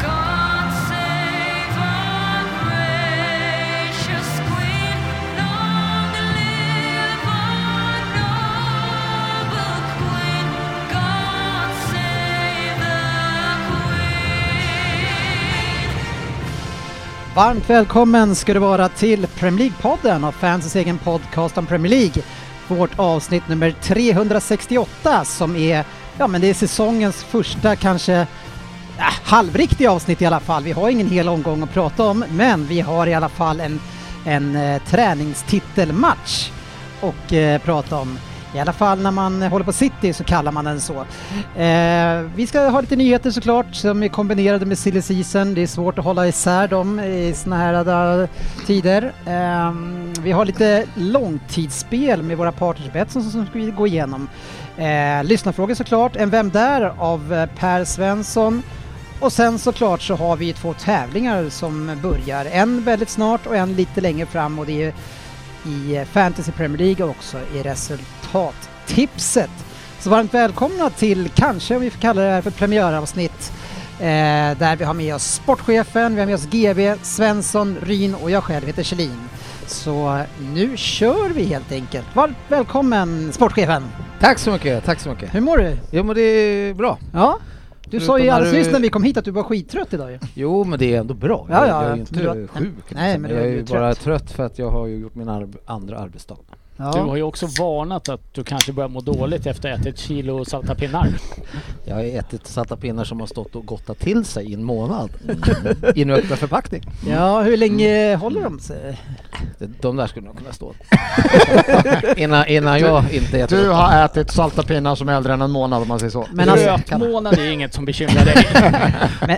God save our gracious Queen. Long live our noble Queen. God save the Queen. Varmt välkommen ska du vara till Premier League-podden av fansens egen podcast om Premier League. Vårt avsnitt nummer 368 som är, ja men det är säsongens första kanske äh, halvriktiga avsnitt i alla fall. Vi har ingen hel omgång att prata om men vi har i alla fall en, en eh, träningstitelmatch och eh, prata om. I alla fall när man håller på City så kallar man den så. Eh, vi ska ha lite nyheter såklart som är kombinerade med silly season. Det är svårt att hålla isär dem i såna här eh, tider. Eh, vi har lite långtidsspel med våra partners Betsson som ska vi gå igenom. Eh, lyssnarfrågor såklart. En Vem Där? av eh, Per Svensson. Och sen såklart så har vi ju två tävlingar som börjar. En väldigt snart och en lite längre fram och det är i eh, Fantasy Premier League och också i resultattipset. Så varmt välkomna till, kanske om vi får kalla det här för premiäravsnitt, eh, där vi har med oss sportchefen, vi har med oss GB, Svensson, Ryn och jag själv heter Kjellin. Så nu kör vi helt enkelt. Varmt välkommen sportchefen! Tack så mycket, tack så mycket. Hur mår du? Jo men det är bra. Ja? Du sa Förutom ju när alldeles du- nyss när vi kom hit att du var skittrött idag ju. Jo men det är ändå bra. Ja, jag, ja, jag är ja. ju inte Men du har- sjuk. Nej, liksom. men du jag är är ju ju bara trött för att jag har ju gjort min arb- andra arbetsdag. Du Ja. har ju också varnat att du kanske börjar må dåligt efter att ha ätit ett kilo salta pinnar. Jag har ätit salta pinnar som har stått och gottat till sig i en månad. I en öppen förpackning. ja, hur länge håller de sig? De där skulle nog kunna stå. innan, innan jag inte äter Du upp har ätit salta pinnar som är äldre än en månad om man säger så. Men alltså- Rötmånad är inget som bekymrar dig.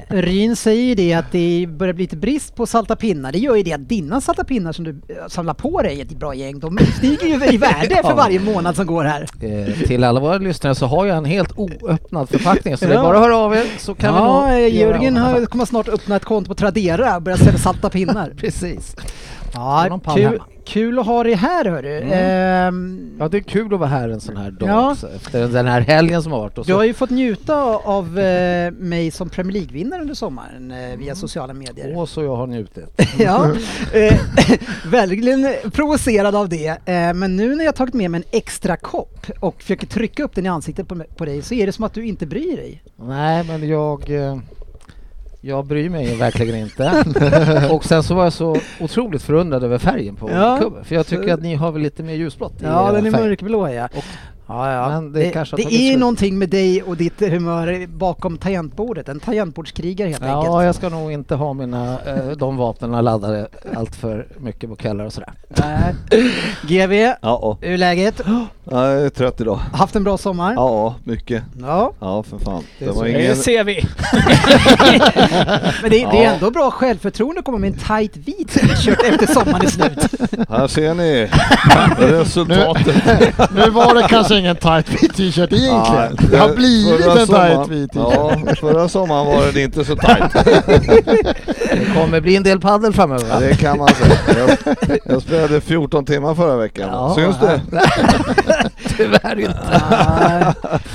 Men Ryn säger ju det att det börjar bli lite brist på salta pinnar. Det gör ju det att dina salta pinnar som du eh, samlar på dig i ett bra gäng, de stiger ju i värde för Ja. varje månad som går här. dem. Eh, Till alla våra lyssnare så har jag en helt oöppnad förpackning så det Ja. är bara att höra av er så kan ja, vi eh, nog göra Jörgen av med har, det. kommer snart öppna ett konto på Tradera och börja sälja salta pinnar. Precis. Har Ja, någon pall kul, hemma? kul att ha dig här hörru. Mm. Ehm, Ja det är kul att vara här en sån här dag Ja. också, efter den här helgen som har varit. Och du så har ju fått njuta av eh, mig som Premier League-vinnare under sommaren eh, via sociala medier. Åh, så jag har njutit. Ja, Mm. eh, verkligen provocerad av det. Eh, men nu när jag tagit med mig en extra kopp och försöker trycka upp den i ansiktet på, mig- på dig så är det som att du inte bryr dig. Nej, men jag... eh, Jag bryr mig verkligen inte. och sen så var jag så otroligt förundrad över färgen på Ja. kuben. För jag tycker Så- att ni har väl lite mer ljusblått i Ja, era den är färger. mörkblå ja. Och- ja, ja. men det kanske har det tagit är slut. någonting med dig och ditt humör bakom tangentbordet. En tangentbordskrigare helt enkelt. Ja, jag ska nog inte ha mina, eh, de vapnen laddade allt för mycket på kvällar och sådär. Nej. GV, Ja, hur är läget? ja, jag är trött idag. Haft en bra sommar? Ja, mycket. Ja, Ja, för fan. Det är var så. Det ingen... ser vi. men det, det är Ja. ändå bra självförtroende att komma med en tight vit t-shirt efter sommaren är slut. Här ser ni resultatet. Nu var det kanske ingen tight vit t-shirt egentligen. Ja, det har blivit förra en sommaren- tight vit t-shirt. Ja, förra sommaren var det inte så tajt. Det kommer bli en del paddel framöver. va? Det kan man säga. Jag, jag spelade 14 timmar förra veckan. Ja, Syns det? Tyvärr inte. Nej,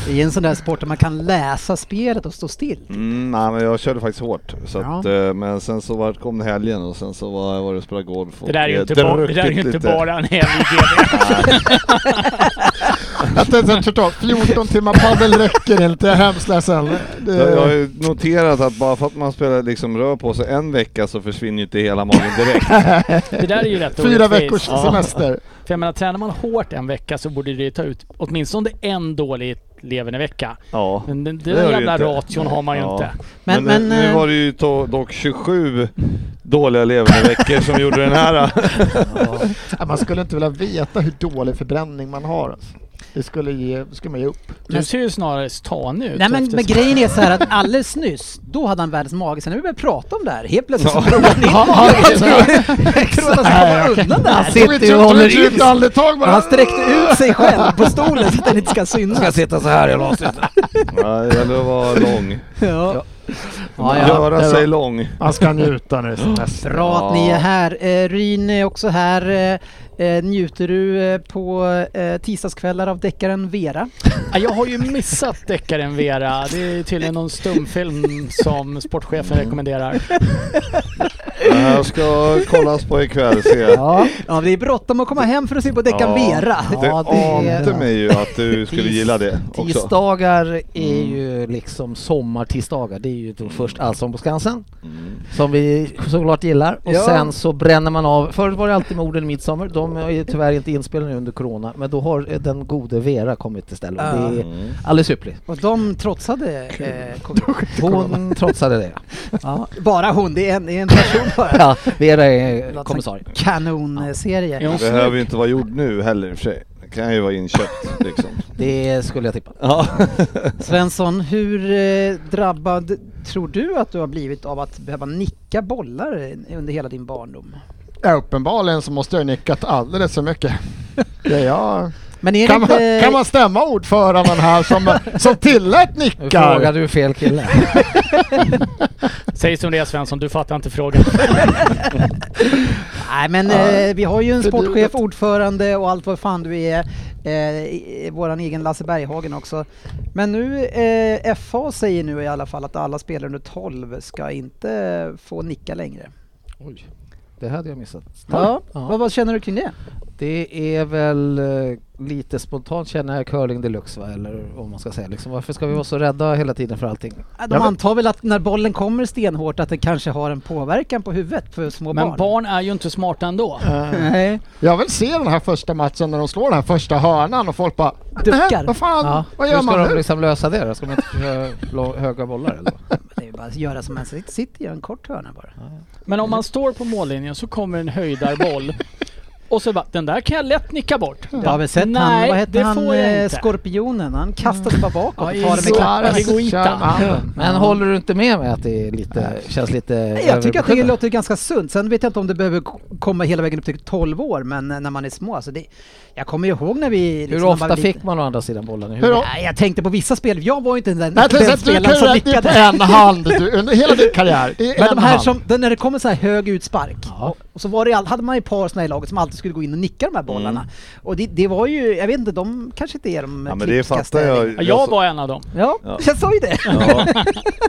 det är Ah. en sån där sport där man kan läsa spelet och stå still. Mm, nej, men jag körde faktiskt hårt. Så Ja. att, eh, men sen så var, kom helgen och sen så var jag var och spelade golf. Och Det där är ju eh, inte, bara, det där är ju druckit inte lite. bara en helig GV. Att det är så här totalt 14 timmar padel räcker inte, jag är hemskt ledsen. Det- Jag jag har ju noterat att bara för att man spelar liksom rör på sig en vecka så försvinner ju inte hela magen direkt. Det där är ju rätt Fyra orättvist. veckors Ja. semester. För jag menar, tränar man hårt en vecka så borde det ju ta ut åtminstone en dålig levernevecka. Ja. Men den, Det den gör det jävla ju inte. ration har man ju Ja. inte. Men, Men, men, nu, eh, var det ju to- dock 27 dåliga leverveckor som gjorde den här. Ja, Man skulle inte vilja veta hur dålig förbränning man har. alltså. Det skulle ge, det skulle man ge upp. Du ser ju snarare stan ut. Nej men, efter- men grejen är så här att alldeles nyss, då hade han världens mage. Sen när vi började prata om det här, helt plötsligt så drog han in Jag tror- jag tror att han skulle komma undan det här. Sitter ju och håller i ett andetag bara. Han sträckte ut sig själv på stolen så att den inte ska synas. sitta så här i laset. Ja, det gäller att vara lång. Ja. Ja, ja. Röra det var- sig lång. Han ska njuta nu. som mest. Bra att ni är här. Eh, Ryn är också här. Eh, eh, njuter du eh, på eh, tisdagskvällar av deckaren Vera? Ja, Jag har ju missat deckaren Vera. Det är tydligen någon stumfilm som sportchefen rekommenderar. Det här ska kollas på ikväll, se. Ja. ja, det är bråttom att komma hem för att se på deckaren Ja. Vera. Det Ja, det är- ante mig ju att du skulle Tis- gilla det också. Tisdagar är Mm. ju liksom sommartisdagar. Det är ju då först Allsång på Skansen, Mm. som vi såklart gillar. Och sen så bränner man av. Förut var det alltid med orden i midsommar. De är ju tyvärr inte inspelade nu under Corona. Men då har eh, den gode Vera kommit istället. Ah. Ja. Det är alldeles ypperligt. Och de trotsade eh, covid. Hon trotsade det. Ja, bara hon, det är en, det är en person bara. Ja, Vera är eh, Låter kommissarie. Är Kanonserie. hon Behöver ju snygg? inte vara gjord nu heller i och för sig. Det kan ju vara inköpt liksom. Det skulle jag tippa. Ja. Svensson, hur eh, drabbad tror du att du har blivit av att behöva nicka bollar under hela din barndom? Ja, uppenbarligen så måste jag ha nickat alldeles för mycket. Ja, ja. Men är Kan, det man, inte... kan man stämma ordföranden här som, som tillät Nu nickar? frågar du fel kille. Säg som det är Svensson, du fattar inte frågan. Nej men eh, vi har ju en sportchef, ordförande och allt vad fan du är. Eh, i- våran egen Lasse Berghagen också. Men nu, eh, FA säger nu i alla fall att alla spelare under 12 ska inte få nicka längre. Oj, det hade jag missat. Ja, Vad, vad känner du kring det? Det är väl eh, lite spontant känner jag curling deluxe va, eller om man ska säga liksom, varför ska vi vara så rädda hela tiden för allting? De antar väl att när bollen kommer stenhårt att det kanske har en påverkan på huvudet för små Men barn. Äh. barn är ju inte smarta ändå. Nej. Jag vill se den här första matchen när de slår den här första hörnan och folk bara Duckar. "Äh, Vad fan, Ja. vad Hur gör ska man de nu? liksom lösa det då? Ska man inte köra lo- höga bollar eller? vad? Det är ju bara att göra som man sitter, sitter gör en kort hörna bara. Men om man står på mållinjen så kommer en höjdarboll. Och så bara, den där kan jag lätt nicka bort. Ja, men sett Nej, han, vad hette det han, får jag eh, inte. skorpionen? Han kastas bara bakåt och tar det med så- klacken. Det går inte. Kör med handen. Men håller du inte med mig att det är lite, känns lite Jag tycker att det överbeskyddande? låter ganska sunt. Sen vet jag inte om det behöver k- komma hela vägen upp till 12 år, men eh, när man är små. Alltså det, jag kommer ju ihåg när vi... liksom, Hur när man ofta var fick liten- man å andra sidan bollen i Hur huvudet? ofta? Nej, jag tänkte på vissa spel. Jag var ju inte den, Nej, till den exempel, du kan spelaren ju som räkna ut på nickade. en hand du, under hela din karriär. Det är Men en de här hand. som, den- när det kommer så här hög utspark, och så var det, all- hade man ju ett par såna i laget som alltid skulle gå in och nicka de här bollarna. Och det, det var ju, jag vet inte, de kanske inte är de Mm. ja men det fattar jag. Ja, Jag var en av dem. Ja, Ja. jag sa ju det. Ja.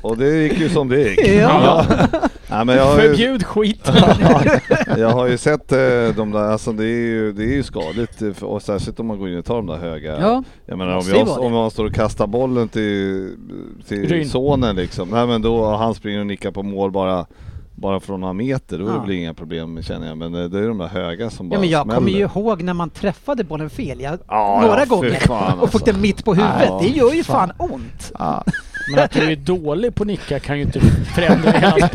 Och det gick ju som det gick. Ja. Nej, men jag, har ju, Förbjud skiten. jag har ju sett eh, de där, alltså det är ju, det är ju skadligt eh, för, och särskilt om man går in och tar de där höga. Ja. Jag menar om Måste ju jag, vara det. om jag står och kastar bollen till, Ryn. till sonen liksom, nej men då han springer och nickar på mål bara bara från några meter, då är det Ja. väl inga problem känner jag. Men eh, det är de där höga som bara Ja, men jag smäller. kommer ju ihåg när man träffade bollen fel, jag, Ja, några ja, fy gånger, fan, och fick alltså. den mitt på huvudet. Ja, det gör ju fan ont. Ja. Men att du är dålig på att nicka kan ju inte förändra hela...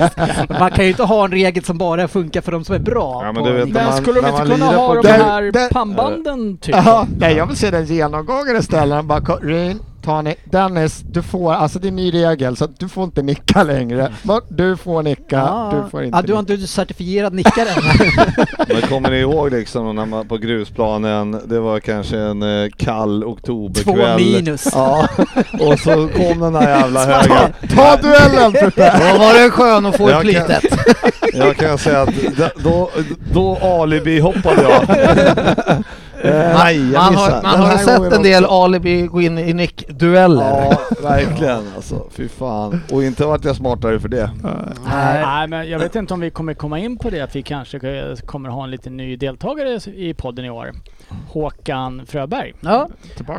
Man kan ju inte ha en regel som bara funkar för de som är bra. Ja, men på du vet, nicka. när Men man- skulle de när inte man kunna ha lirar på- de Där- här där- pannbanden typ? Ja, nej, jag vill se den genomgången istället. Han bara, "Ko- Ryn, Tony, Dennis, du får, alltså det är en ny regel så att du får inte nicka längre. Men Du får nicka, Mm. Ja. du får inte ja, du har inte du är certifierad nickare. Men kommer ni ihåg liksom när man på grusplanen, det var kanske en eh, kall Två oktoberkväll. minus. Ja, och så kom den där jävla höga. Ta duellen Putte! Då var den skön att få i Jag kan- plytet. Jag kan säga att d- då, då alibi-hoppade jag. Eh, Nej, jag Man har, missade. man Den har här sett gången en del alibi gå in i nickdueller. Ja, verkligen alltså. Fy fan. Och inte vart jag smartare för det. Nej. Nej, men jag vet inte om vi kommer komma in på det, att vi kanske kommer ha en liten ny deltagare i podden i år. Håkan Fröberg. ja.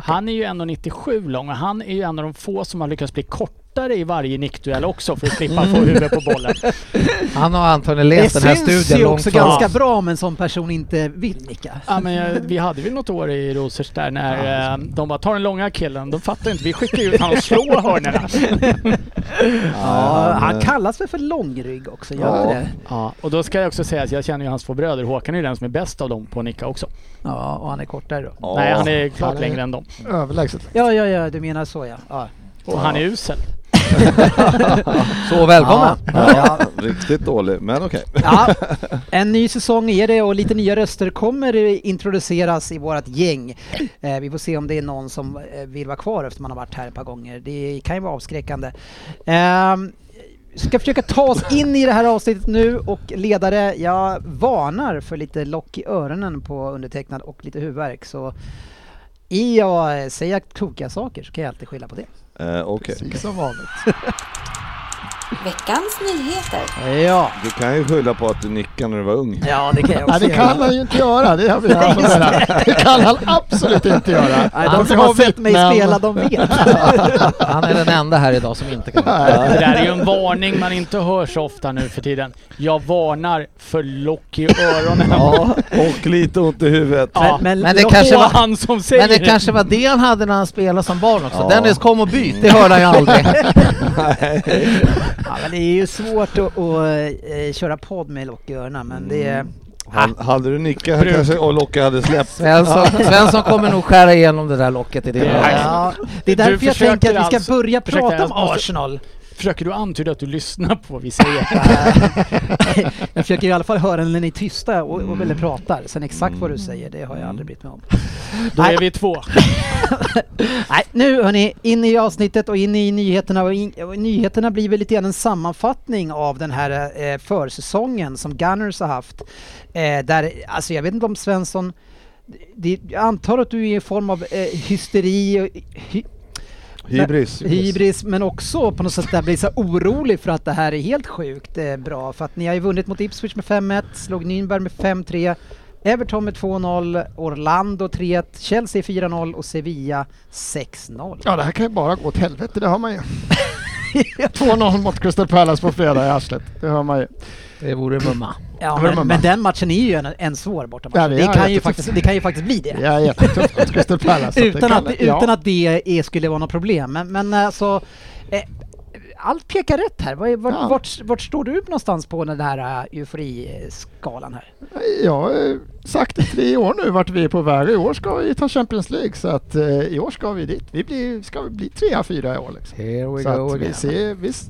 Han är ju 1,97 lång och han är ju en av de få som har lyckats bli kortare ryttare i varje nickduell också för att slippa få huvudet på bollen. Han har antagligen Det läst den här syns studien ju långt också fram. ganska bra om en sån person inte vill nicka. Ja, men jag, vi hade väl något år i Rosers där när eh, de bara tar den långa killen, de fattar inte. Vi skickar ju ut honom och slår hörnorna. Ja, han eh, kallas väl för långrygg också, gör Ja. inte det? Ja, och då ska jag också säga att jag känner ju hans två bröder. Håkan är ju den som är bäst av dem på att nicka också. Ja, och han är kortare då. Ja. Nej, han är klart Han är- längre än dem. Överlägset. Ja, ja, ja, du menar så ja. ja. Och han är usel. Så välkommen! Ja, riktigt dålig, men okej. Ja, en ny säsong är det och lite nya röster kommer introduceras i vårt gäng. Eh, vi får se om det är någon som eh, vill vara kvar efter man har varit här ett par gånger. Det kan ju vara avskräckande. Ehm, ska försöka ta oss in i det här avsnittet nu och ledare, jag varnar för lite lock i öronen på undertecknad och lite huvudvärk. Så i jag säger tokiga saker så kan jag alltid skylla på det. Eh, Okej. Precis som vanligt. Veckans nyheter. Ja, Du kan ju skylla på att du nickade när du var ung. ja det kan jag Nej, också det göra. kan han ju inte göra. Det, har vi redan fått höra. det kan han absolut inte göra. Nej, Han de som ska har ha sett mig vittnen. spela, de vet. Han är den enda här idag som inte kan Det där är ju en varning man inte hör så ofta nu för tiden. Jag varnar för lock i öronen. Ja, och lite ont i huvudet. Ja, Men, Men men det och kanske var, han som säger men det kanske var det han hade när han spelade som barn också. Ja. Dennis kom och byt, det hörde han ju aldrig. Ja, men det är ju svårt att, att eh, köra podd med lock i öronen, men det är... Mm. Han, hade du nickat Bruk. kanske och Locke hade släppt. Svensson, Svensson kommer nog skära igenom det där locket i din Ja. Ja, det är Du därför jag försöker tänker att vi alltså- ska börja Ursäkta, prata jag om måste- Arsenal. Försöker du antyda att du lyssnar på vad vi säger? jag försöker i alla fall höra när ni är tysta och, och Mm. eller pratar. Sen exakt vad du säger, det har jag aldrig brytt mig om. Då Nej. är vi två. Nej, nu hörni, in i avsnittet och in i nyheterna. Och in, och nyheterna blir väl lite grann en sammanfattning av den här eh, försäsongen som Gunners har haft. Eh, där, alltså jag vet inte om Svensson, det, jag antar att du är i en form av eh, hysteri, och- hy, Hybris. hybris, men också på något sätt där blir så här orolig för att det här är helt sjukt eh, bra. För att ni har ju vunnit mot Ipswich med 5-1, slog Nürnberg med 5-3, Everton med 2-0, Orlando 3-1, Chelsea 4-0 och Sevilla 6-0. Ja, det här kan ju bara gå åt helvete, det hör man ju. 2-0 mot Crystal Palace på fredag i arslet. Det hör man ju. Det vore mumma. Ja, Vad är det men, man- men den matchen är ju en, en svår bortamatch. Ja, det det, är kan ju jättetufft. faktiskt, det kan ju faktiskt bli det. Det är jättetufft mot Crystal Palace. så utan, alltså, det att, kan- utan ja. att det är, skulle vara något problem. Men, men alltså, eh, allt pekar rätt här. Vart, vart, Ja. vart, vart står du någonstans på den här eh, euforiskalan här? Jag har eh, sagt i tre år nu vart vi är på väg. I år ska vi ta Champions League, så att eh, i år ska vi dit. Vi blir, ska vi bli trea, fyra i år liksom. Here we Så go att again. vi, ser, vi, s-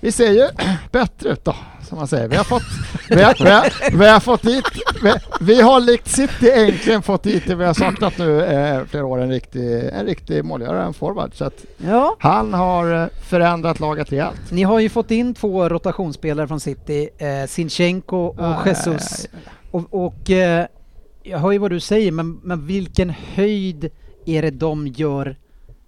vi ser ju bättre ut då, som man säger. Vi har fått, vi har, vi har, vi har fått dit, vi, vi har likt City äntligen fått dit det vi har saknat nu eh, flera år, en riktig, en riktig målgörare, en forward. Så att Ja, han har eh, förändrat laget rejält. ni har ju fått in två rotationsspelare från City, eh, Sinchenko och Ah, Jesus. Och, och eh, jag hör ju vad du säger, men, men vilken höjd är det de gör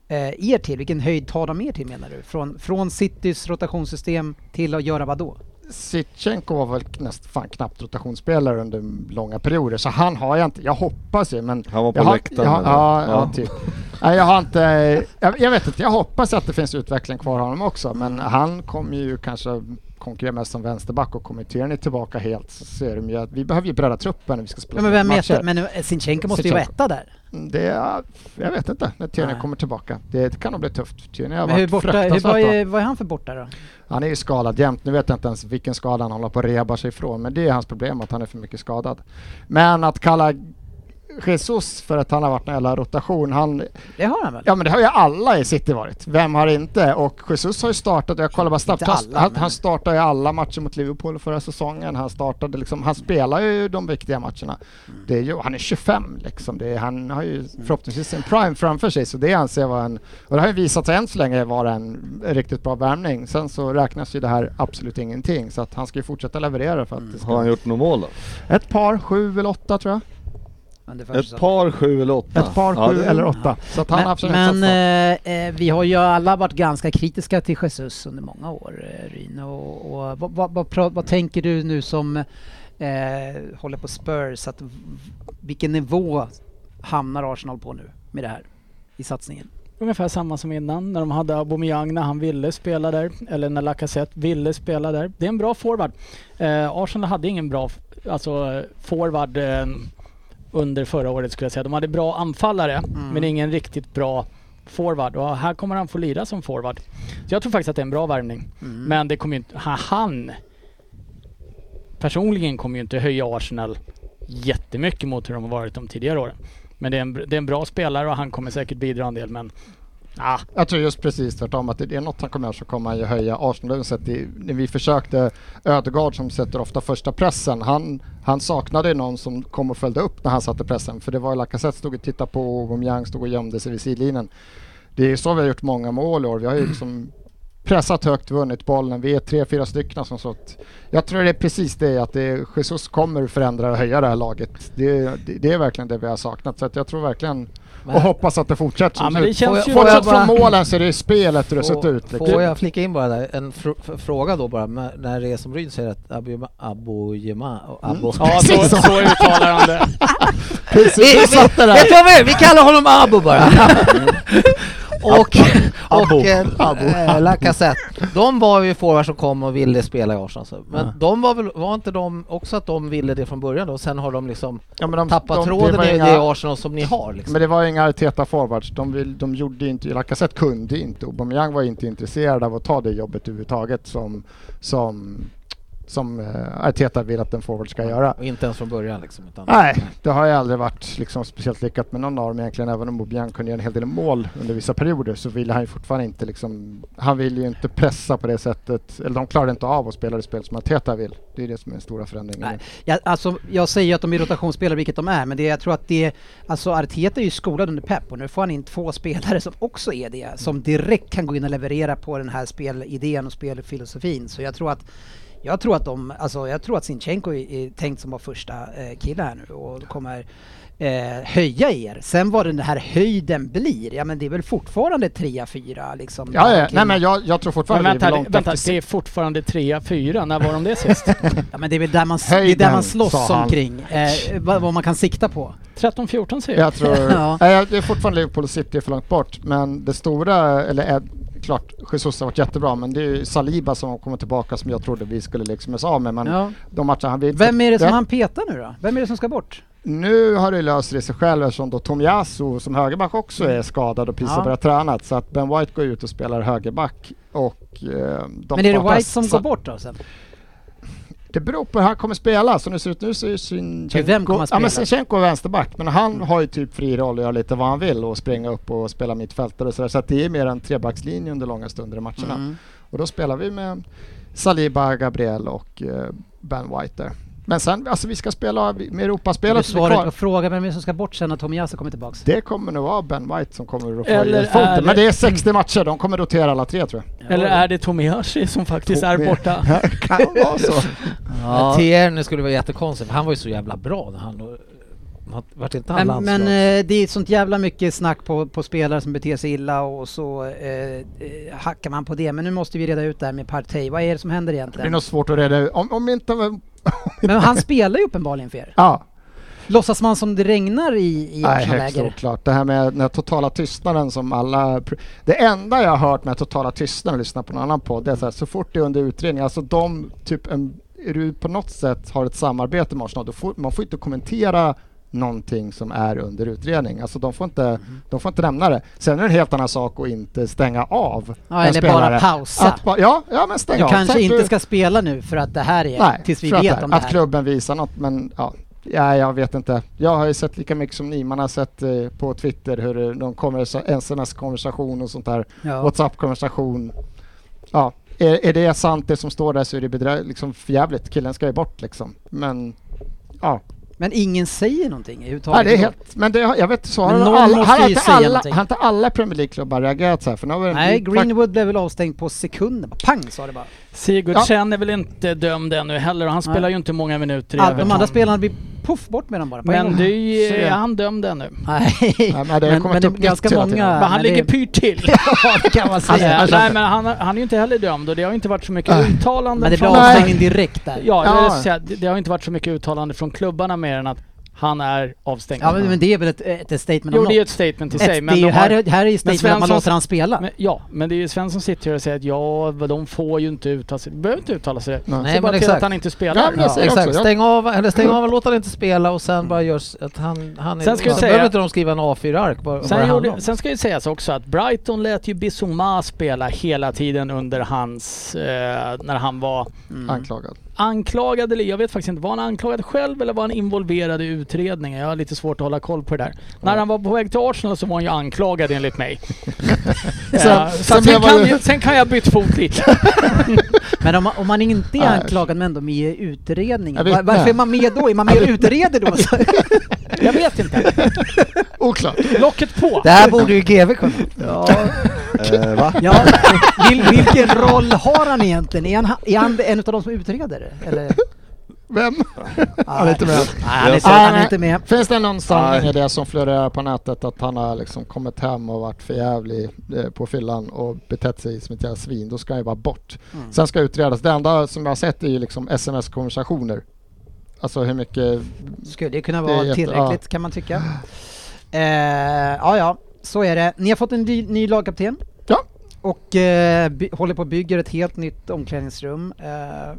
eh, er till? Vilken höjd tar de er till menar du? Från, från Citys rotationssystem till att göra vad då? Sitchenko var väl näst, fan knappt rotationsspelare under långa perioder, så han har jag inte. Jag hoppas ju, men... Han var på jag har- läktaren, jag har- ja, eller? ja. Ja. typ. Nej, jag har inte... Jag, jag vet inte, jag hoppas att det finns utveckling kvar honom också, men han kommer ju kanske konkurrera mest som vänsterback och kommer Tierney tillbaka helt så ser de ju att vi behöver ju bredda truppen när vi ska spela Ja, men vem matcher. vet, men eh, Sinchenko måste ju vara Sinchenko. etta där. Det, är- jag vet inte när Tierney Nej. kommer tillbaka. Det kan nog bli tufft. Tierney har Men hur varit borta, hur, fruktansvärt vad, bra. är, vad är han för borta då? Han är ju skadad jämt. Nu vet jag inte ens vilken skada han håller på att reba sig ifrån. Men det är hans problem att han är för mycket skadad. Men att kalla Jesus för att han har varit en jävla rotation. Han, Det har han väl? ja men det har ju alla i City varit. Vem har inte? Och Jesus har ju startat, jag kollar bara snabbt, Inte han- alla, han, men- han startade ju alla matcher mot Liverpool förra säsongen. Han startade liksom, han spelar ju de viktiga matcherna. Mm. Det är ju, han är 25 liksom. Det är, han har ju förhoppningsvis sin prime framför sig så det anser jag vara en, och det har ju visat sig än så länge vara en riktigt bra värmning. Sen så räknas ju det här absolut ingenting så att han ska ju fortsätta leverera för att det Har han ska... gjort något mål då? Ett par, sju eller åtta tror jag. Under Ett par, sju eller åtta? Ett par, Ja, sju det- eller åtta. Så att han har absolut men satsat. eh, eh, vi har ju alla varit ganska kritiska till Jesus under många år, eh, Ryn. Och, och, vad, vad, vad, pra- vad tänker du nu som eh, håller på Spurs? Att, v- vilken nivå hamnar Arsenal på nu med det här i satsningen? ungefär samma som innan när de hade Aubameyang när han ville spela där. Eller när Lacazette ville spela där. Det är en bra forward. Eh, Arsenal hade ingen bra f- alltså, eh, forward eh, under förra året skulle jag säga. De hade bra anfallare men ingen riktigt bra forward. Och här kommer han få lira som forward. Så jag tror faktiskt att det är en bra värvning. Men det kommer ju inte... ha- Han personligen kommer ju inte höja Arsenal jättemycket mot hur de har varit de tidigare åren. Men det är en, det är en bra spelare och han kommer säkert bidra en del men... Ah, Jag tror just precis tvärtom att det är något han kommer göra så kommer han ju höja Arsenal. Sett i, när vi försökte Ödegaard som sätter ofta första pressen, han, han saknade ju någon som kom och följde upp när han satte pressen. För det var ju Lacazette stod och tittade på och Aubameyang stod och gömde sig vid sidlinjen. Det är så vi har gjort många mål i år. Vi har ju liksom pressat högt, vunnit bollen. Vi är tre, fyra stycken som så. att- Jag tror det är precis det att det, Jesus kommer förändra och höja det här laget. Det, det, det är verkligen det vi har saknat. Så att jag tror verkligen Men- och hoppas att det fortsätter som ja, men nu. det känns ju... Får jag Bortsett bara- från målen så är alltså, det ju spelet hur det Får- sett ut. liksom. Får jag flika in bara där, en fr- f- fråga då bara, men när det är som Ryd säger att Abuyama... Abuyama... Mm. Abo... Ja, så, Precis så. så uttalar han det. Vi, Precis, vi, satt det Mm. vet där. du vad vi gör? Vi kallar honom Abo bara. och Abo. och eh, eh, Lacazette. De var ju forwards som kom och ville spela i Arsenal. så. Men de var väl, var inte de också att de ville det från början då? Sen har de liksom Ja, men de, tappat de- tråden var i inga- det Arsenal som ni har liksom. Men det var ju inga Arteta forwards. De, vill, de gjorde ju inte, Lacazette kunde ju inte. Aubameyang var ju inte intresserad av att ta det jobbet överhuvudtaget som, som, som eh, Arteta vill att en forward ska göra. Och inte ens från början liksom. Utan Nej, det har ju aldrig varit liksom speciellt lyckat med någon av dem egentligen. Även om Aubameyang kunde göra en hel del mål under vissa perioder så ville han ju fortfarande inte liksom, han ville ju inte pressa på det sättet. Eller de klarade inte av att spela det spel som Arteta vill. Det är det som är den stora förändringen. Nej. Jag, alltså, jag säger ju att de är rotationsspelare, vilket de är, men det, jag tror att det... Alltså Arteta är ju skolad under Pep och nu får han in två spelare som också är Mm. det, som direkt kan gå in och leverera på den här spelidén och spelfilosofin. Så jag tror att jag tror att de, alltså jag tror att Sinchenko är, är tänkt som var första eh, kille här nu och kommer eh, höja er. Sen vad den här höjden blir, ja men det är väl fortfarande 3-4 liksom. Ja, ja. killar. Nej, men jag, jag tror Men fortfarande vi är vänta, långt vänta, efter det är fortfarande trea, fyra. När var de det sist? ja men det är väl där man, s- Höjden, det är där man sa slåss han. omkring, eh, vad, vad man kan sikta på. 13, 14 säger jag. Jag tror, Ja. nej, det är fortfarande Liverpool och City är för långt bort, men det stora, eller är, klart, Jesus har varit jättebra, men det är ju Saliba som kommer tillbaka som jag trodde vi skulle liksom oss av med, men Ja. de matcherna han vill Vem är det som Ja, han petar nu då? Vem är det som ska bort? Nu har det löst det sig själv eftersom då Tomiyasu som högerback också är skadad och precis har Mm. Ja. börjat träna, så att Ben White går ut och spelar högerback och eh, de Men är det startar White som sa- går bort då sen? Det beror på hur han kommer spela. Som det ser ut nu så är Sinchenko... Hur vem kommer att Ja, men spela? Sinchenko är vänsterback, men han har ju typ fri roll och gör lite vad han vill och springa upp och spela mittfältare och sådär. Så att det är mer en trebackslinje under långa stunder i matcherna. Mm. Och då spelar vi med Saliba, Gabriel och eh, Ben White där. Men sen, alltså vi ska spela med Du Europaspelet som är svarar inte på kvar. frågan vem är det som ska bort sen när Tomiyasu kommer tillbaks? Det kommer nog vara Ben White som kommer att få Eller i foten. är det- Men det är 60 matcher, de kommer rotera alla tre tror jag. Eller är det Tomiyashi som faktiskt är Tomi- borta? Det kan vara så. Ja. Tierney skulle vara jättekonstigt, för han var ju så jävla bra när han... Vart inte han Men, men landslags... eh, det är sånt jävla mycket snack på, på spelare som beter sig illa och så eh, eh, hackar man på det. Men nu måste vi reda ut det här med Partey. Vad är det som händer Det är egentligen? nog svårt att reda ut. Om, om inte... Men han spelar ju uppenbarligen för er. Ja, Låtsas man som det regnar i, i Nej, högst Arsenal-läger? oklart. Det här med den här totala tystnaden som alla... pr- Det enda jag har hört med totala tystnaden och lyssnat på någon annan podd, det är så, här, så fort det är under utredning, alltså de, typ en, är du på något sätt har ett samarbete med Arsenal, då får, man får inte kommentera någonting som är under utredning. Alltså de får inte, Mm-hmm. de får inte nämna det. Sen är det en helt annan sak att inte stänga av Ja, en eller spelare. bara pausa. Att ba- ja, ja, men stänga Du av. kanske Säg att inte ska spela nu för att det här är Nej, tills vi för att vet det- om det Att här. klubben visar något, men ja. Ja, jag vet inte. Jag har ju sett lika mycket som ni. Man har sett eh, på Twitter hur eh, de kommer, sms-konversation och sånt där. Ja. Whatsapp-konversation. Ja, är, är det sant det som står där så är det bedrö- liksom förjävligt. Killen ska ju bort liksom. Men ja, Men ingen säger någonting ja överhuvudtaget. det är helt... Men det, har- jag vet inte, så har Men alla, någon alla, måste har ju inte säga alla, någonting. har inte alla Premier League-klubbar reagerat så här? För nu har Eh, vi- Nej, vi- Greenwood blev väl avstängd på sekunden. Bara Pang sa det bara. Sigurdsen är väl inte dömd ännu heller och han spelar Nej. ju inte många minuter i All, de Everton. andra spelarna blir puff bort med dem bara. på en Men gång. det är, ju- Så- är han dömd ännu. Nej, men det har men, kommit men det är upp nytt ganska hela många... tiden. Men Men han det- Alltså, ligger pyrt till. Ja, det kan man säga. Alltså, Ja, Nej men han, han är ju inte heller dömd och det har ju inte varit så mycket uttalanden Men det blir från... Nej. avstängning direkt där. Ja, jag Ja. vill säga, det, det har ju inte varit så mycket uttalande från klubbarna mer än att Han är avstängd. Ja men, men det är väl ett, ett statement jo, om det är ju något. ett statement i Ett- sig. det är Men ju, de här, har, är- här är ju statement att man Svensson- låter han spela. men, ja, men det är ju Sven som sitter här och säger att ja, vad de får ju inte uttala sig. behöver inte uttala sig. Nej. Nej, Nej, bara men till att exakt. han inte spelar. men jag säger Exakt, också, jag- stäng av, eller stäng av och låt han inte spela och sen bara görs att han... han är, Sen ska vi sen säga- behöver inte de skriva en A4-ark bara, vad det Sen, handlar om. gjorde, sen ska ju sägas också att Brighton lät ju Bissouma spela hela tiden under hans, eh, när han var Mm. Anklagad. anklagad, eller jag vet faktiskt inte, var han anklagad själv eller var han involverad i utredningen? Jag har lite svårt att hålla koll på det där. När han var på väg till Arsenal så var han ju anklagad enligt mig. Eh, så att sen sen, blev han- kan, jag- sen kan jag byta fot lite. Men om man, om man inte är Nej. anklagad men ändå med i Jag utredningen, vet var, varför inte. är man med då? Är man med och utreder då? Så- Jag vet inte. Oklart. Locket på! Det här borde ju GV kunna. ja, Eh, va? ja. Vil, vilken roll har han egentligen? Är han, är han en av de som utreder? det? Eller? Vem? Han är inte med. Nej, han är, inte- Nej, han är nej. inte med. Finns det någon sanning Nej. i det som florerar på nätet att han har liksom kommit hem och varit för jävlig eh, på fyllan och betett sig som ett jävla svin, då ska han ju bara bort. Sen ska utredas. Det enda som jag har sett är ju liksom sms-konversationer. Alltså hur mycket... Skulle det kunna Det är vara jätte- tillräckligt kan man tycka. Eh, ja, ja, så är det. Ni har fått en ny, ny lagkapten. Ja. Och eh, by, håller på och bygger ett helt nytt omklädningsrum. Eh,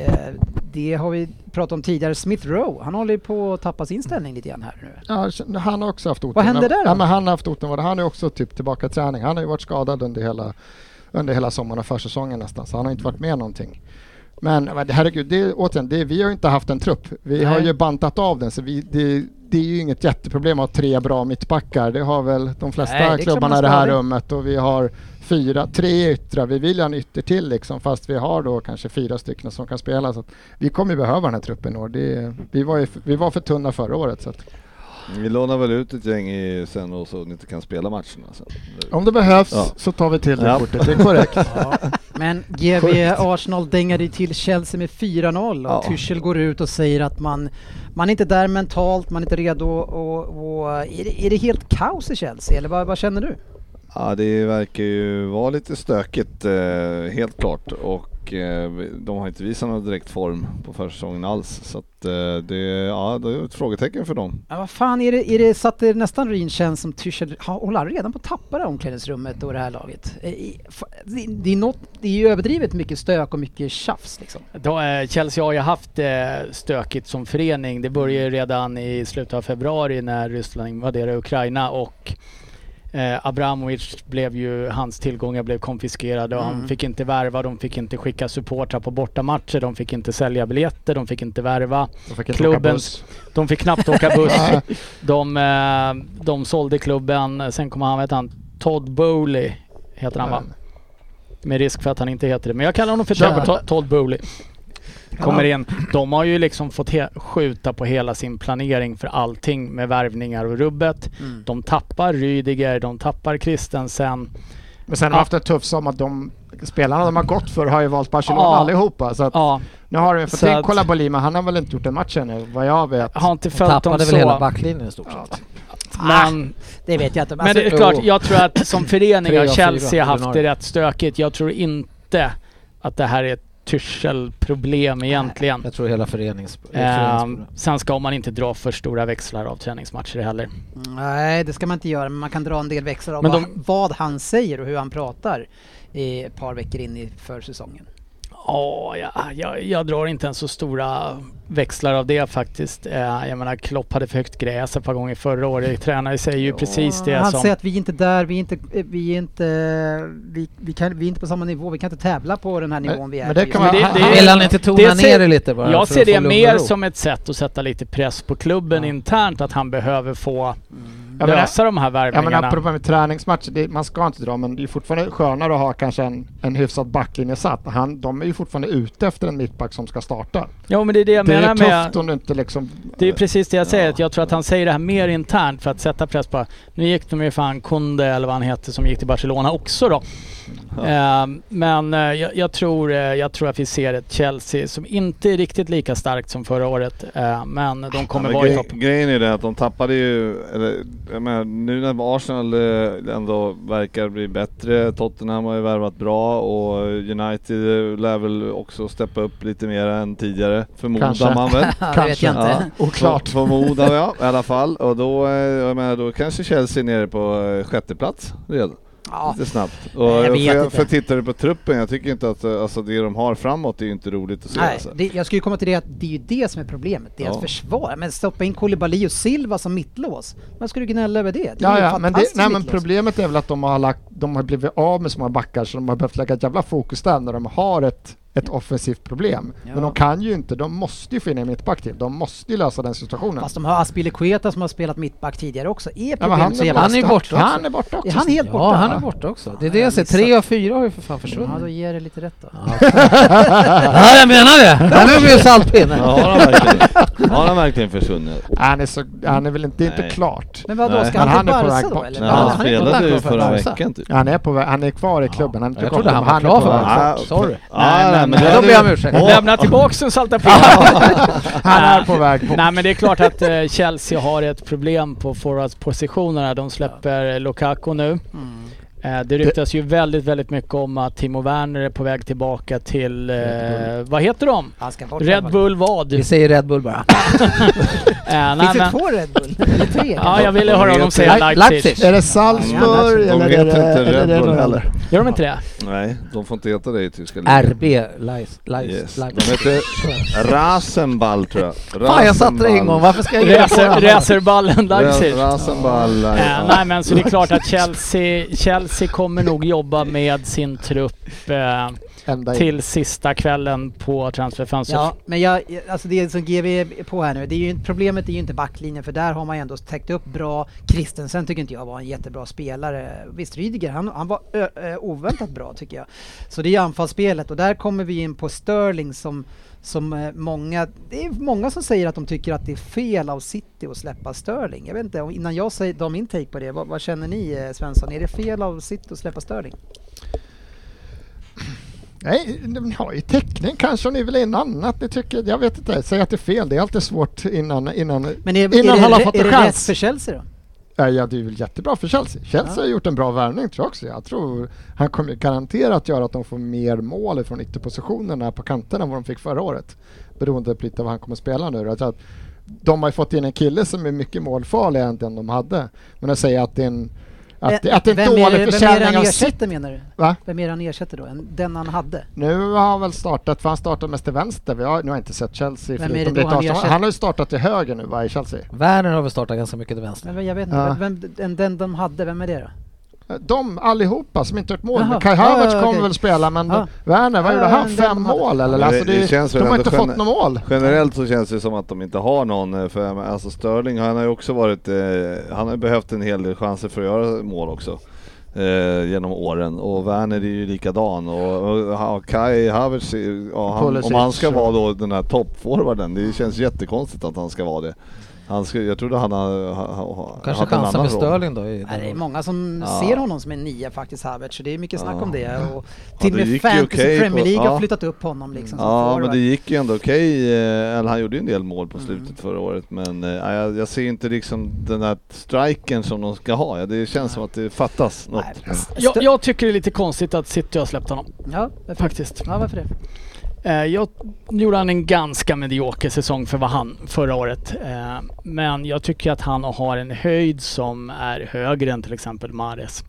eh, det har vi pratat om tidigare. Smith Rowe, han håller ju på att tappa sin ställning lite grann här nu. Ja, han har också haft otur. Vad hände där då? Ja, men han har haft otur. Han är också typ tillbaka i träning. Han har ju varit skadad under hela, under hela sommaren och försäsongen nästan, så han har inte varit med någonting. Men men herregud, det är, återigen, det är, vi har ju inte haft en trupp. Vi har Nej. ju bantat av den, så vi, det, det är ju inget jätteproblem att ha tre bra mittbackar. Det har väl de flesta Nej, det är klart klubbarna man i det ska ha här det. rummet och vi har fyra, tre yttrar. Vi vill ju ha en ytter till liksom, fast vi har då kanske fyra stycken som kan spela. Så att vi kommer ju behöva den här truppen i år. Det, vi, var ju, f- vi var för tunna förra året. Så att Vi lånar väl ut ett gäng i, sen och så ni inte kan spela matcherna sen. Om det behövs Ja. så tar vi till det Ja. kortet, det är korrekt. Men GB Arsenal dängade ju till Chelsea med 4-0 och Ja. Tuchel går ut och säger att man, man är inte där mentalt, man är inte redo och, och är, det, är det helt kaos i Chelsea eller vad, vad känner du? Ja, det verkar ju vara lite stökigt eh, helt klart och eh, de har inte visat någon direkt form på försäsongen alls så att eh, det, ja, det är ett frågetecken för dem. Ja, vad fan, är det, är det så att det nästan Ryn känns som Tuchel, ha- håller han redan på att tappa det här omklädningsrummet och det här laget? Eh, i- fa- Det, det, är något, det är ju överdrivet mycket stök och mycket tjafs liksom. Då, eh, Chelsea har ju haft eh, stökigt som förening. Det började ju redan i slutet av februari när Ryssland invaderade Ukraina och eh, Abramovic blev ju, hans tillgångar blev konfiskerade och han fick inte värva, de fick inte skicka supportrar på bortamatcher, de fick inte sälja biljetter, de fick inte värva, De fick inte Klubben- åka buss. de fick knappt åka buss. de, eh, de sålde klubben, sen kom han, vet han, Todd Bowley heter han va? Med risk för att han inte heter det. Men jag kallar honom för Kör. Todd- Todd Bowley. Kommer in. De har ju liksom fått he- skjuta på hela sin planering för allting med värvningar och rubbet. Mm. De tappar Rydiger, de tappar Christensen. Men sen har de haft det tufft som att de spelarna de har gått för har ju valt Barcelona Ja. allihopa. Så att Ja, nu har de, för Så tänk att- kolla på Lima, han har väl inte gjort en match ännu vad jag vet. har inte följt dem Tappade så. väl hela backlinjen i stort sett. Men, Det vet jag inte. alltså, men det är klart, jag tror att som förening Tre har av fyra Chelsea haft det ordinarie. rätt stökigt. Jag tror inte att det här är ett Tyrsel-problem egentligen. Jag tror hela förenings... Ehm, sen ska man inte dra för stora växlar av träningsmatcher heller. Nej, det ska man inte göra, men man kan dra en del växlar av Men vad, de- vad han säger och hur han pratar i ett par veckor in i försäsongen. Ja, jag, jag, jag drar inte ens så stora växlar av det faktiskt. Eh, Jag menar, Klopp hade för högt gräs ett par gånger förra året. Tränare säger ju precis det han som... säger att vi är inte där, vi är inte, eh, vi är inte, eh, vi, vi, kan, vi är inte på samma nivå, vi kan inte tävla på den här Men- nivån vi är men det på kan just man- nu. han- det- Vill han inte tona det ser- ner det lite bara? jag för ser att få det lugn och mer ro? som ett sätt att sätta lite press på klubben Ja. internt, att han behöver få Jag menar- lösa de här Ja men värvningarna. apropå med träningsmatcher, det, man ska inte dra men det är fortfarande skönare att ha kanske en, en hyfsad backlinje satt. Han, de är ju fortfarande ute efter en mittback som ska starta. jo, men det är det jag det är menar med... tufft om du inte liksom... Det är precis det jag säger. Ja. att Jag tror att han säger det här mer internt för att sätta press på... Nu gick de ju fan Kunde eller vad han heter som gick till Barcelona också då. Ehm, men eh, jag, jag, tror, eh, jag tror att vi ser ett Chelsea som inte är riktigt lika starkt som förra året. eh, men de kommer Ja, men vara i gre- topp. Grejen är det att de tappade ju, eller jag menar, nu när Arsenal eh, ändå verkar bli bättre, Tottenham har ju värvat bra och United eh, lär väl också steppa upp lite mer än tidigare, förmodar Kanske. man väl. Ja, det vet jag Kanske. inte. Oklart. Förmodar jag i alla fall. Och då, eh, jag menar, då kanske Chelsea är nere på eh, sjätte plats redan. Ja. Lite snabbt. Och Nej, jag vet för, inte. för tittar du på truppen, jag tycker inte att eh, alltså, det de har framåt är ju inte roligt att se. Nej, alltså. det, jag skulle komma till det att det är ju det som är problemet, deras Ja. försvar. Men stoppa in Koulibaly och Silva som mittlås, vad ska du gnälla över det? Det är Ja, ju ja, men, det, fantastiskt nej, men mittlås. problemet är väl att de har, lagt, de har blivit av med så många backar så de har behövt lägga ett jävla fokus där när de har ett, ett offensivt problem. Ja. Men de kan ju inte, de måste ju få in en mittback till. De måste ju lösa den situationen. Fast de har Aspilicueta som har spelat mittback tidigare också. Är Ja, men problemet så jävla... han är borta. borta också. Han är borta också. Är han helt borta? Ja, han är borta också. Det är det jag säger, tre av fyra har ju för fan Ja, då försvunnit. ger det lite rätt då. Ja, jag menar det! Han är ju saltpinne. Ja, har han verkligen, har han verkligen försvunnit? Han är, så, han är väl inte, det är inte Nej. klart. Men vadå, Nej. ska Men han han till är på Barca väg då bort. eller? Nej, Ja, han han är spelade inte ju klar för förra Barca. veckan typ. Han är, på, vä- han är kvar i klubben. Han är inte Jag kvar. trodde han men var klar är på för väg. Barca. Ah, Sorry. Ah, nej, men Nej, det då hade- ber jag om ursäkt. Åh, Lämna tillbaks den salta pinnen. Han är på väg bort. Nej men det är klart att eh, Chelsea har ett problem på forwardspositionerna. De släpper eh, Lukaku nu. Mm. Eh, det ryktas ju väldigt, väldigt mycket om att Timo Werner är på väg tillbaka till, eh, vad heter de? Han ska bort. Red Bull vad? Vi säger Red Bull bara. Eh, nej, Finns det men, två Red Bull? Eller tre? ja, jag ville höra honom säga Nej, Leipzig. Är det Salzburg De eller heter är det, inte eller är det Red Bull någon heller. annan? Gör de inte det? Nej, de får inte heta det i tyska RB Leis... Leis... Yes. Leis... De heter Rasenball tror jag. Fan, jag satte det en gång. Varför ska jag ge på Racer- det? här? Racerballen Leipzig. Rasenball. Eh, nej men så det är klart att Chelsea, Chelsea kommer nog jobba med sin trupp eh, Ända in. till sista kvällen på transferfönstret. Ja, men jag, jag- alltså det som GV är på här nu, det är ju, inte- problemet är ju inte backlinjen för där har man ju ändå täckt upp bra. Kristensen tycker inte jag var en jättebra spelare. Visst Rydiger, han, han var ö, ö, oväntat bra tycker jag. Så det är ju anfallsspelet och där kommer vi in på Sterling som, som eh, många, det är många som säger att de tycker att det är fel av City att släppa Sterling. Jag vet inte, om- innan jag säger, de min take på det, vad, vad känner ni eh, Svensson? Är det fel av City att släppa Sterling? Nej, ni har ju täckning kanske om ni vill ha in annat. Ni tycker, jag vet inte, säg att det är fel. Det är alltid svårt innan... innan Men är, Innan är, han har det, fått är, en det chans. rätt för Chelsea då? Ja, Äh, ja, det är väl jättebra för Chelsea. Chelsea har gjort en bra värvning tror jag också. Jag tror han kommer garanterat göra att de får mer mål från ytterpositionerna på kanterna än vad de fick förra året. Beroende på lite vad han kommer spela nu. Jag tror att de har ju fått in en kille som är mycket målfarligare än den de hade. Men att säga att det är en, att, det- att det är en vem är, dålig det- vem är det försäljning han av City. ersätter menar du? Va? Vem är det han ersätter då? En- Den han hade? Nu har han väl startat, för han startar mest till vänster. Vi har, nu har jag inte sett Chelsea Vem är förutom det då lite han avstånd. ersätter? Han har ju startat till höger nu va, i Chelsea. Werner har väl startat ganska mycket till vänster. Men jag vet inte, Ja. vem, vem- den, den de hade, vem är det då? De allihopa som inte gjort mål. Jaha. Men Kai Ja, Havertz ja, kommer okej. väl spela men Ja. Werner, vad Ja, gjorde ja, han? men Fem de har- mål eller? Ja, det- alltså, det, det känns väl de har ändå inte gen- fått något mål. Generellt så känns det som att de inte har någon, eh, för jag menar, alltså Sterling han har ju också varit, eh, han har ju behövt en hel del chanser för att göra mål också. Eh, genom åren och Werner är ju likadan och, och, ha- Kai Havertz, är- ja, han, Pulisic, om han ska så. vara då den här toppforwarden, det känns jättekonstigt att han ska vara det. Han ska, jag trodde han hade ha, ha, ha, Kanske haft en chansar annan med roll. Sterling då? I Nej, det är den många som Ja. ser honom som en nia faktiskt, Havertz, så det är mycket snack om det. Och det till och med gick ju Fantasy okej på- Premier League har ja. flyttat upp honom Alltså, liksom som Ja, men forward. det gick ju ändå okej. eh, Eller han gjorde ju en del mål på Mm. slutet förra året. Men eh, jag, jag ser inte liksom den där striken som de ska ha. Ja, Det känns som att det fattas något. Nej, alltså, Jag, Stö- jag tycker det är lite konstigt att City har släppt honom. Ja, varför? Faktiskt. Ja, varför det? Eh, jag nu gjorde han en ganska medioker säsong för vad han förra året. Eh, men jag tycker att han har en höjd som är högre än till exempel Mares.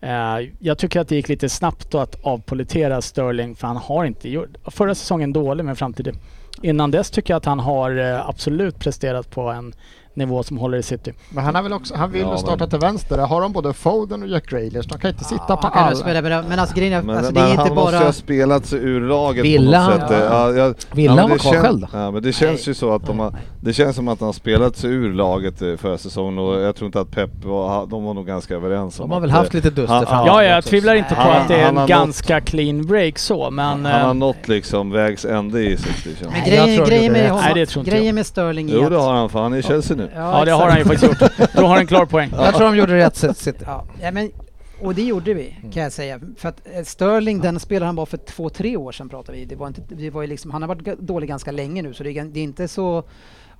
Eh, jag tycker att det gick lite snabbt då att avpolitera Sterling för han har inte gjort... Förra säsongen dålig men fram till det. Innan dess tycker jag att han har eh, absolut presterat på en nivå som håller i City. Men han, har väl också, han vill Ja, väl starta men- till vänster. Där har de både Foden och Jack Grealish. De kan inte sitta Ja, på han kan alla. väl spela, men, men alltså grejen är, Men, alltså, det men är han inte måste ju ha bara... spelat sig ur laget Ville på han- något sätt. Ja, jag- Ville men han vara det kvar kän- själv då? Ja, men det känns ju så att de har, det känns som att han har spelat sig ur laget eh, förra säsongen och jag tror inte att Pep var, de var nog ganska överens om De har väl att, haft eh, lite duster Ja, fram och Ja, tillbaka jag också. tvivlar inte på Han- att det är han har en ganska clean break så men... Han har eh, nått liksom vägs ände i liksom. City känns Men det. Nej, grejen, jag tror grejen, inte med, det. honom, Nej, det tror inte grejen jag. med Sterling är Jo det att... har han för han är i Chelsea nu. Ja, det har han ju faktiskt gjort. Då har han en klar poäng. Jag tror de gjorde rätt sätt. City. Ja, ja, men, och det gjorde vi kan jag säga. För att eh, Sterling, den spelaren han var för två, tre år sedan pratar vi. Det var inte, det var ju liksom, han har varit g- dålig ganska länge nu så det, är gan- det är inte så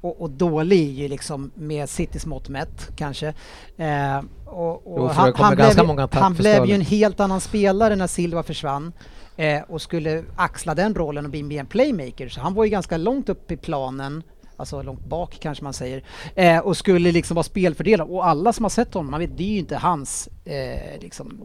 och, och dålig ju liksom med Citys mått mätt kanske. Eh, och, och Jo, för det han, kommer han, ganska blev, många tack han för blev ju Sterling. en helt annan spelare när Silva försvann eh, och skulle axla den rollen och bli mer en playmaker. Så han var ju ganska långt upp i planen, alltså långt bak kanske man säger, eh, och skulle liksom vara spelfördelare. Och alla som har sett honom, man vet, det är ju inte hans eh, liksom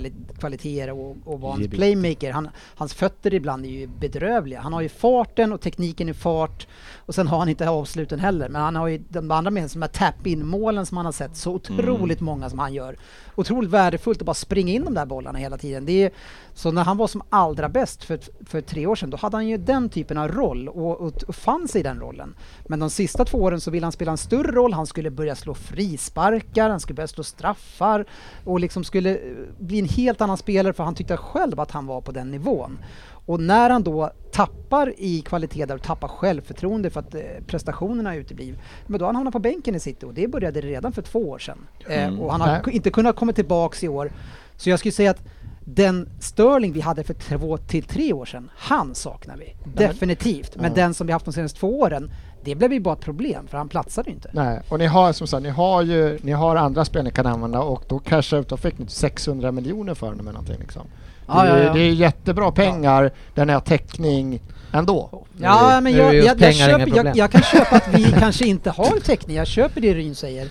spetskvaliteter och, och vara en Jibbit. playmaker. Han, hans fötter ibland är ju bedrövliga. Han har ju farten och tekniken i fart och sen har han inte avsluten heller. Men han har ju de andra med som är tap-in målen som man har sett så otroligt många som han gör. Otroligt värdefullt att bara springa in de där bollarna hela tiden. Det är, så när han var som allra bäst för, för tre år sedan, då hade han ju den typen av roll och, och, och fann sig i den rollen. Men de sista två åren så ville han spela en större roll. Han skulle börja slå frisparkar, han skulle börja slå straffar och liksom skulle eh, bli en helt annan spelare för han tyckte själv att han var på den nivån. Och när han då tappar i kvalitet där och tappar självförtroende för att eh, prestationerna uteblir, men då har han hamnat på bänken i City och det började redan för två år sedan. Eh, och han har Nej. ku- inte kunnat komma tillbaks i år. Så jag skulle säga att den Sterling vi hade för två till tre år sedan, han saknar vi. Definitivt. Men den som vi haft de senaste två åren, det blev ju bara ett problem för han platsade ju inte. Nej, och ni har som sagt, ni har ju ni har andra spel ni kan använda och då cash out, då fick ni 600 miljoner för den eller någonting liksom. Ja, det, ja, är- ja. det är jättebra pengar, den är täckning ändå. Ja, men nu är jag, just jag, jag, pengar inga köper, jag, problem. jag kan köpa att vi kanske inte har täckning. Jag köper det Ryn säger.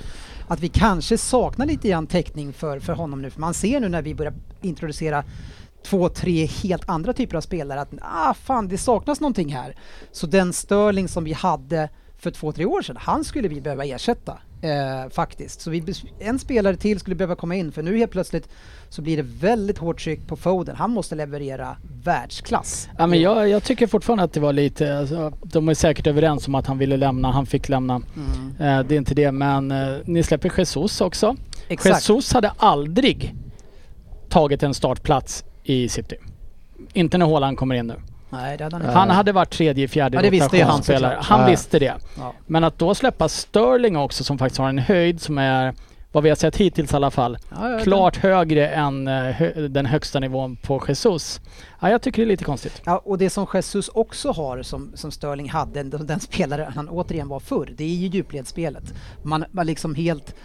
Att vi kanske saknar lite grann täckning för, för honom nu. För man ser nu när vi börjar introducera två, tre helt andra typer av spelare att ah, fan, det saknas någonting här. Så den Sterling som vi hade för två, tre år sedan, han skulle vi behöva ersätta. Eh, faktiskt. Så vi, bes- en spelare till skulle behöva komma in för nu helt plötsligt så blir det väldigt hårt tryck på Foden. Han måste leverera världsklass. Ja, men jag, jag tycker fortfarande att det var lite, alltså, de är säkert överens om att han ville lämna, han fick lämna. Mm. Eh, det är inte det, men eh, ni släpper Jesus också. Exakt. Jesus hade aldrig tagit en startplats i City. Inte när Haaland kommer in nu. Nej, det hade han inte. Han hade varit tredje, fjärde Ja, det visste ju han rotationsspelare. såklart. Han Ja. visste det. Ja. Men att då släppa Sterling också som faktiskt har en höjd som är, vad vi har sett hittills i alla fall, Ja, ja, klart högre än eh, hö- den högsta nivån på Jesus. Ja, jag tycker det är lite konstigt. Ja, och det som Jesus också har, som, som Sterling hade, den, den spelare han återigen var förr, det är ju djupledsspelet. Man, man liksom helt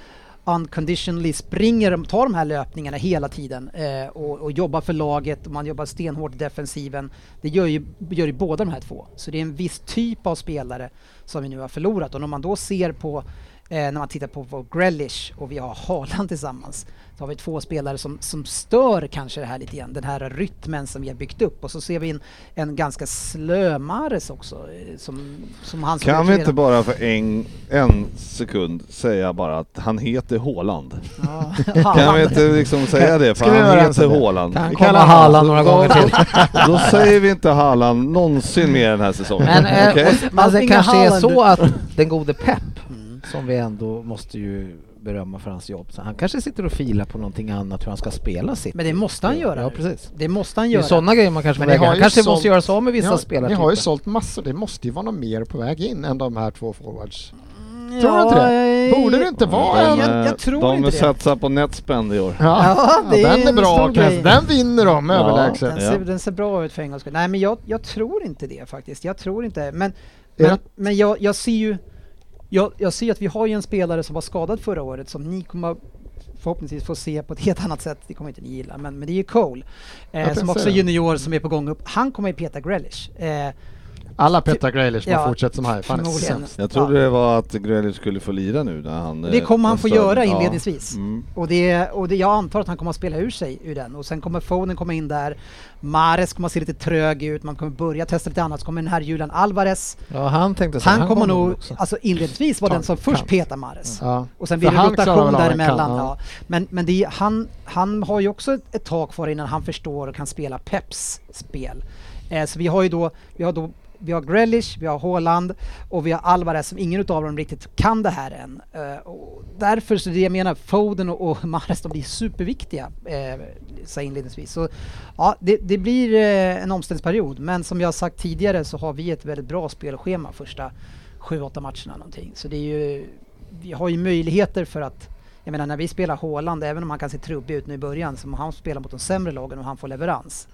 unconditionally springer, tar de här löpningarna hela tiden eh, och, och jobbar för laget, och man jobbar stenhårt i defensiven. Det gör ju, gör ju båda de här två. Så det är en viss typ av spelare som vi nu har förlorat. Och när man då ser på Eh, när man tittar på vår Grealish och vi har Haaland tillsammans så har vi två spelare som, som stör kanske det här lite grann, den här rytmen som vi har byggt upp. Och så ser vi en, en ganska slö Mahrez också eh, som, som han Kan vi spelar- inte bara för en, en sekund säga bara att han heter Haaland? Ja, Kan Haaland. vi inte liksom säga det? För Ska vi han vara överens heter om det? Haaland. Kan Vi komma kallar Haaland några Då- gånger till. Då säger vi inte Haaland någonsin mer den här säsongen. Men eh, Okej? och- men det Allting är kanske är Haaland. så att den gode Pep, Mm. som vi ändå måste ju berömma för hans jobb, så han kanske sitter och filar på någonting annat hur han ska spela sitt. Men det måste han göra. Ja, nu. precis. Det måste han Det är göra. ju sådana grejer man kanske Men får ni väga. har Han ju kanske sålt- måste göra sig av med Ni vissa har, ni har spelartyper. ju sålt massor, det måste ju vara något mer på väg in än de här två forwards. Ja, Tror du inte det? eh, Borde det inte vara Ja, en... jag- eh, jag tror de inte det. satsar på Netspend i år. Ja, det är den är en stor bra grej. kanske. Den vinner de Ja. Den överlägset. Ja. ser, den ser bra ut för en gångs skull. Nej men jag, jag tror inte det faktiskt. Jag tror inte Men, Är men, det- men jag, jag ser ju jag, jag ser ju att vi har ju en spelare som var skadad förra året som ni kommer förhoppningsvis få se på ett helt annat sätt. Det kommer inte ni gilla men, men det är ju Cole. Eh, tänkte som också säga är det. junior som är på gång upp. Han kommer ju peta Grealish. Eh, Alla petar Grealish bara Ja, fortsätter som här. Fan, det är förmodligen. sämst. Jag trodde det var att Grealish skulle få lira nu när han... eh, Det kommer han få Sterling- göra ja. inledningsvis. Mm. Och, det, och det, jag antar att han kommer att spela ur sig ur den. Och sen kommer Foden komma in där. Mares kommer att se lite trög ut. Man kommer börja testa lite annat. Så kommer den här Julian Alvarez. Ja, han tänkte så. Han, kommer nog, också. alltså inledningsvis var Ta- den som först kan. petar Mares. Ja. Och sen För blir det han klarar rotation väl av en däremellan. kant, ja. ja. Men, men det är, han, han har ju också ett- ett tag kvar innan han förstår och kan spela Peps spel. Eh, så vi har ju då, vi har då vi har Grealish, vi har Haaland och vi har Alvarez som ingen utav dem riktigt kan det här än. Eh, och därför så det jag menar, Foden och, och Mahrez de blir superviktiga, eh, sa jag inledningsvis. Så ja, det, det blir eh, en omställningsperiod men som jag har sagt tidigare så har vi ett väldigt bra spelschema första 7-8 matcherna någonting. Så det är ju, vi har ju möjligheter för att Jag menar när vi spelar Haaland, även om han kan se trubbig ut nu i början, som han spelar mot de sämre lagen och han får leverans.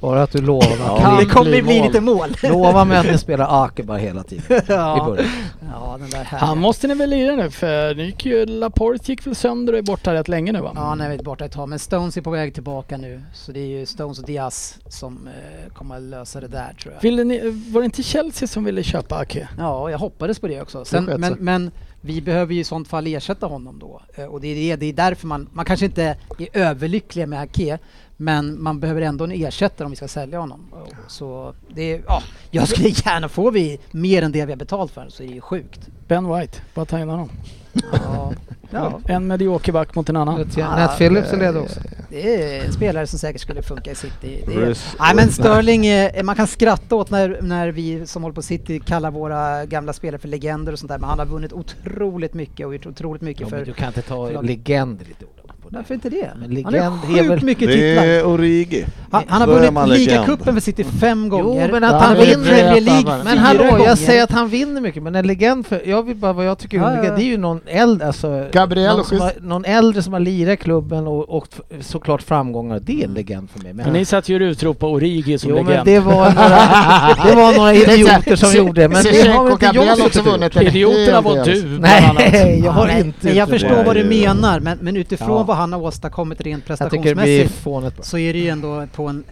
Bara att du lovar. Kan Kan det ni- kommer bli, mål. lite mål. Lova mig att ni spelar Akeberg hela tiden i ja. början. ja, den där här. Han måste ni väl lira nu för nu gick ju Laporte gick väl sönder och är borta rätt länge nu va? Ja, han är väl borta ett tag, men Stones är på väg tillbaka nu. Så det är ju Stones och Diaz som eh, kommer att lösa det där tror jag. Ville ni, var det inte Chelsea som ville köpa Ake? Ja, jag hoppades på det också. Sen, sköt men, sig. men vi behöver ju i sånt fall ersätta honom då. Eh, Och det är, det, det är därför man, man kanske inte är överlycklig med Ake, men man behöver ändå en ersättare om vi ska sälja honom. Och Så det är, ja, jag skulle gärna, får vi mer än det vi har betalt för så är det ju sjukt. Ben White, vad ta in honom. Ja, ja, En medioker back mot en annan. Nät Phillips är ledig också. det är en spelare som säkert skulle funka i City. Det är, Bruce- nej men Sterling, eh, man kan skratta åt när, när vi som håller på City kallar våra gamla spelare för legender och sånt där, men han har vunnit otroligt mycket och gjort otroligt mycket Ja, för men du kan inte ta för- legend i ditt ord. på det. Varför inte det? Men legend han har är sjukt väl- mycket Det titlar. är Origi. Han, han har Då är man vunnit legend. ligacupen för City fem gånger. men att han han har vunnit vinner Premier i alla fall. League Men fyra hallå, gånger. jag säger att han vinner mycket, men en legend för... Jag vill bara vad jag tycker är Ja, olika. ja, ja. Det är ju någon äldre, alltså... Gabriel någon, och som har, Schysst. någon äldre som har lirat i klubben och, och såklart framgångar. Det är Mm. en legend för mig. Men ni satt ju och utropade Origi som jo, legend. men det var några, det var några idioter som gjorde det. Men det har väl och inte jag Gabriel också suttit och gjort. vunnit. en Idioterna hel var del. du bland annat. Nej, jag har Nej, inte men jag gjort det. förstår vad du Det är ju- menar, men, men utifrån Ja. vad han har åstadkommit rent Jag tycker det blir prestationsmässigt fånigt bara. så är det ju ändå på en,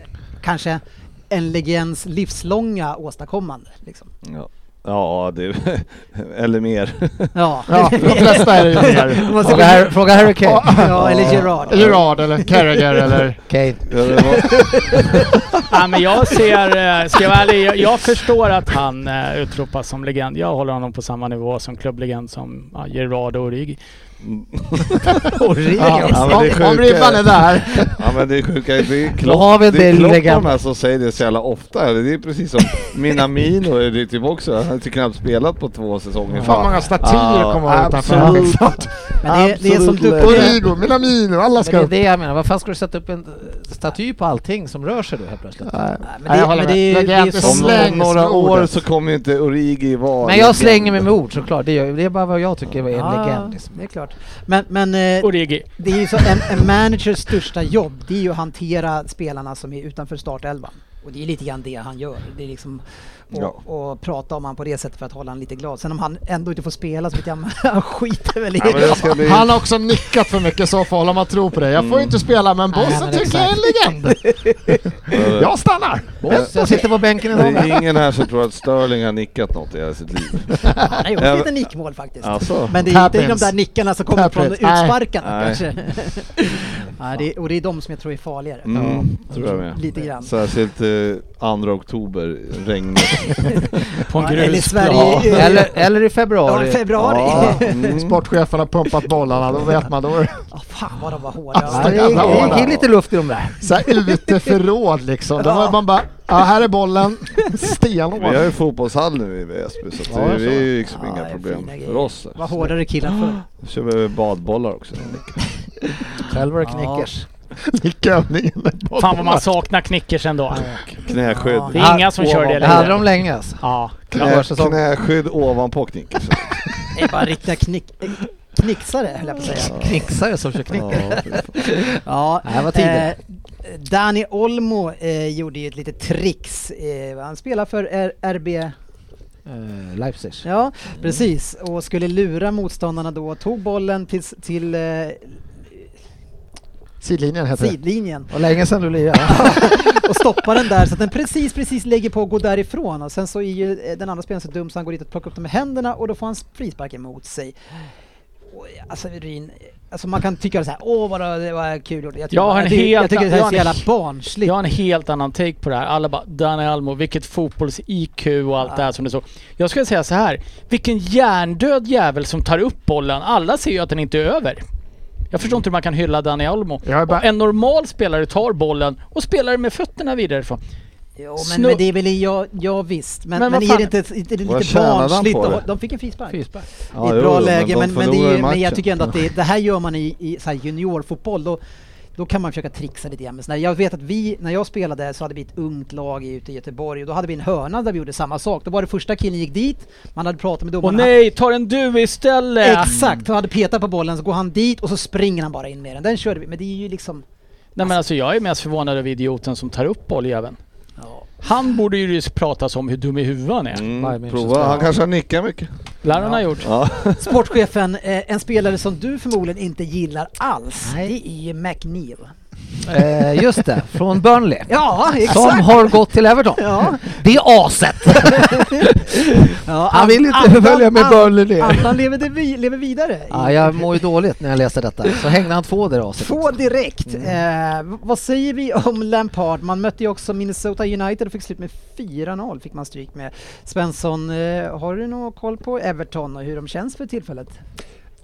kanske en legends livslånga åstadkommande. Liksom. Ja, ja det, eller mer. Ja. Ja, de flesta är det ju mer. Man ska- Fråga, Harry- fråga Harry Kane. ja, eller Gerard. Eller Rad eller Carragher eller... Kane. Ja, det var- Ja, men jag ser, eh, ska jag vara ärlig, jag, jag förstår att han eh, utropas som legend. Jag håller honom på samma nivå som klubblegend som ja, Gerard och Origi. Origi. Ja, men det är Om, om sjuka- ribban är där. Ja men det är sjuka, det är Då har Klopp, vi det är det Klopp och legam- de här som säger det så jävla ofta. Det är precis som Minamino är det typ också. Han har typ knappt spelat på två säsonger. Fan många statyer Ja, kommer utanför. absolut. Men det är, det är som Absolut duktiga... Origo, Minamino, alla Men det ska är upp. det jag menar, vad fan ska du sätta upp en staty på allting som rör sig då helt plötsligt? Nej, men det- jag håller men det är ju- med. det är Legend, ju Om, Släng om några år ordet. så kommer ju inte Origi vara Men jag legend. slänger mig med ord såklart, det, gör, det är bara vad jag tycker är en Ja, legend. Liksom. det är klart. Men, men eh, Origi. Det är ju så, en, en managers största jobb, det är ju att hantera spelarna som är utanför startelvan. Och det är lite grann det han gör. Det är liksom och, Ja. och prata om han på det sättet för att hålla han lite glad. Sen om han ändå inte får spela så vet jag han skiter väl i Ja, men det ska bli... Han har också nickat för mycket så får man tro på det. Jag får inte spela men Nej, bossen men tycker jag är en legend. Jag stannar. Boss, jag sitter på bänken Det idag. är ingen här som tror att Sterling har nickat något i hela sitt liv. Han har gjort Ja, lite men- nickmål faktiskt. Alltså. Men det är inte de Tappins. där nickarna som kommer från Tappins. Nej. utsparkarna Nej. kanske. ja, det, är- och det är de som jag tror är farligare. Mm, tror jag med. Lite grann. Särskilt eh, 2 oktober, regnigt. På en Ja, eller grusplan. Sverige- Ja. Eller, eller i Ja, februari. februari. Ja, mm. Sportchefen har pumpat bollarna, då vet man. Då är det Ah, fan vad de var hårda. Ja, det, jävla är, det hårda. är lite luft i de där. så här uteförråd liksom. Då har man bara, ja här är bollen, Vi har stenhård. ju fotbollshall nu i Väsby så, att Ja, det, så. det är ju liksom Ja, det inga är problem fina grejer. för oss. Vad hårdare killar förr. Så kör vi badbollar också. Själv var det knickers. knickers. Nickövningen är borta. Fan vad man saknar Knickers ändå. Knäskydd. Det är inga som kör det Det längre. hade de länge alltså. Ja. Knä, knäskydd ovanpå knicken. så. Det är bara riktiga knick, knixare höll jag på att säga. Knixare som kör knickar. Ja, fy fan. Ja, Det här var tider. eh, Dani Olmo eh, gjorde ju ett litet trix. Eh, han spelar för R- RB, Eh, Leipzig. ja precis, och skulle lura motståndarna då. Tog bollen till, s- till eh, Sidlinjen heter det. sidlinjen Och länge sedan du lirade. och stoppade den där så att den precis, precis lägger på och går därifrån. Och sen så är ju eh, den andra spelaren så dum så han går dit och plockar upp den med händerna och då får han frispark emot sig. Och, eh, Alltså Ryn, eh, alltså man kan tycka så här, åh vad, det- vad kul gjort. Jag tycker, Jag har en jag, tycker- jag helt tycker det här är annan- så jag har jävla en- barnsligt. Jag har en helt annan take på det här. Alla bara Dani Almo, vilket fotbolls-IQ och allt det här som du såg. Jag skulle säga så här. Vilken hjärndöd jävel som tar upp bollen. Alla ser ju att den inte är över. Jag förstår inte hur man kan hylla Dani Almo. Jag är bara- En normal spelare tar bollen och spelar med fötterna vidare ifrån. Jo, men, Snu- men det är väl, ja, ja visst, men, men, Men vad är fan- det inte, inte det Vad lite tjänade han barnsligt? på att det? ha- De fick en frispark. Frispark. I Ja, ett jo, bra jo, läge, de men, men, det förlorar är ju ju, men jag matchen. tycker ändå att det, det här gör man i, i så här juniorfotboll. Då, då kan man försöka trixa lite grann. med såna här- Jag vet att vi, när jag spelade så hade vi ett ungt lag i- ute i Göteborg och då hade vi en hörna där vi gjorde samma sak. Då var det första killen gick dit, man hade pratat med Åh domarna. nej, tar en du istället! Exakt! Han hade petat på bollen, så går han dit och så springer han bara in med den. Den körde vi, men det är ju liksom... Nej men alltså jag är mest förvånad över idioten som tar upp bolljäveln. Han borde ju pratas om hur dum i huvudet han är. Bayern Mm, prova, han kanske har nickat mycket. Lär han ha gjort. Ja. Sportchefen, eh, en spelare som du förmodligen inte gillar alls, Nej. det är ju McNeil. Eh, just det, från Burnley. Ja, exakt! Som har gått till Everton. Ja. Det är aset! Ja, Han vill inte andan- följa med an- Burnley ner. Andan lever, det vi, lever vidare. i- Ja, jag mår ju dåligt när jag läser detta. Så hängde han två där i aset. Två direkt. Mm. Eh, vad säger vi om Lampard? Man mötte ju också Minnesota United och fick slut med 4-0, fick man stryk med. Svensson, eh, har du någon koll på Everton och hur de känns för tillfället?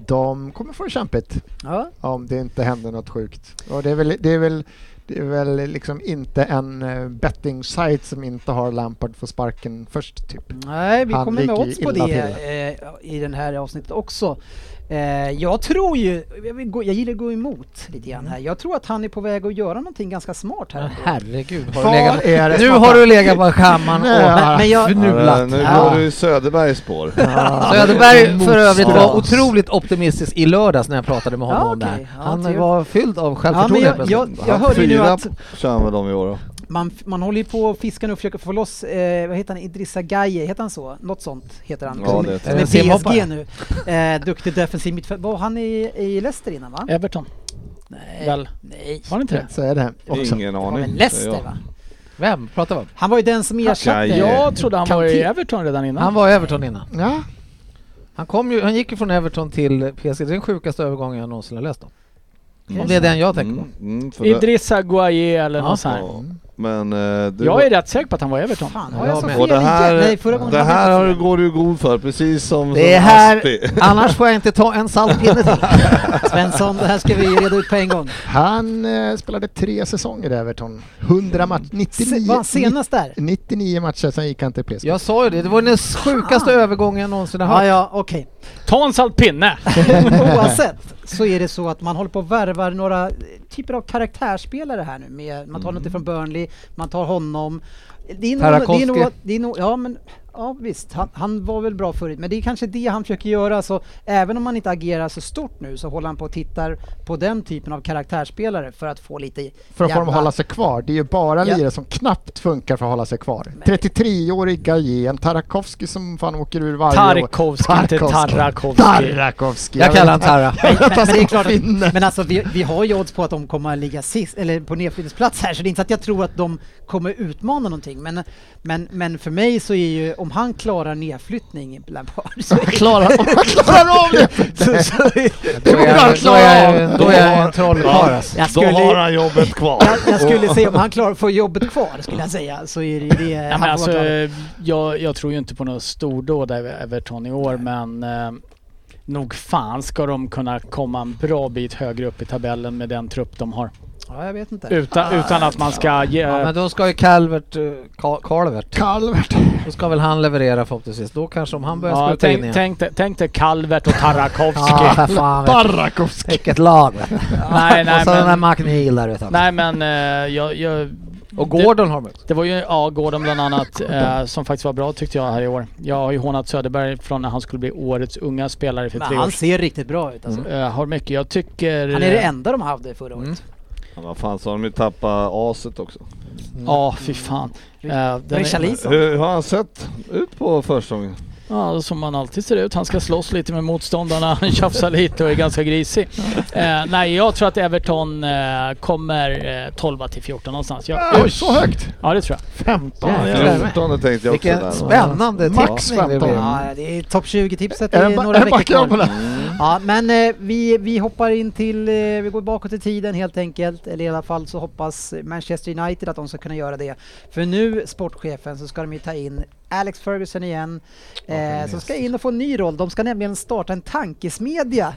De kommer få det kämpigt Ja. om det inte händer något sjukt. Och det är väl, det är väl, det är väl liksom inte en eh, betting site som inte har Lampard för sparken först, typ. Nej, vi Han kommer med ligger odds på illa det eh, i den här avsnittet också. Eh, jag tror ju, jag, vill gå, jag gillar att gå emot lite grann här. Jag tror att han är på väg att göra någonting ganska smart här. Men Herregud, har du Vad legat... är det Nu som har du legat på skamman Nej, och men jag- Ja, fnulat. nu Ja. går du i Söderbergs spår. Söderberg för övrigt var Motstånd. otroligt optimistisk i lördags när jag pratade med honom Ja, om det okej. här. Ja, Han trevligt. var fylld av Ja, men självförtroende jag, plötsligt. jag, jag hörde ju nu Fyra att kör med dem i år. då. man, man håller ju på och fiskar nu och försöker få loss, eh, vad heter han, Idrissa Gaye, heter han så? Något sånt heter han. Ja, Som- det som tror är jag. Simhoppare. PSG nu. Eh, duktig defensiv mittfältare. Var han i, i Leicester innan va? Everton, väl? Nej. Var det inte det? Så är det också. Ingen Han var aning. väl säger Leicester jag. va? Vem pratar vi om? Han var ju den som ersatte... Gaye. Jag trodde han var i Kanté. Everton redan innan. Han var i Everton innan. Ja, Han, kom ju, han gick ju från Everton till PSG. Det är den sjukaste övergången jag någonsin har läst om. Mm. Om det är den jag tänker på. Mm, mm, för det- Idrissa Guaye eller Ja. något sånt här. Ja, Men eh, du... Jag är rätt säker på att han var i Everton. Fan, har Ja, jag så men- fel och det här, igen? Nej, förra gången det hade jag här så har du, fel. går du i god för, precis som Det som här- Asti. Annars får jag inte ta en saltpinne till. Svensson, det här ska vi reda ut på en gång. han eh, spelade tre säsonger i Everton. 100 Se, matcher, var 99, han senast där? 99 matcher, sen gick han till PSG. Jag sa ju det, det var den sjukaste övergången jag någonsin har Ja, hört. ja, okej. Ta en salt pinne! Oavsett så är det så att man håller på och värvar några eh, typer av karaktärsspelare här nu. Med, man tar mm. något från Burnley, man tar honom. Det är nog, det är Tarkovsky. nog, det är nog, ja men Ja visst, han, han var väl bra förut, men det är kanske det han försöker göra. Så även om han inte agerar så stort nu så håller han på och tittar på den typen av karaktärsspelare för att få lite för att få dem jävla- att hålla sig kvar. Det är ju bara Ja. lirare som knappt funkar för att hålla sig kvar. 33-årig Gaje, en Tarakovski som fan åker ur varje Tarkovsky, inte Tarrakovsky. Tarrakovski. Jag kallar han Tarra. Nej, men, men, det är klart, finne. att- men alltså vi, vi har ju odds på att de kommer att ligga sist, eller på nedflyttningsplats här, så det är inte så att jag tror att de kommer utmana någonting. Men, men, men för mig så är ju, om han klarar nedflyttning, Lampard, så, Klarar Klarar av så, det! så Då är jag, då är jag, då är jag en trollkarl alltså. jag, Då har skulle, han jobbet kvar. jag, jag skulle säga, om han klarar får jobbet kvar, skulle jag säga, så är det ju det Nej, han men får alltså, vara klar. jag, jag tror ju inte på något stordåd av Everton i år men eh, nog fan ska de kunna komma en bra bit högre upp i tabellen med den trupp de har. Ja, jag vet inte. Utan, utan att man ska ge... Ah, Ja, men då ska ju Calvert, eh, Ka- Calvert, Calvert. då ska väl han leverera förhoppningsvis. Då kanske om han börjar Ja, spruta in tänk, igen. tänk, dig- tänk dig Calvert och Tarrakovsky. Ja, för fan. vet du. Tarrakovski. Vilket lag vet du. Nej, nej, Och så den där men, McNeil där vet du. nej men eh, jag, jag, Och Gordon har de också. det var ju ja, Gordon bland annat eh, som faktiskt var bra tyckte jag här i år. Jag har ju hånat Söderberg från när han skulle bli årets unga spelare för Men tre han år ser riktigt bra ut alltså. sedan. Eh, Har mycket. Jag tycker... Han är det enda de hade förra Mm. året. Ja, vad fan, så har de ju tappat aset också. Ja, fy fan. Eh, Det var den ju är, Charlison. Hur har han sett ut på försäsongen? ja, som man alltid ser ut. Han ska slåss lite med motståndarna, han tjafsar lite och är ganska grisig. Eh, nej, jag tror att Everton eh, kommer eh, 12 till 14 någonstans. Jag, Oj, så högt! ja, det tror jag. 15. Ja, Ja, 14 tänkte jag också. Vilken där. spännande Max tippning det 15. blev. Ja, det är topp 20-tipset. Är Det den är ba- några är veckor den backar kvar. på den? Ja, men eh, vi, vi hoppar in till, eh, vi går bakåt i tiden helt enkelt, eller i alla fall så hoppas Manchester United att de ska kunna göra det. För nu, sportchefen, så ska de ju ta in Alex Ferguson igen, eh, som ska in och få en ny roll. De ska nämligen starta en tankesmedja,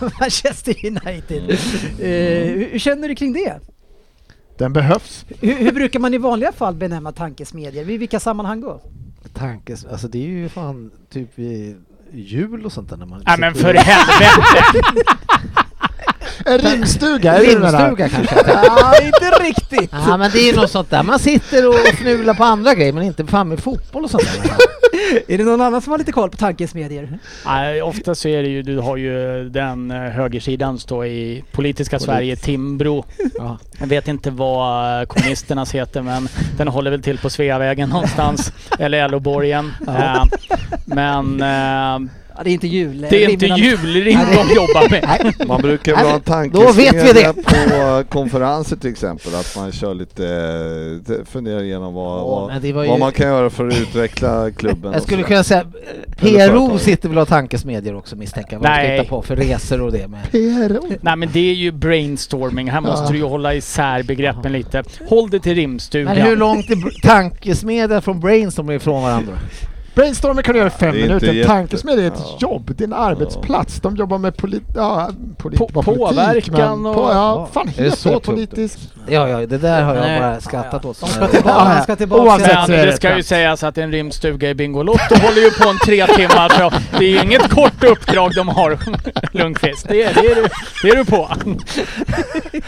Manchester United. Eh, hur, hur känner du kring det? Den behövs. Hur, hur brukar man i vanliga fall benämna tankesmedjor? I vilka sammanhang då? Tankes, alltså det är ju fan typ vid jul och sånt där när man Nej men sitter för och- helvete! En rimstuga, är det det där? Rimstuga kanske? Ja, inte riktigt! Ja, men det är ju något sånt där. Man sitter och fnular på andra grejer, men inte fan med fotboll och sånt där. Är det någon annan som har lite koll på tankesmedjor? Nej, ofta så är det ju, du har ju den eh, högersidan står i politiska Sverige, Timbro. Ja. Jag vet inte vad eh, kommunisternas heter men den håller väl till på Sveavägen någonstans. Eller LO-borgen. Eh, Men eh, Ja, det är inte jul. det är inte julrim de jobbar med. Man brukar väl ha en Alltså, Då vet vi tankesmedja på eh, konferenser till exempel, att man kör lite, eh, funderar igenom vad, vad, men det var vad ju- man kan göra för att utveckla klubben. Jag och skulle sådär. kunna säga, eh, Eller PRO företag. sitter väl och har tankesmedjor också misstänker jag, vad de ska Nej. hitta på för resor och det. Men PRO. Nej men det är ju brainstorming. Här måste du ju hålla isär begreppen lite. Håll det till rimstugan. Men hur långt är br- tankesmedjan från brainstorming ifrån varandra? Brainstorming kan du göra i fem Det är inte minuter. jätte- Tankesmedja är ett Ja. jobb, det är en arbetsplats. De jobbar med polit... Ja, polit Po- vad politik, påverkan men och- På, Ja. ja, fan Är det så heter det tungt? politisk... Ja, ja, det där har Nej. jag bara skrattat åt. De ska tillbaka, Ja, han ja. ska tillbaka. Oavsett. Men så är det det ska ju trams. sägas att en rimstuga i Bingolotto håller ju på en tre timmar så det är ju inget kort uppdrag de har, Lundqvist. Det, är- det, är, du, det är du på.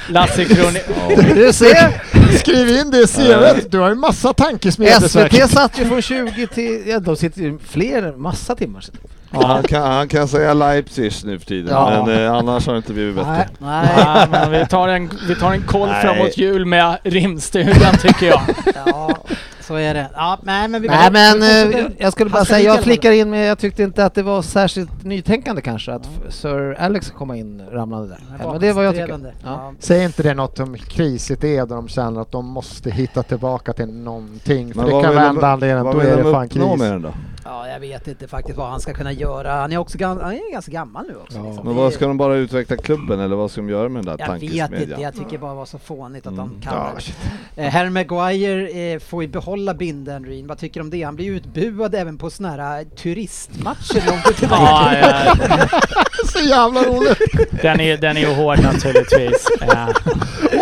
Lasse Kronér. Du ser! Skriv in det i CVt. Du har ju massa tankesmedjor SVT satt ju från 20 till... Ja, de sitter ju fler, massa timmar sedan. Ja, han, kan, han kan säga Leipzig nu för tiden, Ja. men eh, annars har det inte blivit bättre. Nej. Nej, Ja, men vi, tar en, vi tar en koll Nej. framåt jul med rimstugan tycker jag. ja, så är det. Ja, nej, men vi Nej men eh, jag skulle bara Han ska dit säga, jag i alla flickar in med, jag tyckte inte att det var särskilt nytänkande kanske att f- Sir Alex komma in ramlande där. fall. Ja, Men det är vad jag tycker. Bakåtsträvande. Ja. Säg inte det något om krisigt är då de känner att de måste hitta tillbaka till någonting. För Men det vad kan vill de- vända anledningen, vad då vill är de det fan uppnå med kris. den då? Ja, jag vet inte faktiskt vad han ska kunna göra. Han är också gam- han är ganska gammal nu också. liksom. Men Det- vad ska de bara utveckla klubben eller vad ska de göra med den där jag vet inte, tankesmedjan? jag tycker bara det var så fånigt att de Mm. kan Ja, det. Eh, Harry Maguire eh, får ju behålla bindeln Reen. Vad tycker du om det? Han blir ju utbuad även på såna här eh, turistmatcher långt ut i Ja, ja, Så jävla roligt! den, är, den är ju hård naturligtvis. Eh, Ja.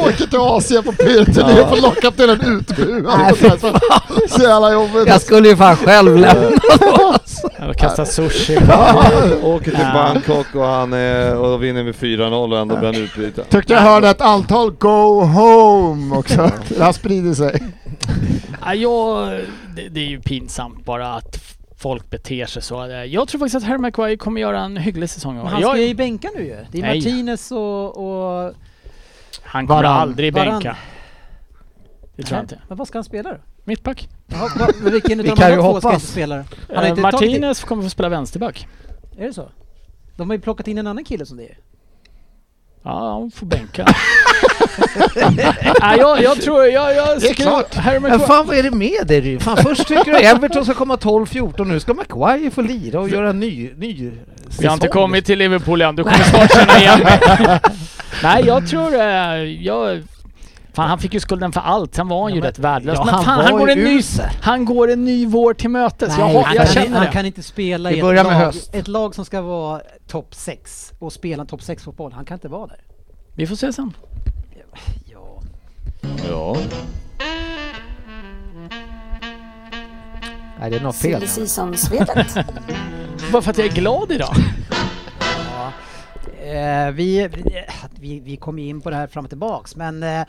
Åker till Asien på pyroturné Ja. och får locka till en utbuad. Nej, fy Så jävla jobbigt. Jag skulle ju fan själv lämna. Jag kastar sushi. Åker till Ja. Bangkok och, han, eh, och då vinner med 4-0 och ändå blir han utbyta. Tyckte jag hörde ett antal Go Home också. Det här sprider sig. Ja, jag, det, det är ju pinsamt bara att f- folk beter sig så. Jag tror faktiskt att Harry Maguire kommer göra en hygglig säsong i år. Men han Jag- ska ju bänka nu ju. Det är Nej. Martinez och... och Han kommer Varann. aldrig Varann. bänka. Det tror jag inte. Men vad ska han spela då? Mittback. Jaha, va- men Vilken Vi utav de kan ju andra två ska hoppas. inte spela då? Han har Eh, inte tagit Martinez kommer få spela vänsterback. det. Är det så? De har ju plockat in en annan kille som det är. Ja, han får bänka. Nej, jag, jag tror... Jag, jag Det är klart. Harry Men McQuarrie. fan vad är det med dig Ryn? Fan först tycker du Everton ska komma 12-14 nu ska Maguire få lira och göra en ny, ny säsong. Vi har inte kommit till Liverpool än. Du kommer snart känna igen mig. Nej, jag tror... eh, Jag, fan, han fick ju skulden för allt. Sen var han Ja, ju men- rätt värdelös. ja, men han fan, han, var går ju en ny, usel. han går en ny vår till mötes. jag, Nej, har- han jag kan- känner han det. kan inte spela Vi i ett börjar lag, med höst. ett lag som ska vara topp 6 och spela en topp 6-fotboll. Han kan inte vara där. Vi får se sen. Ja. Ja. Nej det är något fel. Silly Season-svepet. Bara för att jag är glad idag. Eh, vi, eh, vi, vi kom ju in på det här fram och tillbaks men eh,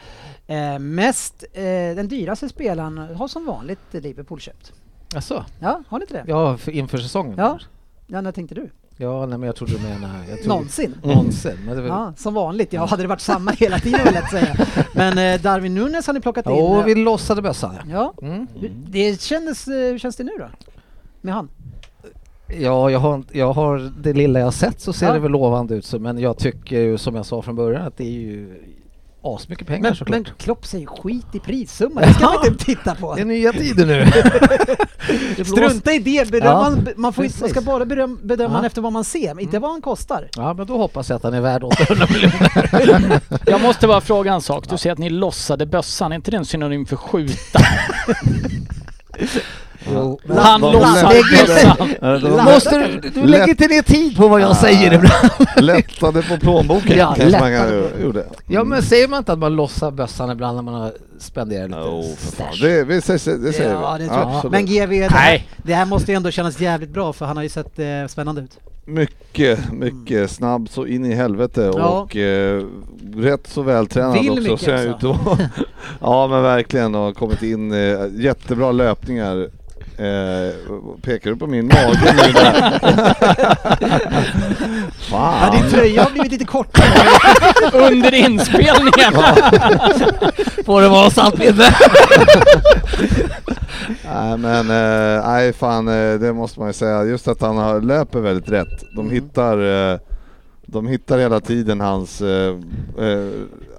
eh, mest, eh, den dyraste spelaren har som vanligt Liverpool köpt. Jaså? Ja, har ni inte det? Ja, för, inför säsongen? Ja. Ja, när tänkte du? Ja, nej men jag trodde du menade... Jag trodde, Mm. Någonsin? Någonsin. Men det var, Ja, som vanligt. Ja, hade det varit samma hela tiden vill jag säga. Men eh, Darwin Nunes har ni plockat in. eh, Jo, vi lossade bössan. ja. Ja, Mm. Hur- det kändes, eh, hur känns det nu då? Med han? Ja, jag har, inte- jag har det lilla jag har sett så ser Ja. det väl lovande ut så, men jag tycker ju som jag sa från början att det är ju asmycket pengar Men, såklart. men Klopp säger skit i prissumman, det ska man inte titta på. Det är nya tider nu. Det blåser- Strunta i det, beröm, Ja, man, man, får inte, man precis. ska bara beröm, bedöma Ja. han efter vad man ser, inte vad han kostar. Ja, men då hoppas jag att han är värd 800 miljoner. Jag måste bara fråga en sak. Du säger att ni lossade bössan. Är inte det en synonym för skjuta? Jo, men- Han Vad- lossar bössan. Eh, de- Måste du, du lägger inte ner tid på vad jag Ah. säger ibland. Lättade på plånboken Ja, kanske man lättade kan- gjorde. Mm. Ja, men säger man inte att man lossar bössan ibland när man har spenderat lite Jo, för fan. stash? Det, vi, säger- det säger ja, vi. det tror jag. Absolut. Men GV, det här, Nej. det här måste ju ändå kännas jävligt bra för han har ju sett eh, spännande ut. Mycket, mycket snabb så in i helvete Mm. Ja. och eh, rätt så vältränad Vill också mycket ser han ut alltså. att vara. Ja men verkligen och har kommit in eh, jättebra löpningar. Eh, pekar du på min mage nu där? Ja, Fan! din tröja har blivit lite kortare. Under inspelningen! Får det vara sant minne? Nej men, eh, nej fan eh, det måste man ju säga. Just att han har, löper väldigt rätt. Mm. De hittar eh, de hittar hela tiden hans, eh, eh,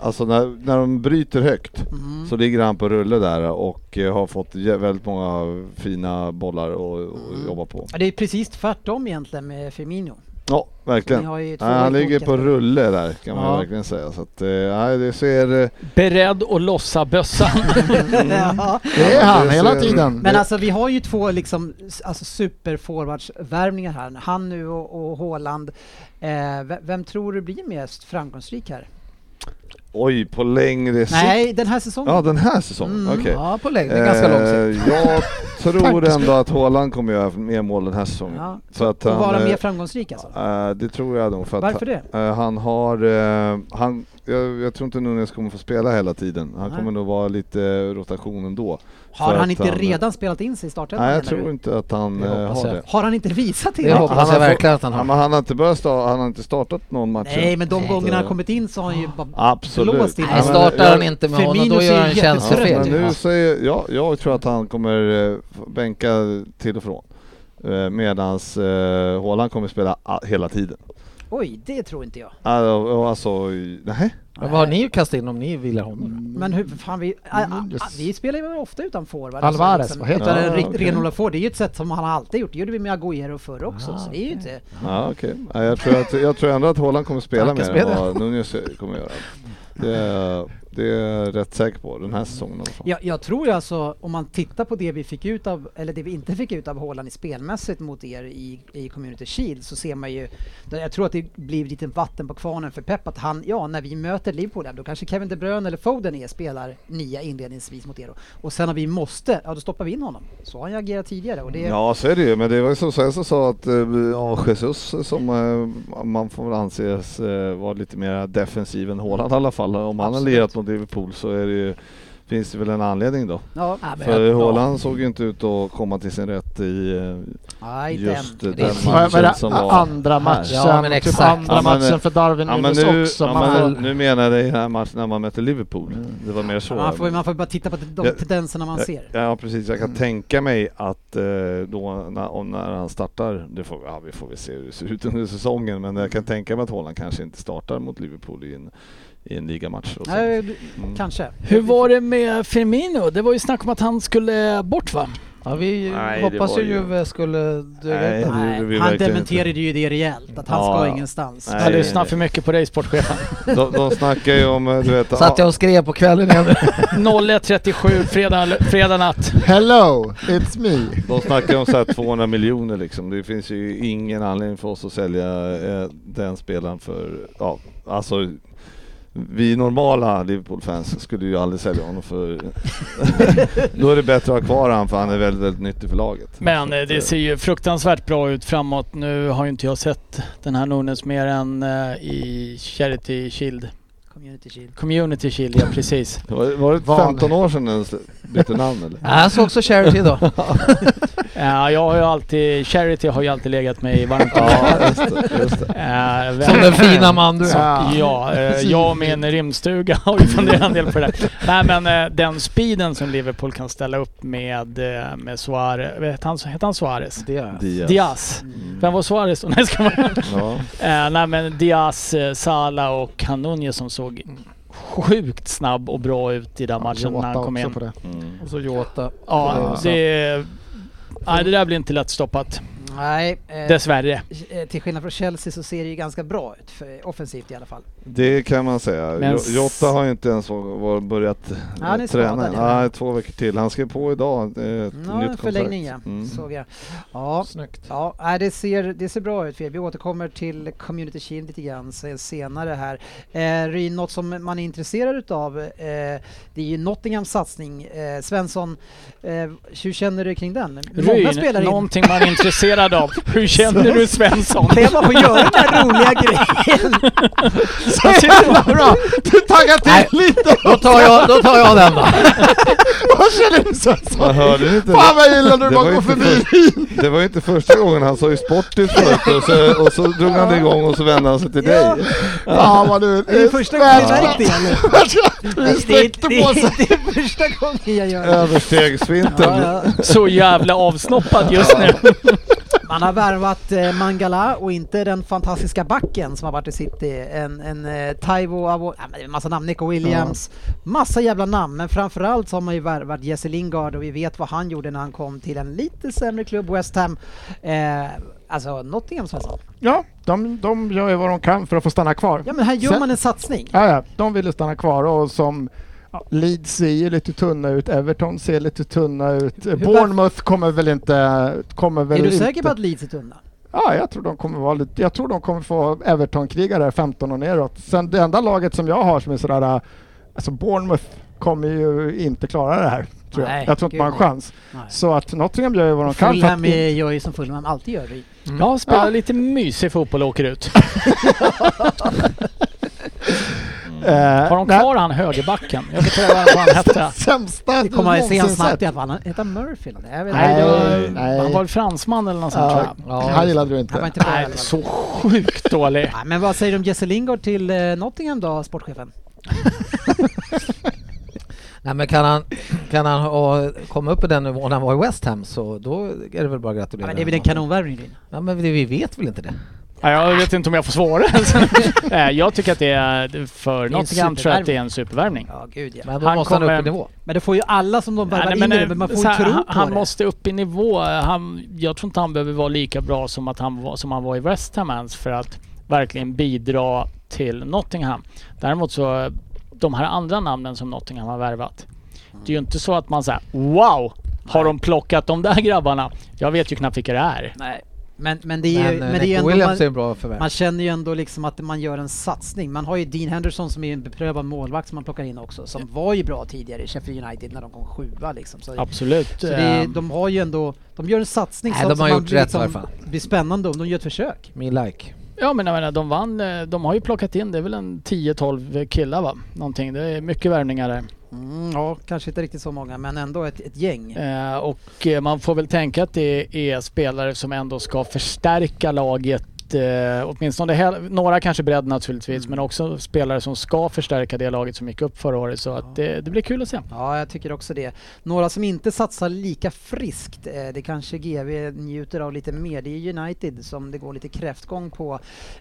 alltså när, när de bryter högt Mm. så ligger han på rulle där och eh, har fått jä- väldigt många fina bollar att Mm. att jobba på. Ja, det är precis tvärtom egentligen med Firmino. Ja, verkligen. Ni har ju två Nej, han ligger olika- på rulle där kan man Ja. ju verkligen säga. Så att, eh, nej, det ser... eh, Beredd att lossa bössan. Ja. Det är han det hela ser- tiden. Men alltså vi har ju två liksom, s- alltså superforwardsvärvningar här. Han nu och, och Haaland. Eh, ve- vem tror du blir mest framgångsrik här? Oj, på längre sikt. Nej, den här säsongen. Ja, den här säsongen. Mm. Okej. Ja, på längd. Det är ganska lång sikt. Eh, Jag tror ändå att Haaland kommer göra mer mål den här säsongen. Ja. För att och vara han, mer eh, framgångsrik alltså. eh, det tror jag nog. För att Varför det? eh, han har... eh, han, jag, jag tror inte Nunes kommer få spela hela tiden. Han Nej. kommer nog vara lite eh, rotation ändå. Har för han att inte han- eh, redan spelat in sig i startelvan? Nej, jag menar tror du? inte att han Det eh, hoppas har jag. det. Har han inte visat Det det? hoppas jag har fått- verkligen att han har. men han har inte börjat sta- han har inte startat någon match. Nej, än. men de Så gångerna att, han eh, kommit in så har han ju bara... Ah. Absolut. blåst in. Ja, Nej, men startar jag- han inte med honom Firmino då ser gör han ju tjänstefel. jättetrött Ja, Fred, men ju. nu Alltså, Ja. säger, ja, jag tror att han kommer eh, f- bänka till och från. Eh, Medans eh, Haaland kommer spela a- hela tiden. Oj, det tror inte jag. Alltså, alltså i- nej. Men vad har ni att kasta in om ni vill ha honom? då? Men hur fan vi... a- a- Nunes. a- Vi spelar ju ofta utan forward. alltså, liksom. Alvarez, vad heter Utan Mm, han? en Ah, rik- okej. renodlad forward. Det är ju ett sätt som han alltid gjort. Det gjorde vi med Agüero förr också. Ah, så det är ju inte... Ja, okej. Nej, jag, tror att, jag tror ändå att Haaland kommer spela mer än Tackespel. vad Nunez kommer göra. Det är, det är jag rätt säker på den här säsongen i alla fall. Jag, jag tror ju alltså, om man tittar på det vi fick ut av, eller det vi inte fick ut av Haaland i spelmässigt mot er i, i Community Shield, så ser man ju... Jag tror att det blir lite vatten på kvarnen för Pep att han, ja, när vi möter Liverpool, där, då kanske Kevin De Bruyne eller Foden är spelar nia inledningsvis mot er. då. Och sen när vi måste, ja då stoppar vi in honom. Så har han ju agerat tidigare och det... Ja så är det ju, men det var ju som Svensson sa att eh, ja, Jesus som eh, man får väl anses eh, vara lite mer defensiv än Haaland i alla fall. Om han har Absolut. lirat mot Liverpool så är det ju, finns det väl en anledning då. Ja. För Haaland såg ju inte ut att komma till sin rätt i eh, Nej, inte än. just den Det är- Vad är- vad matchen är det? som var. andra matchen, Ja, men typ exakt. andra Ja, men- matchen för Darwin Ja, men Nunes nu, också. ja, Man men, får- nu menar jag den här matchen när man möter Liverpool. Det var mer så. Ja, Man får, man får bara titta på de Ja. tendenserna man Ja, ser. Ja precis, jag kan tänka mig att eh, då när, om, när han startar, det får, ja, vi får väl se hur det ser ut under säsongen, men jag kan tänka mig att Haaland kanske inte startar mot Liverpool i en, i en ligamatch. Och så. Nej, du- Mm. Kanske. Hur var det med Firmino? Det var ju snack om att han skulle bort va? Ja, vi Nej, det hoppas var ju ju- Juve skulle Nej. döga ut det honom. Nej, gjorde vi han verkligen dementerade ju det rejält, att han Ja. ska ingenstans. Nej, Jag lyssnar nej. för mycket på dig sportchefen. De, de snackar ju om, eh, du vet, Satt jag och skrev på kvällen igen. 01.37 fredag, fredag natt. Hello, it's me. de snackar om så här 200 miljoner liksom. Det finns ju ingen anledning för oss att sälja eh, den spelaren för, ja, alltså vi normala Liverpool-fans skulle ju aldrig sälja honom för... Då är det bättre att ha kvar honom för han är väldigt, väldigt nyttig för laget. Men eh, Så att, eh, det ser ju fruktansvärt bra ut framåt. Nu har ju inte jag sett den här Nunes mer än eh, i Charity Shield. Community Shield. Community Shield, ja precis. Var, var det Van- 15 år sedan den sl- bytte namn eller? Nej, han såg också Charity idag. Ja, jag har ju alltid, Charity har ju alltid legat mig varmt om Ja, just det. Just det. Eh, Som vem- den fina man du är. Ja. Ja, eh, jag och min rymdstuga har ju funderat en del på det där. Nej men eh, den speeden som Liverpool kan ställa upp med, eh, med Suarez, vad heter han, heter han Suarez? Diaz. Diaz. Mm. Vem var Suarez då? Nej, ska man... Ja. eh, nej men Diaz, eh, Salah och Hanunje som såg sjukt snabb och bra ut i den matchen när han kom in. På det. Mm. Och så Jota. Ja, Ja. det... Nej, det där blir inte lätt stoppat. Nej, eh, Dessvärre. eh, till skillnad från Chelsea så ser det ju ganska bra ut, för, offensivt i alla fall. Det kan man säga. Men Men... s- Jotta har ju inte ens var- var- börjat Han är träna. skadad, ja. Nej, två veckor till. Han skrev på idag. eh, Ett Ja, en nytt förlängning ja, kontrakt. Mm. såg jag. Ja, Snyggt. ja nej, det, ser, det ser bra ut för er. Vi återkommer till Community Shield lite grann se- senare här. Eh, Ryn, något som man är intresserad utav, eh, det är ju Nottinghams satsning. Eh, Svensson, eh, hur känner du kring den? Många spelar in. någonting man är intresserad av. Hur känner du Svensson? Det är bara för att göra den här roliga grejen. Så jävla bra! Du taggar till lite! Då tar jag, då tar jag den då. Vad känner du Svensson? Man hörde ju inte. Fan vad jag gillar när du Det var bara går inte förbi! Det var ju inte första gången han sa ju sportigt förut och så, och så drog han det igång och så vände han sig till Ja. dig. Fan vad du Det är första gången jag märkt det. eller? Du sträckte det, på sig! det, det är första gången jag gör det. Överstegsfinten. Ja, ja. Så jävla avsnoppad just nu. Man har värvat eh, Mangala och inte den fantastiska backen som har varit i city. En, en eh, Taivo, Avo, ja, men det är en massa namn, Nico Williams, massa jävla namn. Men framförallt så har man ju värvat Jesse Lingard och vi vet vad han gjorde när han kom till en lite sämre klubb, West Ham. Eh, alltså Nottingham Svensson. Ja, de, de gör ju vad de kan för att få stanna kvar. Ja men här gör Sen- man en satsning. Ja, ja, de ville stanna kvar och som ja, Leeds ser ju lite tunna ut, Everton ser lite tunna ut. Eh, Bournemouth kommer väl inte... Kommer väl Är du inte. säker på att Leeds är tunna? Ja, jag tror de kommer vara lite... Jag tror de kommer få Everton-krigare 15 och neråt. Sen det enda laget som jag har som är sådär... eh, Alltså Bournemouth kommer ju inte klara det här. Tror Nej, jag. jag tror inte gud, man har en chans. nej. Så att Nottingham gör ju vad de kan. för att Fulham in- är- gör ju som Fulham alltid gör. Ryd. Ja, Mm. spelar Ja. lite mysig fotboll och åker ut. eh, Har de nej, kvar han högerbacken? Jag ska pröva vad han hette. Sämsta Alltså, Det kommer att se någonsin han snabbt sett. i alla fall. Han- Hette han Murphy? eller? Jag vet Nej, inte. Nej, nej. Han var liksom väl fransman eller något sånt tror Ja, jag. han gillade du inte. Han var inte bra i alla Nej, fall. så sjukt dålig. Nej, men vad säger du om Jesse Lingard till eh, Nottingham då, sportchefen? Nej, men kan han, kan han ha, komma upp i den nivån han var i West Ham så då är det väl bara att Ja, gratulera. men det är väl en honom. kanonvärvning din? Ja, men det, vi vet väl inte det? Ja, jag vet inte om jag får svara. Nej, jag tycker att det är för Det är en Nottingham tror jag att det är en supervärvning. Ja, gud ja. Men då Han måste han kommer- upp i nivå. Men det får ju alla som de värvar Nej, in men, i eh, det, men man får så ju här, tro han, på han det. måste upp i nivå. Han, jag tror inte han behöver vara lika bra som, att han, var- som han var i West Ham ens för att verkligen bidra till Nottingham. Däremot så, de här andra namnen som Nottingham har värvat. Det är ju inte så att man säger wow! Har de plockat de där grabbarna? Jag vet ju knappt vilka det är. Nej. Men, men det är Men, ju men eh, men det är ändå... Williams är Man, en bra förvärv. man känner ju ändå liksom att man gör en satsning. Man har ju Dean Henderson som är en beprövad målvakt som man plockar in också, som var ju bra tidigare i Sheffield United när de kom sjua liksom. Så, Absolut. så det är, Ehm, de har ju ändå... De gör en satsning Nej, som, de har som gjort blir liksom- rätt i alla fall. blir spännande om de gör ett försök. Min like. Ja men jag menar, de vann, eh, de har ju plockat in, det är väl en 10-12 killar va? Någonting, det är mycket värvningar där. Mm, ja, kanske inte riktigt så många, men ändå ett, ett gäng. Eh, och eh, man får väl tänka att det är spelare som ändå ska förstärka laget. Eh, åtminstone hel- några kanske bredd naturligtvis men också spelare som ska förstärka det laget som gick upp förra året. Så att eh, det blir kul att se. Ja, jag tycker också det. Några som inte satsar lika friskt, eh, det kanske GV njuter av lite mer, det är United som det går lite kräftgång på.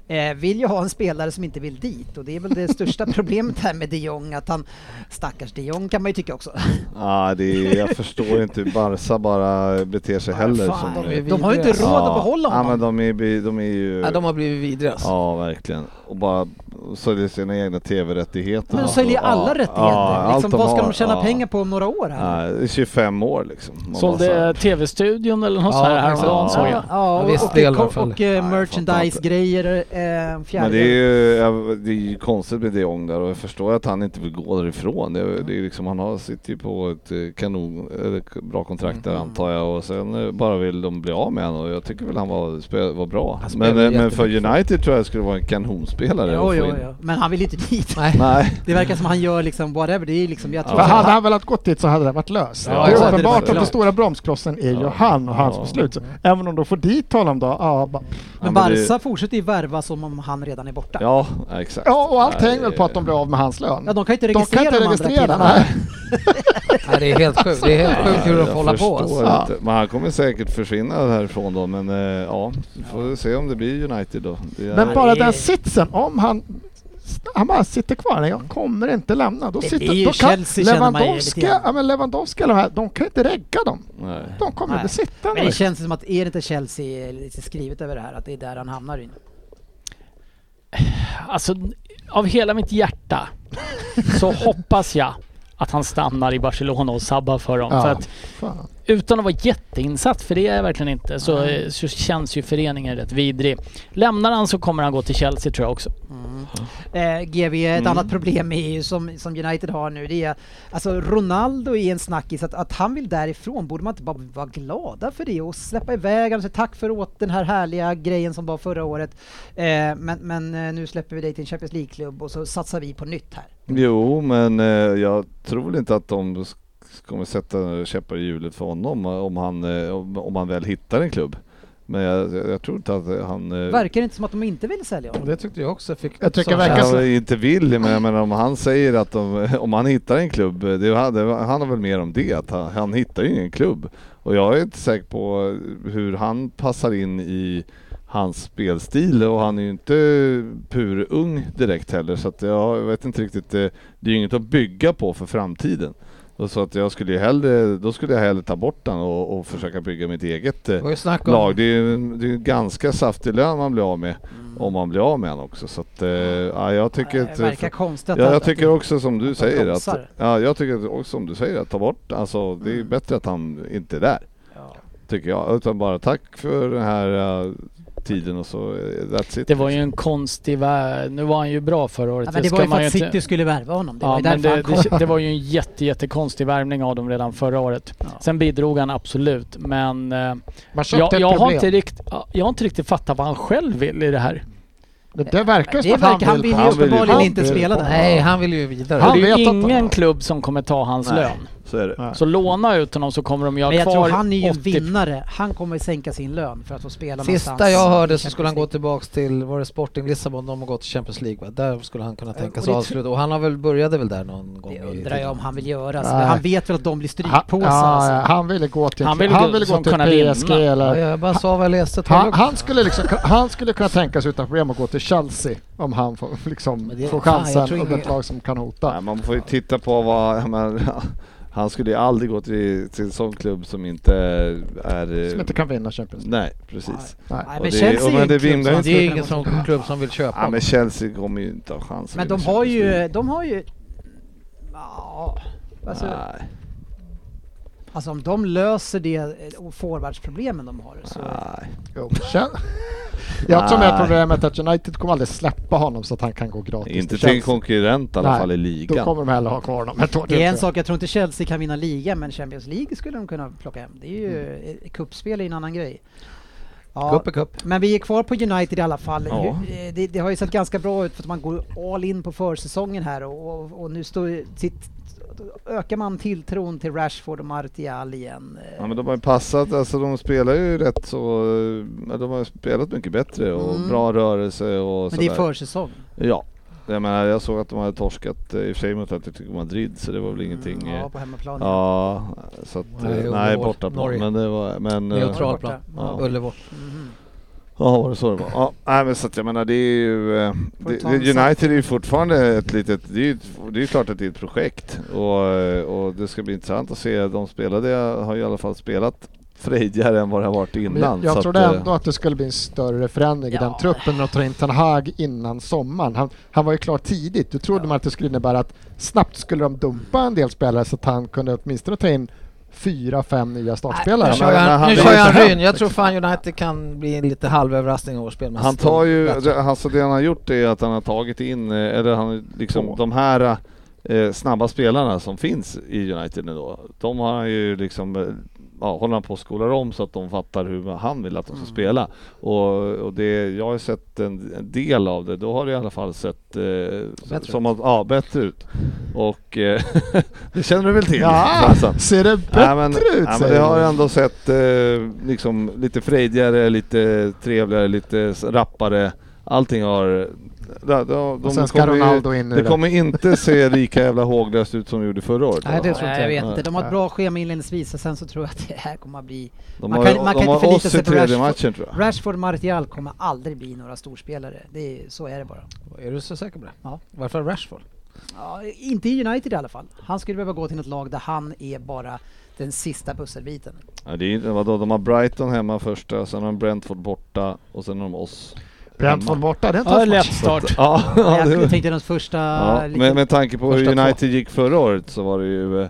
Eh, Vill ju ha en spelare som inte vill dit och det är väl det största problemet här med de Jong, att han... Stackars de Jong kan man ju tycka också. Ah, det är, jag förstår inte hur Barca bara beter sig heller. fan, som, de är eh, vidriga. De har ju inte Ja. råd att behålla Ja, men honom. de är, bi- de är ju... Ja, de har blivit vidriga. alltså. Ja, verkligen. Och bara säljer sina egna tv-rättigheter. Men de och säljer så. Ja, alla ja, rättigheter. Liksom, allt vad ska har, de tjäna ja. pengar på om några år? här? Ja, det är 25 år liksom. Man bara så Sålde här- TV-studion eller något Ja, sånt här häromdagen ja. såg jag. Ja, och, Viss och, del i alla och, fall. och eh, jag merchandise-grejer, eh, Men det fjärde. är ju, ja, det är ju konstigt med de Jong där och jag förstår att han inte vill gå därifrån. Det, det är liksom, han har, sitter ju på ett eh, kanon, eller k- bra kontrakt Mm. där antar jag och sen eh, bara vill de bli av med honom och jag tycker väl han var, spe- var bra. Han spelar Men, eh, men jättebra. för United tror jag det skulle vara en kanonspelare att Jo, få jo, in. jo. Men han vill ju inte dit. Nej. Nej, Det verkar som han gör liksom whatever, det är liksom, jag tror För Ja. hade han väl att gått dit så hade det varit löst. Ja, det exakt, är det uppenbart hade att varit den klart. stora bromsklossen är ju Ja. han och hans Ja. beslut. Så Även om de får dit honom då, ja, bara, Ja, Men men det- Barca fortsätter ju värva som om han redan är borta. Ja, ja exakt. ja och allt Nej, hänger väl på att de blir av med hans lön. de kan ju inte de registrera kan inte de andra registrera, killarna. nej. Nej, det är helt sjukt. Det är helt sjukt hur de jag får hålla på. förstår Alltså. Ja. inte. Men han kommer säkert försvinna härifrån då men eh, ja, vi får se om det blir United då. Det är- Men bara det- den sitsen, om han han bara sitter kvar, nej, jag kommer inte lämna. Då Det sitter, blir ju då Chelsea, känner man ju lite Lewandowski, grann. ja, men Lewandowski eller de här, de kan inte regga dem. Nej. De kommer Nej. bli sittande. Men det känns som att, är det inte Chelsea lite skrivet över det här, att det är där han hamnar in? Alltså av hela mitt hjärta så hoppas jag att han stannar i Barcelona och sabbar för dem. Ja. För att Fan. utan att vara jätteinsatt, för det är jag verkligen inte, så, eh, så känns ju föreningen rätt vidrig. Lämnar han så kommer han gå till Chelsea tror jag också. Eh, GV, ett annat problem är ju som, som United har nu, det är alltså Ronaldo är en snackis, att, att han vill därifrån, borde man inte bara vara glada för det och släppa iväg honom, säga tack för åt den här härliga grejen som var förra året, eh, men, men eh, nu släpper vi dig till en Champions League-klubb och så satsar vi på nytt här. Jo, men eh, jag tror väl inte att de s- kommer sätta käppar i hjulet för honom eh, om han, eh, om, om han väl hittar en klubb. Men jag, jag tror inte att eh, han... eh, Verkar det inte som att de inte vill sälja honom? Det tyckte jag också. Fick Jag tycker som- verkar han så. inte vill, men jag menar om han säger att de, om han hittar en klubb, eh, det, han, det handlar väl mer om det, att han, han hittar ju ingen klubb. Och jag är inte säker på hur han passar in i hans spelstil och han är ju inte pur ung direkt heller så att jag vet inte riktigt, eh, det är ju inget att bygga på för framtiden. Och så att jag skulle ju hellre, då skulle jag hellre ta bort den och, och försöka bygga mitt eget eh, Det var ju snack om... lag. Det är ju en- det är ju en ganska saftig lön man blir av med om man blir av med honom också. Så att, eh, ja, jag tycker Eh, att, verkar konstigt att ja, han- jag tycker också som du att säger att, bromsar. ja, jag tycker att också som du säger att ta bort, alltså det är bättre att han inte är där. Ja. Tycker jag, utan bara tack för den här eh, tiden och så, eh, that's it. Det var ju en konstig värld. Nu var han ju bra förra året. Ja, men det var ju ska man för att inte- City skulle värva honom, det var Ja, ju men därför det, han kom. det, det var ju en jätte, jättekonstig värvning av dem redan förra året. Ja. Sen bidrog han absolut, men eh, Man köpte jag, ett jag, har problem. inte rikt, jag har inte riktigt fattat vad han själv vill i det här. Det, det verkar Det som att han verkar, vill, han vill ju han vill ju- uppenbarligen han inte vill- spela där. Nej, han vill ju vidare. Han det är vet ju att han- ingen klubb som kommer ta hans Nej. lön. Så är det. Så låna ut honom så kommer de göra Men jag kvar tror han är ju en 80 vinnare, han kommer sänka sin lön för att få spela någonstans. Sista jag hörde så i skulle han gå Champions tillbaks till, var det Sporting Lissabon, de har gått till Champions League va? Där skulle han kunna tänka Eh, och sig att det avsluta och han har väl, började väl där någon gång? League. i Det undrar jag om han vill göra, så Nej. han vet väl att de blir han, strykpåsar. ja, ja, alltså. han ville gå till, Han han vill ville gå- gå, som kunna till PSG vinna. Ja, eller... jag bara sa vad jag läste. ett tag Han, också. han, skulle liksom, han skulle kunna tänka sig utan problem att gå till Chelsea om han får, liksom, Men det- får fan, jag chansen tror och ingen- ett lag som kan Nej, hota. man får ju titta på vad, jag menar, han skulle ju aldrig gå till, till en sån klubb som inte är... eh, Som inte kan vinna Champions League. Nej, precis. Nej. Nej, Och men det- Chelsea är och ju men en det klubb som- vimlar ju inte- det är ingen sån klubb som vill köpa Ja, honom. men Chelsea kommer ju inte ha chansen. Men i de Champions har ju, League. de har ju... Ja, alltså, Nej. alltså om de löser det eh, och forwardsproblemen de har så... Nej. Jo, känn- Jag tror mer Nej. problemet är att United kommer aldrig släppa honom så att han kan gå gratis Inte till en Chelsea. konkurrent i alla Nej, fall i Då ligan. kommer de hellre ha kvar honom ett år till, Det är en tror sak, jag tror inte Chelsea kan vinna ligan men Champions League skulle de kunna plocka hem. Det är ju, mm. cupspel är en annan grej. Ja, Cup är cup. Men vi är kvar på United i alla fall. Ja. Hur- eh, Det, det har ju sett ganska bra ut för att man går all in på försäsongen här och, och, och nu står, sitt, ökar man tilltron till Rashford och Martial igen. Eh, Ja, men de har ju passat, alltså de spelar ju rätt så, eh, de har ju spelat mycket bättre och Mm. bra rörelse och men det är sådär. försäsong. Ja. Jag menar, jag såg att de hade torskat eh, i och för sig mot Atletico Madrid så det var väl ingenting... Mm, ja, eh, på hemmaplan. ja. Ja, så att, eh, Nej, nej Norge. borta på Norge. men det Mm-hmm. var, men... eh, Neutral plan. Ja. Ullevål. Mhm. Ja, var det så det var? Ja, nej, men så att jag menar det är ju... eh, Får Det, ta en det, United är ju fortfarande ett litet... Det är ju det är ju klart att det är ett projekt och, eh, och det ska bli intressant att se. De spelade har ju i alla fall spelat frejdigare än vad det har varit jag. Men innan. jag jag så trodde att, eh, ändå att det skulle bli en större förändring Ja. i den truppen och ta in Ten Hag innan sommaren. Han, han var ju klar tidigt. Då trodde man att det skulle innebära att snabbt skulle de dumpa en del spelare så att han kunde åtminstone ta in fyra, fem nya startspelare. Nu men- kör men jag, han- nu det kör har jag en inte ryn. hänt, Jag tror fan United kan bli en lite halvöverraskning i år spelmässigt. Han tar ju, Bättre. det- alltså det han har gjort är att han har tagit in, eh, eller han har liksom Två. de här eh, snabba spelarna som finns i United nu då. De har han ju liksom, eh, ja, håller han på att skolar om så att de fattar hur han vill att de Mm. ska spela. Och, och det, jag har sett en, en del av det, då har det i alla fall sett eh, Bättre som att, ja, bättre ut. Och eh, det känner du väl till? Alltså. Ja, Svensson? ser det bättre Nej, men, ut? nej, men säger det har du. jag ändå sett eh, liksom, lite frejdigare, lite trevligare, lite s- rappare. Allting har... De, de, Och de sen ska kommer ju- Ronaldo in i det kommer inte se lika jävla håglöst ut som det gjorde förra året. Nej, det tror Nej, inte jag. jag vet inte. De har ett bra schema inledningsvis och sen så tror jag att det här kommer att bli... de man har, kan- man kan de inte har förlita oss sig i på tredje Rashford. matchen tror jag. Rashford och Martial kommer aldrig bli några storspelare. Det är, så är det bara. Är du så säker på det? Ja. Varför Rashford? Ja, inte i United i alla fall. Han skulle behöva gå till ett lag där han är bara den sista pusselbiten. Ja, det är, inte- vadå, de har Brighton hemma första, sen har de Brentford borta och sen har de oss. Brentford borta, det är inte Ja, alls match. lätt start. Ja, ja, jag det, tänkte deras första... ja. lite- Med, med tanke på hur första två. United gick förra året så var det ju eh,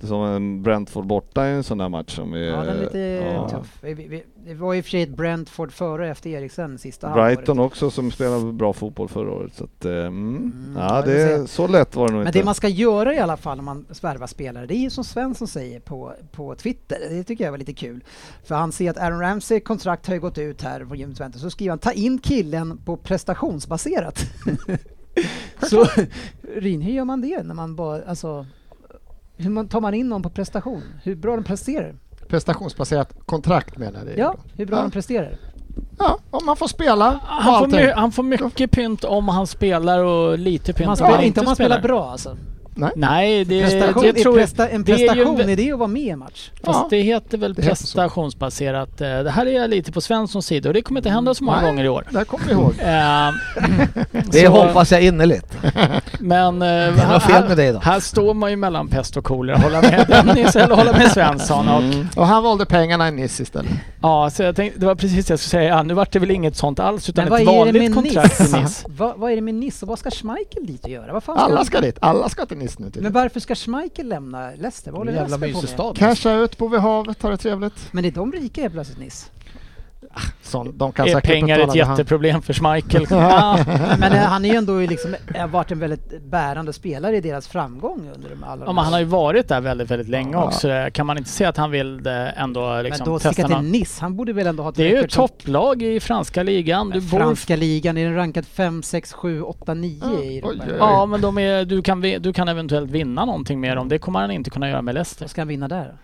det som en Brentford borta i en sån där match som är... eh, Ja, den är lite ja. tuff. Vi, vi, det var i och för sig ett Brentford före och efter Eriksen sista Brighton halvåret. också som spelade bra fotboll förra året. Så att, eh, mm. ja, ja, vi får det, se. så lätt var det nog Men inte. det man ska göra i alla fall om man värvar spelare, det är ju som Svensson säger på, på Twitter. Det tycker jag var lite kul. För han ser att Aaron Ramsey kontrakt har ju gått ut här på Juventus, så skriver han ta in killen på prestationsbaserat. så Rin, hur gör man det när man bara, alltså hur man, tar man in någon på prestation? Hur bra de presterar? Prestationsbaserat kontrakt menar du? Ja, hur bra Ah. Ja. de presterar. ja, om man får spela och Han får, allting. my- han får mycket pynt om han spelar och lite pynt Man om spelar, han inte om man spelar, spelar bra alltså. Nej, det, Prestation, det tror jag... presta, en det är ju en prestation, är, vä- det att vara med i en match? Fast Ja. det heter väl Det heter så. prestationsbaserat. Eh, Det här är jag lite på Svenssons sida och det kommer inte hända så många Nej. gånger i år. Det här kommer vi ihåg. Eh, Det så- hoppas jag innerligt. Men eh, Det är något fel här, med dig då. här står man ju mellan pest och kolera. Hålla med Dennis eller hålla med Svensson. Och, Och han valde pengarna i Nice istället. ja, så jag tänkte, det var precis det jag skulle säga. Ja, Nu vart det väl inget sånt alls utan Men ett vad är det vanligt med kontrakt i Nice? Nice. Va, vad är det med Nice och vad ska Schmeichel dit och göra? Vad fan ska Alla han- ska dit. Alla ska till Nice nu Men tydligen. varför ska Schmeichel lämna Leicester? Vad håller Jävla Leicester på mysig med? stad. Casha ut på vid havet, ha det trevligt. Men är de rika helt plötsligt Nice? Sån, de kan Är säkert pengar betala ett det han- jätteproblem för Schmeichel? Ja. Men eh, han är ju ändå liksom, eh, varit en väldigt bärande spelare i deras framgång under de alla Ja, de men han här- har ju varit där väldigt, väldigt länge också. Kan man inte se att han vill eh, ändå Men liksom, då testa sticka till någon... Nice, han borde väl ändå ha ett Det är ju record som- topplag i franska ligan. Du bor... Franska ligan, är den rankad 5, 6, 7, 8, 9 Ja, i Europa? oj, oj, oj. Ja, men de är, du, kan, vi- du kan eventuellt vinna någonting med dem. Det kommer han inte kunna göra med Leicester. Vad ska han vinna där?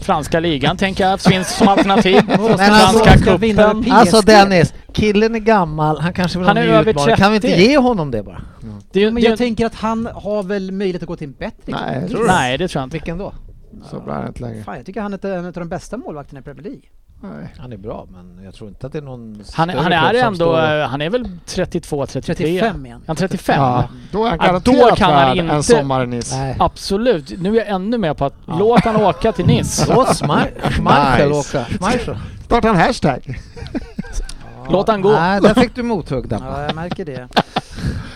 Franska ligan tänker jag finns som alternativ. Men alltså, Franska han ska vinna cupen. P- Alltså PSG. Dennis, killen är gammal, han kanske vill Han ha en är ny över utmaning. Kan vi inte 30. ge honom det bara? Det, är ju- Men det, är jag ju- tänker att han har väl möjlighet att gå till en bättre klubb Nej, än jag Nice. tror det. nej, det tror jag inte. Vilken då? Så blir det inte längre. Fan, jag tycker han är en av de bästa målvakterna i Premier League. Nej. Han är bra, men jag tror inte att det är någon Han, större han klubb är som ändå, står- eh, han är väl 32, 33? 35 igen. Ja, 35. Ja, då är han Ja, då garanterat kan han värd inte- en sommar i Nice. Nej. Absolut. Nu är jag ännu mer på att låt han åka till Nice. Låt Schmeichel- Schmeichel åka. Schmeichel. Starta en hashtag. Låt han gå. Nej, där fick du mothugg där. Ja, jag märker det.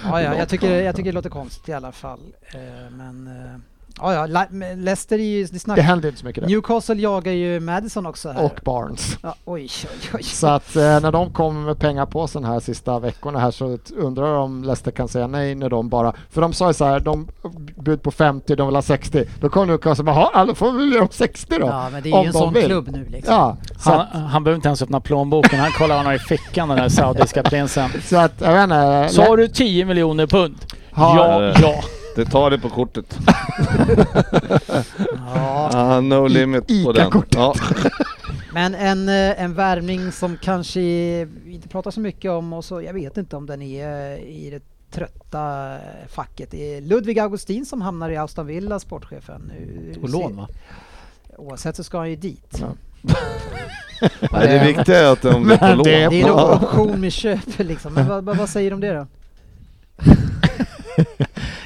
Ja, ja, jag, tycker, jag tycker det låter konstigt i alla fall. Eh, Men eh, ja, ja, Le- men Leicester är ju... Det Det snack, händer inte så mycket där. Newcastle jagar ju Madison också här. Och Barnes. Ja, oj, oj, oj. Så att eh, när de kommer med pengapåsen här sista veckorna här så t- undrar jag om Leicester kan säga nej när de bara, för de sa ju så här, de bud på 50, de vill ha 60. Då kommer Newcastle bara, "Jaha, ja då får vi ge dem 60 då. Ja, men det är om ju en de sån vill." klubb nu liksom. Ja, så, Han, att, han behöver inte ens öppna plånboken. Han kollar vad han har i fickan den där saudiska prinsen. så att, jag vet inte. Sa du 10 miljoner pund? Ja. Ja, ja. Det tar det på kortet. Ja, Ah, no limit på den. Ica-kortet. Ja. men en, eh, en värvning som kanske inte pratar så mycket om och så, jag vet inte om den är eh, i det trötta eh, facket. Det är Ludvig Augustin som hamnar i Aston Villa, sportchefen. Nu- På lån va? Oavsett så ska han ju dit. Nej, det viktiga är att de blir på lån. det är Det är nog Ja. option med köp liksom. Men vad, vad, vad säger du om det då?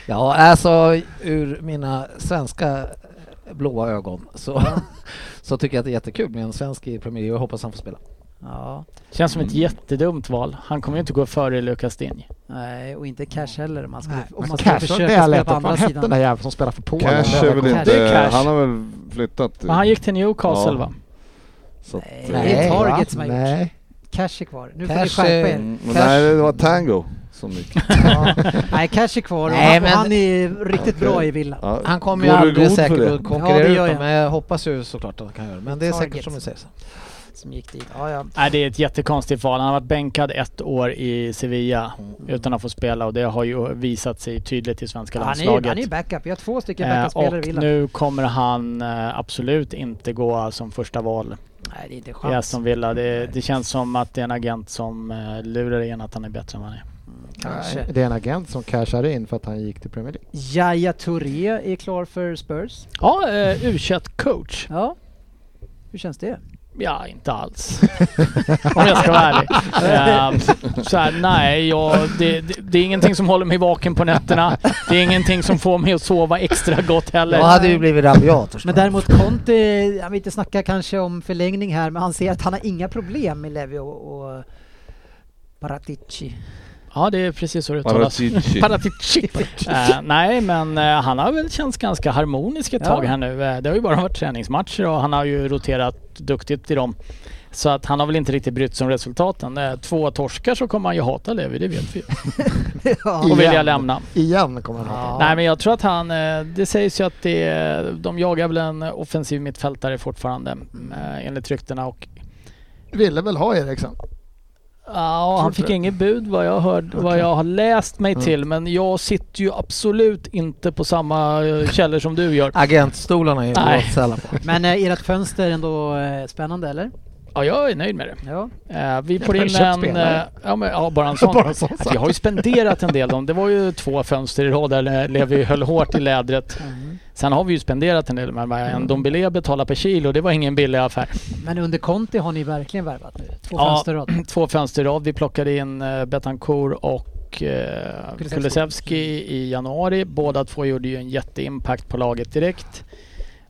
Ja, alltså ur mina svenska eh, blåa ögon så, så tycker jag att det är jättekul med en svensk i Premier League och jag hoppas han får spela. Ja, Känns som ett jättedumt val. Han kommer ju inte gå före Lukas Dinj. nej och inte cash heller om man skulle, om man Man skulle Cash, det försöka är spela lätt. på Vad andra fan hette den där sidan. jäveln som spelar för Polen? Cash är väl Cash. inte... Det är cash. Han har väl flyttat. Men han gick till Newcastle Ja. va? så att, eh, Nej, det är va? Target som har gjort. Nej. Cash är kvar. Nu får Cash ni skärpa är- er. mm, men Cash. Nej, det var Tango som gick. Ja. Nej, Cash är kvar och Nej, han, och men- han är riktigt bra i Villa. Ja. Han kommer Går ju du aldrig god för säkert det? att Ja, det konkurrera gör ut jag. dem, men jag hoppas ju såklart att han kan göra det. Men det är Target. säkert som du säger. så. Som gick dit. Ja, ja. Nej, det är ett jättekonstigt val. Han har varit bänkad ett år i Sevilla utan att få spela och det har ju visat sig tydligt i svenska Han är ju landslaget. han är ju backup. Vi har två stycken Eh, backup-spelare i och Villa. nu kommer han eh, absolut inte gå som första val Nej, det är inte i chans. Aston Villa. Det, det känns som att det är en agent som eh, lurar igen att han är bättre än vad han är. Kanske. Det är en agent som cashar in för att han gick till Premier League. Jaya Touré är klar för Spurs. Ja, eh, u coach Ja. Hur känns det? Ja, inte alls. Om jag ska vara ärlig. Eh, så här, nej, jag, det, det, det är ingenting som håller mig vaken på nätterna. Det är ingenting som får mig att sova extra gott heller. Jag hade ju blivit rabiat förstås. Men däremot Conte, han vill inte snacka kanske om förlängning här, men han ser att han har inga problem med Levi och, och Paratici. Ja, det är precis så det uttalas. Paratici. Paratici. Eh, nej, men eh, han har väl känts ganska harmonisk ett Ja. tag här nu. Eh, det har ju bara varit träningsmatcher och han har ju roterat duktigt i dem. Så att han har väl inte riktigt brytt sig om resultaten. Eh, Två torskar så kommer han ju hata Levi, det vet vi ju. ja. Och vilja Igen. lämna. Igen kommer han Ja. hata. Nej men jag tror att han, eh, det sägs ju att det, är- de jagar väl en offensiv mittfältare fortfarande eh, enligt ryktena och Ville väl ha Eriksson. Ja, han fick Fortsätt. inget bud vad jag, hörde, vad jag har läst mig Mm. till men jag sitter ju absolut inte på samma eh, källor som du gör. Agentstolarna är ju Nej. bra att sälja på. Men eh, ert fönster är ändå eh, spännande eller? Ja, jag är nöjd med det. Ja. Eh, vi Jag får har in köpt en... spelare. eh, ja, men, ja, bara en sån. Bara en sån Att vi har ju spenderat en del. Dem. Det var ju två fönster i rad där eh, Levi höll hårt i lädret. Mm. Sen har vi ju spenderat en del. Men en Dombele betalade per kilo, det var ingen billig affär. Men under Conti har ni verkligen värvat nu. Två Ja. fönster i rad. Två fönster i rad. Vi plockade in eh, Betancourt och eh, Kulusevski. Kulusevski i januari. Båda två gjorde ju en jätteimpact på laget direkt.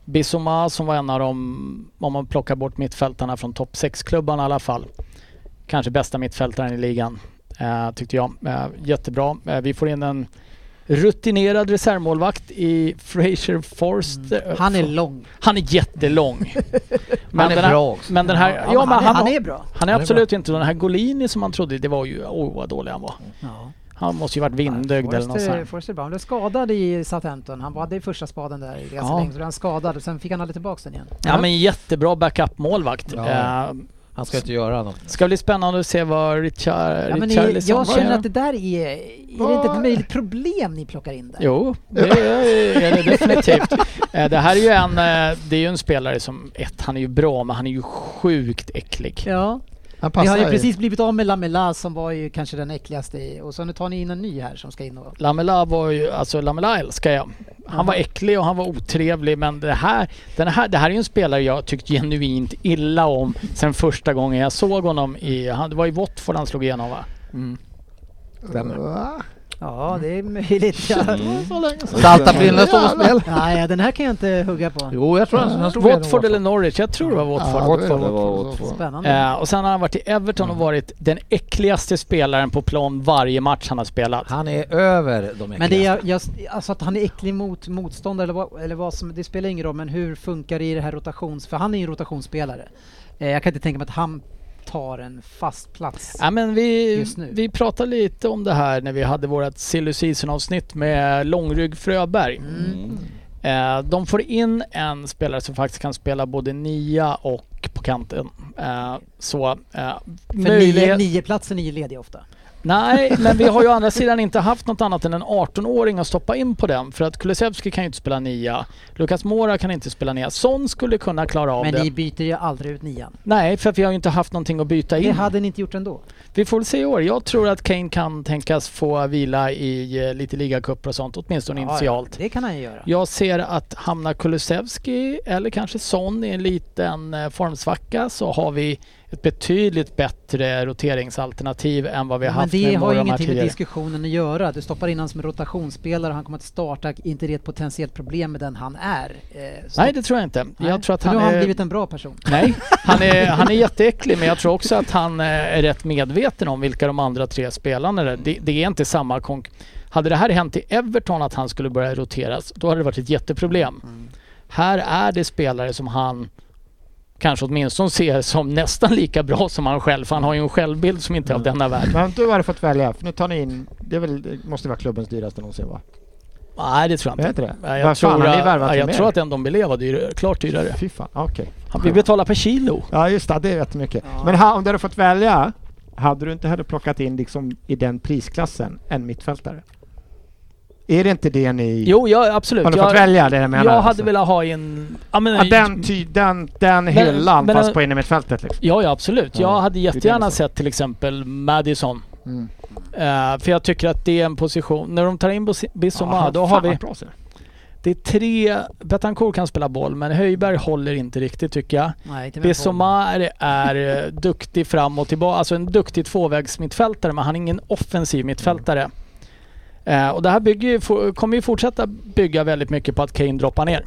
Bissoma som var en av de, om man plockar bort mittfältarna från topp 6-klubbarna i alla fall, kanske bästa mittfältaren i ligan eh, tyckte jag. Eh, jättebra. Eh, vi får in en rutinerad reservmålvakt i Fraser Forster. Mm. Han är lång. han är jättelång. Men Han är den här- bra också. Men den här, ja, han, men är, han, han är bra. han är Ja, det är absolut inte den här Golini som man trodde, det var ju, åh vad dålig han var. Ja. Han måste ju varit vindögd eller något sånt. Forrester, här. Forrester är bra. Han blev skadad i Southampton. Han hade ju första spaden där ganska Ja. länge, så blev han skadad. och Sen fick han aldrig tillbaka den igen. Ja men jättebra backup-målvakt. Ja. Eh, Han ska inte göra något. ska bli spännande att se vad Richard, Ja, men ni, Richarlison jag känner gör. att det där är... Är det inte ett möjligt problem ni plockar in där? Jo, det är är det definitivt. Eh, Det här är ju en, eh, det är ju en spelare som, ett, han är ju bra men han är ju sjukt äcklig. Ja, Han vi passar har ju ju. precis blivit av med Lamela som var ju kanske den äckligaste i, och så nu tar ni in en ny här som ska in och... Lamela var ju, alltså Lamela älskar jag. Han var äcklig och han var otrevlig men det här, den här, det här är ju en spelare jag tyckte genuint illa om sen första gången jag såg honom i, han, det var i Watford han slog igenom va? Va? Ja, det är möjligt. Mm. Ja. Saltaprillen står och spelar. Nej, ja, den här kan jag inte hugga på. Jo, jag tror han han slog igenom Watford eller Norwich, jag tror det var Watford. Mm. Ja, det är Det det. var åt två. Spännande. Eh, och sen har han varit i Everton och varit den äckligaste spelaren på plan varje match han har spelat. Han är över de Men det äckligaste. är, jag, alltså att han är äcklig mot motståndare eller vad, eller vad som, det spelar ingen roll, men hur funkar det i det här rotations... För han är ju en rotationsspelare. Eh, jag kan inte tänka mig att han tar en fast plats. Ja, men vi, Just nu. vi pratade lite om det här när vi hade vårt silly season avsnitt med Långrygg Fröberg. Mm. Eh, de får in en spelare som faktiskt kan spela både nia och på kanten. Eh, så eh, För nio, möjlighet- nio platser nio lediga ofta. Nej, men vi har ju å andra sidan inte haft något annat än en 18-åring att stoppa in på den. För att Kulusevski kan ju inte spela nia. Lukas Mora kan inte spela nia. Son skulle kunna klara av Men det. ni byter ju aldrig ut nian. Nej, för att vi har ju inte haft någonting att byta Det in. hade ni inte gjort ändå. Vi får väl se i år. Jag tror att Kane kan tänkas få vila i eh, lite ligacuper och sånt, åtminstone Ja, ja, initialt. Det kan han ju göra. Jag ser att hamnar Kulusevski eller kanske Son i en liten eh, formsvacka så har vi ett betydligt bättre roteringsalternativ än vad vi har men haft nu det i har ju morgon här ingenting med tidigare. diskussionen att göra. Du stoppar in honom som en rotationsspelare och han kommer att starta. Inte det ett potentiellt problem med den han är? Eh, stopp. Nej, det tror jag inte. Nej, Jag tror att för han, nu har han är... blivit en bra person. Nej, han är, han är jätteäcklig men jag tror också att han eh, är rätt medveten om vilka de andra tre spelarna är. Det, det är inte samma konk... Hade det här hänt i Everton att han skulle börja roteras, då hade det varit ett jätteproblem. Mm. Här är det spelare som han kanske åtminstone ser som nästan lika bra som han själv. För han har ju en självbild som inte är av Mm. denna värld. Men du hade fått välja, för nu tar ni in, det, är väl, det måste vara klubbens dyraste någonsin va? Nej, det tror jag Är inte. inte det? Nej, Vad Jag, fan tror, har ni att- värvat ja, för jag mer? tror att en Dombele var dyrare, klart dyrare. Fy fan, ah, okej. Vi betalar per kilo. Ja just det, det är jättemycket. Ja. Men ha, om du hade fått välja, hade du inte heller plockat in liksom i den prisklassen en mittfältare? Är det inte det ni... Jo, ja, absolut. har ni fått Jag- välja det jag menar? Jag hade alltså? velat ha en... Ja, men, Ja, den, ty, den, den hyllan men- fast på innermittfältet liksom. ja, ja absolut. Jag Ja, hade är jättegärna det så. sett till exempel Madison. Mm. Eh, för jag tycker att det är en position... När de tar in Bos- Bissouma, Jaha, då fan har vi... vad bra så. Det är tre... Betancourt kan spela boll, men Höjberg håller inte riktigt tycker jag. Nej, inte med Paul. Bissouma är, är eh, duktig fram och tillbaka. Alltså en duktig tvåvägsmittfältare, men han är ingen offensiv mittfältare. Eh, och det här bygger ju, for- kommer ju fortsätta bygga väldigt mycket på att Kane droppar ner.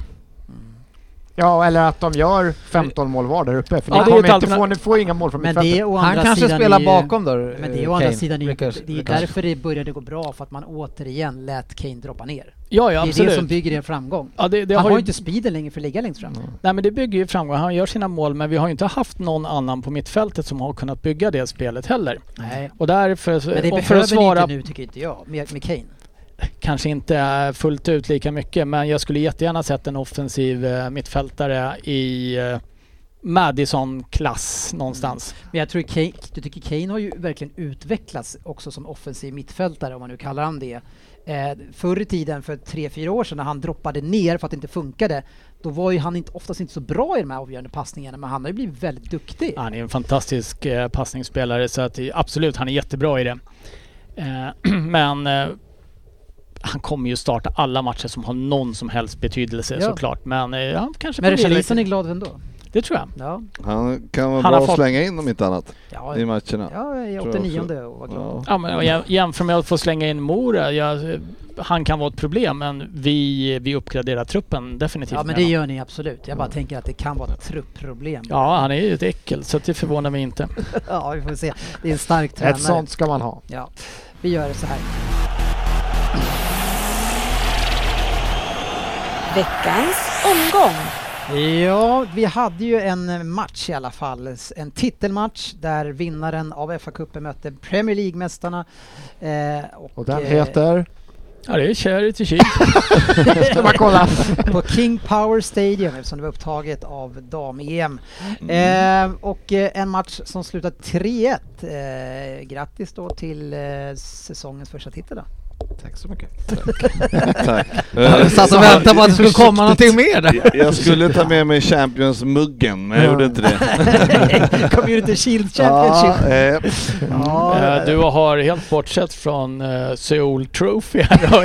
Ja, eller att de gör 15 mål var där uppe. För Ja, ni, det är kommer ett inte få, alternativ. ni får inga mål från Men det är mittfältet. å Han andra kanske sidan spelar är ju- bakom då. Men det är eh, å andra Kane. sidan är ju, Rickard- det är ju Rickard. därför det började gå bra, för att man återigen lät Kane droppa ner. Ja, ja Det är absolut. det som bygger en framgång. ja, det, det han har har ju ju, Mm. inte speeden längre för att ligga längst fram. nej, men det bygger ju framgång. Han gör sina mål men vi har ju inte haft någon annan på mittfältet som har kunnat bygga det spelet heller. Nej. Och därför... Men det Eh, och behöver för att svara inte nu tycker inte jag, med, med Kane. kanske inte eh, fullt ut lika mycket men jag skulle jättegärna sett en offensiv eh, mittfältare i eh, Madison-klass någonstans. Men jag tror Kane, du tycker Kane har ju verkligen utvecklats också som offensiv mittfältare, om man nu kallar han det. Eh, förr i tiden, för tre fyra år sedan, när han droppade ner för att det inte funkade, då var ju han inte, oftast inte så bra i de här avgörande passningarna, men han har ju blivit väldigt duktig. Han är en fantastisk eh, passningsspelare så att eh, absolut, han är jättebra i det. Eh, men eh, han kommer ju starta alla matcher som har någon som helst betydelse Ja. såklart. Men eh, han kanske Men får bli Richarlison är lite- glad ändå. Det tror jag. Ja, Han kan vara Han bra har att fått- slänga in om inte annat ja, i ja, matcherna. i tror jag 89 och var glad. Ja. Ja, men, och jag- jämför med att få slänga in Mora. Jag, han kan vara ett problem men vi, vi uppgraderar truppen definitivt. Ja, men med det honom. gör ni absolut. Jag bara tänker att det kan vara ett trupproblem. ja, han är ju ett äckel så att det förvånar mig inte. Ja, vi får se. Det är en stark tränare. Ett sånt ska man ha. Ja, vi gör det så här. Veckans omgång. Ja, vi hade ju en match i alla fall. En titelmatch där vinnaren av FA-cupen mötte Premier League-mästarna. Eh, Och den eh, heter... Ja, det är Charity Shield. Ska man kolla? På King Power Stadium eftersom det var upptaget av dam-EM. Eh, och eh, en match som slutade 3-1. Eh, grattis då till eh, säsongens första titel då. Tack så mycket. Tack. Jag satt och väntade på att det skulle komma någonting mer där. Eh, Jag skulle ta med mig Champions-muggen, men jag gjorde inte det. Community Shield Championship. Ja, eh, Ja, Eh, Du har helt bortsett från eh, Seoul Trophy här hör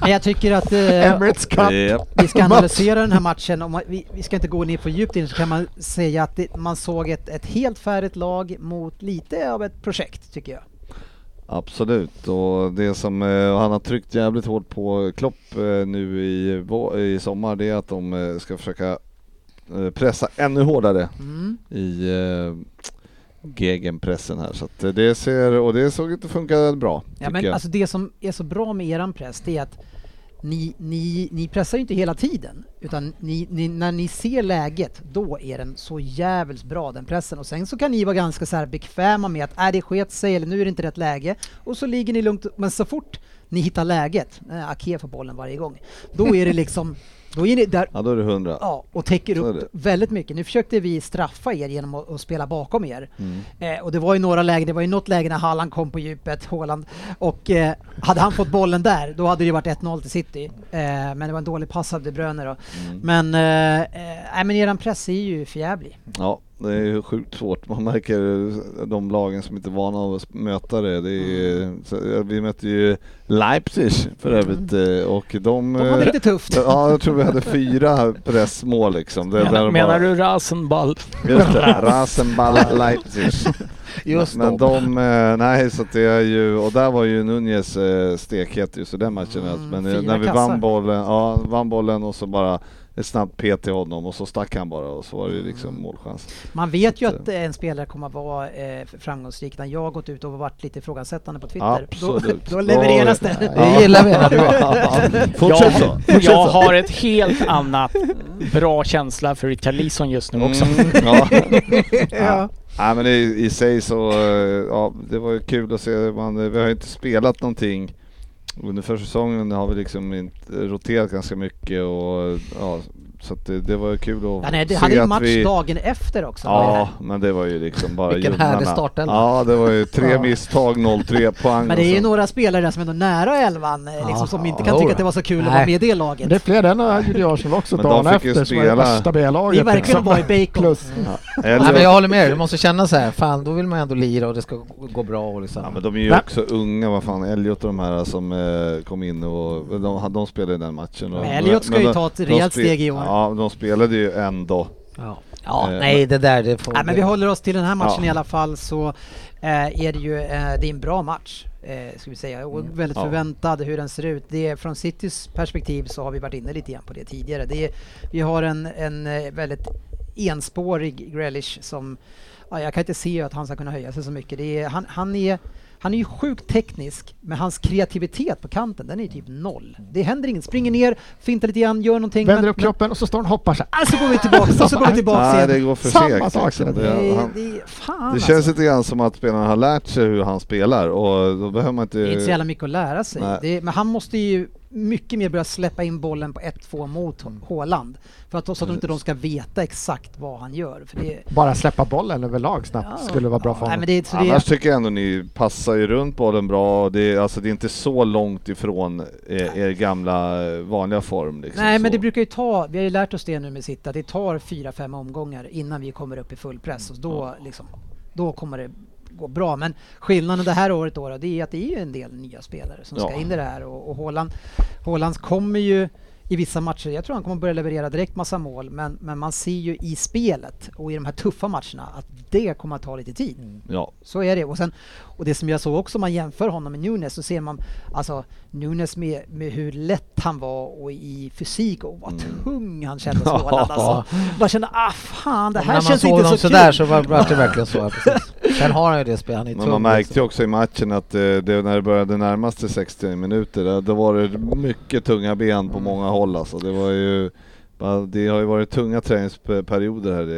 men jag tycker att eh, Emirates Cup. japp. vi ska analysera den här matchen. Om man, vi, vi ska inte gå ner för djupt in så kan man säga att det, man såg ett, ett helt färdigt lag mot lite av ett projekt tycker jag. Absolut, och det som eh, han har tryckt jävligt hårt på Klopp eh, nu i, vå- i sommar det är att de eh, ska försöka eh, pressa ännu hårdare Mm. i eh, gegenpressen här. Så att eh, det ser, och det såg ut att funka bra. Ja, tycker men jag. alltså det som är så bra med eran press det är att ni, ni, ni pressar ju inte hela tiden utan ni, ni, när ni ser läget då är den så jävligt bra den pressen och sen så kan ni vara ganska så här bekväma med att äh, det sket sig eller nu är det inte rätt läge och så ligger ni lugnt men så fort ni hittar läget, äh, Ake får bollen varje gång, då är det liksom, då är ni där Ja, då är det 100. Ja, och täcker Så är upp det. väldigt mycket. Nu försökte vi straffa er genom att, att spela bakom er. Mm. Eh, och det var ju några lägen, det var ju något läge när Halland kom på djupet, Haaland, och eh, hade han fått bollen där, då hade det varit 1-0 till City. Eh, men det var en dålig pass av De Bruyne då. Mm. Men, eh, eh, nej, men eran press är ju förjävlig. Ja, det är ju sjukt svårt. Man märker eh, de lagen som inte är vana att möta det. det är, Mm. så, eh, vi mötte ju Leipzig för övrigt eh, och de... De hade eh, lite tufft. Ja, jag tror vi hade fyra pressmål liksom. Det, Menar, de menar bara- du Rasenball? Just det, Rasenball Leipzig. Just men dem. de, eh, nej så att det är ju, och där var ju Nunez eh, stekhet just i den matchen. Mm, men eh, fina när vi kassar. vann bollen, ja, vann bollen och så bara ett snabbt PT till honom och så stack han bara och så var det ju Mm. liksom målchans. Man vet ju Så. att eh, en spelare kommer att vara eh, framgångsrik när jag har gått ut och varit lite ifrågasättande på Twitter. Absolut. Då, då levereras det. Det gillar vi. vi. Fortsätt så. jag, jag har ett helt annat bra känsla för Richarlison just nu också. Mm, ja. ja. Nej men i, i sig så, eh, ja det var ju kul att se, man, eh, vi har ju inte spelat någonting under försäsongen har vi liksom inte roterat ganska mycket och eh, ja, så att det, det var ju kul att Ja, nej, det se hade ju att match vi... dagen efter också. var ju det Ja, här. men det var ju liksom bara Vilken junnarna. härlig startelva. Ja, det var ju tre Ja. misstag, 0-3 poäng. alltså. Men det är och ju så- några spelare där som är ändå nära elvan, eh, Ja, liksom, som inte kan tycka jodå. att det var så kul att Nej. vara med i det Men Det är laget. fler, den har- gjorde ju Arsenal också Men dagen de fick ju efter, som var det spela- värsta B-laget. Det är verkligen Mm. att liksom. vara i bacon. Plus. Nej, Eller, men jag håller med dig, du måste känna så här, fan då vill man ändå lira och det ska gå gå bra och liksom. Ja men de är ju Nej. också unga, vad fan, Elliot och de här som eh, kom in och de, de spelade i den matchen. Och, Men Elliot ska men ju de- ta ett de rejält spe- steg i år. Ja, de spelade ju ändå. Ja, ja Eh, nej det där det får... Nej, men vi håller oss till den här matchen Ja. i alla fall så eh, är det ju eh, det är en bra match. Eh, eh, ska vi säga, och Mm. väldigt Ja. förväntad hur den ser ut. Det, är- från Citys perspektiv så har vi varit inne lite grann på det tidigare. Det, är- vi har en, en eh, väldigt enspårig Grealish som, ja, jag kan inte se att han ska kunna höja sig så mycket. Det är, han, han, är, han är ju sjukt teknisk, men hans kreativitet på kanten, den är ju typ noll. Det händer inget, springer ner, fintar lite grann, gör någonting. Vänder men- upp kroppen och så står han och hoppar så här. men- ah, så går vi tillbaka, och så går vi tillbaka Nej, igen. det går för Samma segt. sak liksom. är det. Det, Det, han, det, fan det känns alltså. lite grann som att spelarna har lärt sig hur han spelar och då behöver man Eh, inte... Det är inte så jävla mycket att lära sig. Nej. Det, men han måste ju mycket mer börja släppa in bollen på 1-2 mot Mm. H- Haaland. För att, så att de inte de ska veta exakt vad han gör. För det, Bara släppa bollen överlag snabbt Ja. skulle vara bra för nej, men honom. det, så det, Annars tycker jag ändå ni passar ju runt bollen bra och det, är- alltså, det är inte så långt ifrån er, er gamla eh, vanliga form. Liksom, nej men så. det brukar ju ta, vi har ju lärt oss det nu med sitt, att det tar 4-5 omgångar innan vi kommer upp i full press. Och då, liksom, då kommer det gå bra. Men skillnaden det här året då, då, det är att det är ju en del nya spelare som ska Ja. in i det här. Och, och Haaland, Haaland kommer ju i vissa matcher, jag tror han kommer börja leverera direkt massa mål, men, men man ser ju i spelet och i de här tuffa matcherna att det kommer att ta lite tid. Ja. Så är det. Och, sen, och det som jag såg också, om man jämför honom med Nunes, så ser man alltså Nunes med, med hur lätt han var och i fysik och vad tung han kändes Haaland alltså. Man kände, ah fan, det Men här när man känns såg inte så honom kul. sådär så var var det verkligen så. ja, Precis. Sen har han ju det spelet, han är Men man tung. märkte ju liksom. också i matchen att eh, det, när det började närma sig 60 minuter, där, då var det mycket tunga ben på många håll alltså. Det var ju va, det har ju varit tunga träningsperioder här i,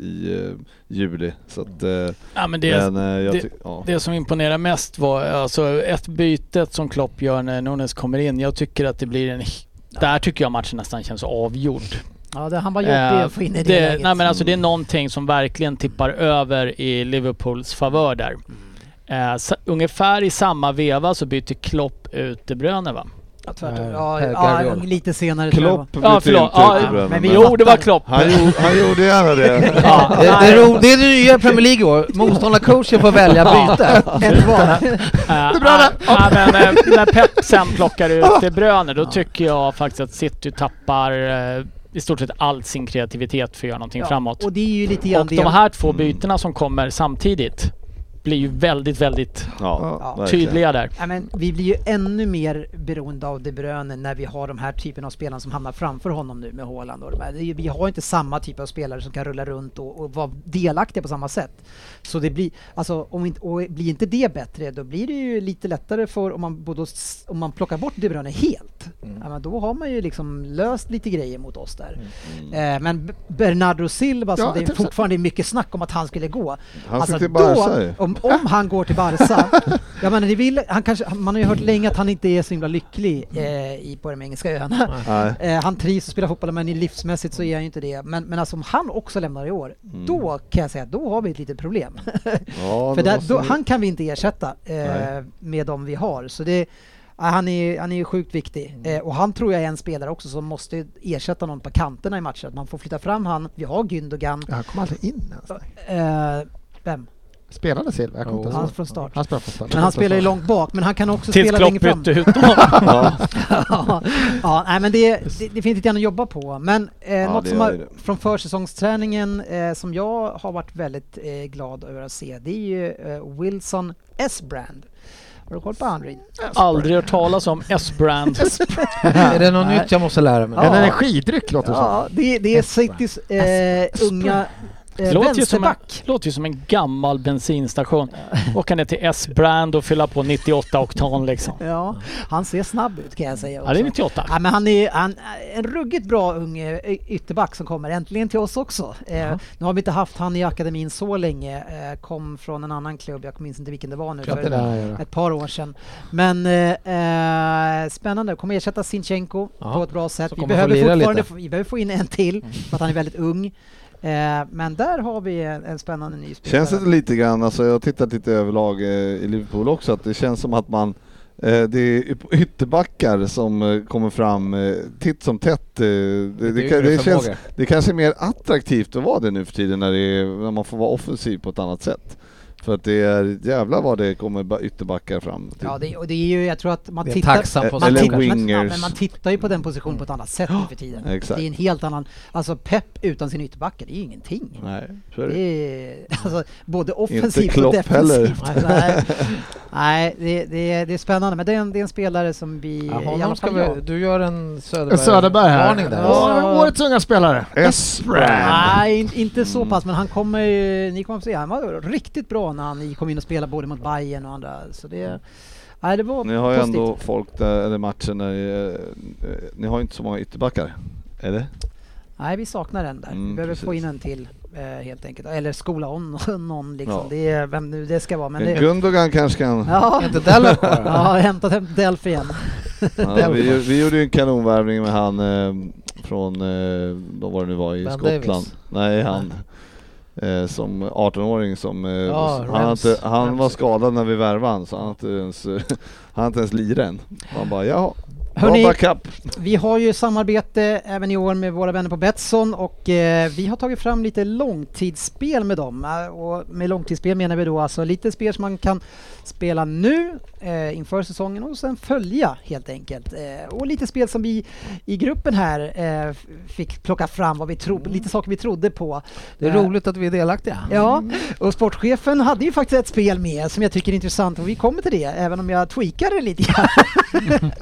i eh, juli. Så att, eh, Ja, men det, men, eh, jag det- ty- ja. Det som imponerar mest var alltså ett bytet som Klopp gör när Nunes kommer in. Jag tycker att det blir en... Där tycker jag matchen nästan känns avgjord. Ja, det, han var jobbig Eh, att få in i det, det, läget. Mm. nej, men alltså, det är någonting som verkligen tippar över i Liverpools favör där. Mm. Eh, sa, ungefär i samma veva så byter Klopp ut De Bruyne va? ja, tvärtom. Eh, ja, Per ja, Guardiola. lite senare tror jag. Klopp bytte inte förlåt. ut Ja, De Bruyne, men vi- men Jo, det var fattar. Klopp! han, gjorde, han gjorde gärna det. Ja, Det, det, nej, är ro, det är det nya i Premier League i år. Motståndarcoachen får välja byte. Ett var. eh, eh, men, eh, när Pep sen plockar ut De Bruyne då tycker jag faktiskt att City tappar eh, i stort sett all sin kreativitet för att göra någonting framåt. Och det är ju lite grann Och det. de här två bytena som kommer samtidigt blir ju väldigt, väldigt Ja, verkligen. tydliga där. Ja, men vi blir ju ännu mer beroende av De Bruyne när vi har de här typen av spelare som hamnar framför honom nu med Haaland. Och de här. Det är ju- Vi har inte samma typ av spelare som kan rulla runt och, och vara delaktiga på samma sätt. Så det blir, alltså, om inte, och blir inte det bättre, då blir det ju lite lättare för om man, både, s- om man plockar bort De Bruyne helt. Ja, men då har man ju liksom löst lite grejer mot oss där. Eh, men B- Bernardo Silva, som Ja, det typ är så. fortfarande är mycket snack om att han skulle gå, Han Alltså, sitter i då, Barca ju. om, om han går till Barca, ja, men det vill, han kanske, man har ju hört länge att han inte är så himla lycklig eh, i, på de engelska öarna. Nej. Eh, han trivs att spela fotboll men i livsmässigt så är han ju inte det. Men, men alltså om han också lämnar i år, då kan jag säga att då har vi ett litet problem. Mm. Ja, För det där, måste då, vi- han kan vi inte ersätta eh, Nej. med de vi har. Så det, ja, han, är, han är ju sjukt viktig. Mm. Eh, och han tror jag är en spelare också som måste ersätta någon på kanterna i matcher. Att man får flytta fram han. Vi har Gündogan. Han kom aldrig in ens. Eh, vem? Spelade Silva? Jag kommer Alltså. inte Han ihåg. från start. Han spelar från start. Men han spelar ju långt bak, men han kan också Tills spela längre Klopp fram. bytte ut dem. ja, ja, nej, men det, det, det finns lite grann att jobba på. Men eh, något det som gör har, ju från försäsongsträningen eh, som jag har varit väldigt eh, glad över att se, det är ju eh, Wilson S-brand. Har du koll på Andrin? Aldrig hört talas om S-brand. Är det något nytt jag måste lära mig? En energidryck låter det som. Ja, det, det är Citys eh, unga eh, Låter ju, som en, vänsterback. låter ju som en gammal bensinstation. Åka ner till S-brand och fylla på 98 oktan liksom. Ja, han ser snabb ut kan jag säga. Ja, det är också. 98. Ja, men han är han, är en ruggigt bra ung eh, ytterback som kommer äntligen till oss också. Eh, nu har vi inte haft han i akademin så länge. Eh, kom från en annan klubb, jag minns inte vilken det var nu, Kan inte det för här göra. ett par år sedan. Men eh, eh, spännande, kommer ersätta Sinchenko Ja, på ett bra sätt. så Vi kommer han få behöver, lira fortfarande lite. få, Mm. vi behöver få in en till, för att han är väldigt ung. Eh, men där har vi en, en spännande ny spelare. Känns det lite grann, alltså jag har tittat lite överlag eh, i Liverpool också, att det känns som att man eh, det är yp- ytterbackar som eh, kommer fram eh, titt som tätt. eh, Det, det, kan- det, känns, det kanske är mer attraktivt att vara det nu för tiden när, det är, när man får vara offensiv på ett annat sätt. För att det är jävla vad det kommer ba- ytterbackar fram till. Ja, det, och det är ju, jag tror att man Det är tittar... tacksam man position Eller tittar, kanske. ja, wingers. men man tittar ju på den positionen på ett annat sätt nu för tiden. Exakt. Det är en helt annan... Alltså Pep utan sin ytterbacke, det är ju ingenting. Nej, så är Det det. är, alltså, både Inte offensivt och Klopp heller. defensivt. Nej, nej det, det, är- det är spännande. Men det är en, det är en spelare som vi... Ja, i alla honom ska fall jag- vi, du gör en Söderberg, Söderberg här. varning där. Ja. Årets unga spelare. Esbrand! Nej, in, inte Mm. så pass, men han kommer ju- ni kommer att se, han var riktigt bra när han kom in och spelade både mot Bayern och andra. Så det, nej, det var Mm. Ni har ju positivt. ändå folk där, eller matchen där, eh, eh, ni har ju inte så många ytterbackar. Eller? Nej, vi saknar en där. vi Mm, behöver få precis. in en till eh, helt enkelt. Eller skola om någon liksom. Ja. Det är vem nu det ska vara. Men Men det, Gundogan kanske kan... ja, Inte Della ja, kvar? har hämtat hem Delf igen. Ja, vi, gjo- vi gjorde ju en kanonvärvning med han eh, från, eh, då var det nu var i Ben Skottland. Davis. Nej, han. Eh, som 18-åring som... Eh, Ja, han, har Rams- inte, han var Ramsey. skadad när vi värvade han, så han har inte ens, eh, han har inte ens lirat än. Man bara jaha, Hörrni, bra backup. Vi har ju samarbete även i år med våra vänner på Betsson och eh, vi har tagit fram lite långtidsspel med dem. Eh, Och med långtidsspel menar vi då alltså lite spel som man kan spela nu eh, inför säsongen och sen följa helt enkelt. Eh, och lite spel som vi i gruppen här eh, f- fick plocka fram vad vi tro- lite saker vi trodde på. Mm. Det är Eh, roligt att vi är delaktiga. Ja, och sportchefen hade ju faktiskt ett spel med som jag tycker är intressant och vi kommer till det även om jag tweakar det lite grann.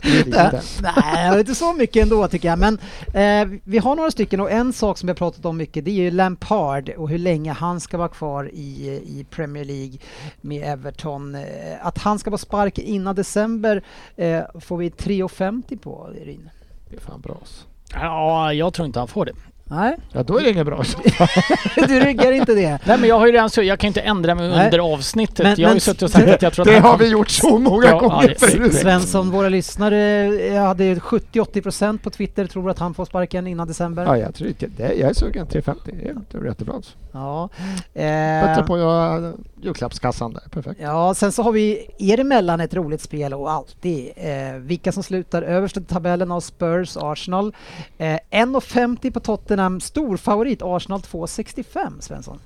Lite. Nej, det var inte så mycket ändå tycker jag. Men eh, vi har några stycken och en sak som vi har pratat om mycket det är ju Lampard och hur länge han ska vara kvar i, i Premier League med Everton. Eh, Att han ska vara spark innan december eh, får vi 3,50 på, Rin. Det är fan bra. alltså. Ja, jag tror inte han får det. Nej, Ja, då är det inget bra. du ryggar inte det. Nej men jag har ju redan så jag kan inte ändra mig Nej. under avsnittet. Men- jag har men- ju suttit och sagt att jag tror att Det han har kommer- vi gjort så många Ja, ja, gånger det är förut. Svensson, våra lyssnare eh, hade 70-80% på Twitter tror att han får sparken innan december. Ja, jag, tror inte, det, jag är sugen. 350. Det är- Det är jättebra. alltså. Ja. Bättre Ehm. Eh, på ja, julklappskassan där. Perfekt. ja, sen så har vi er emellan ett roligt spel och alltid eh, vilka som slutar överst i tabellen av Spurs, Arsenal. Eh, 1,50 på Tottenham, stor favorit Arsenal 2,65 Svensson.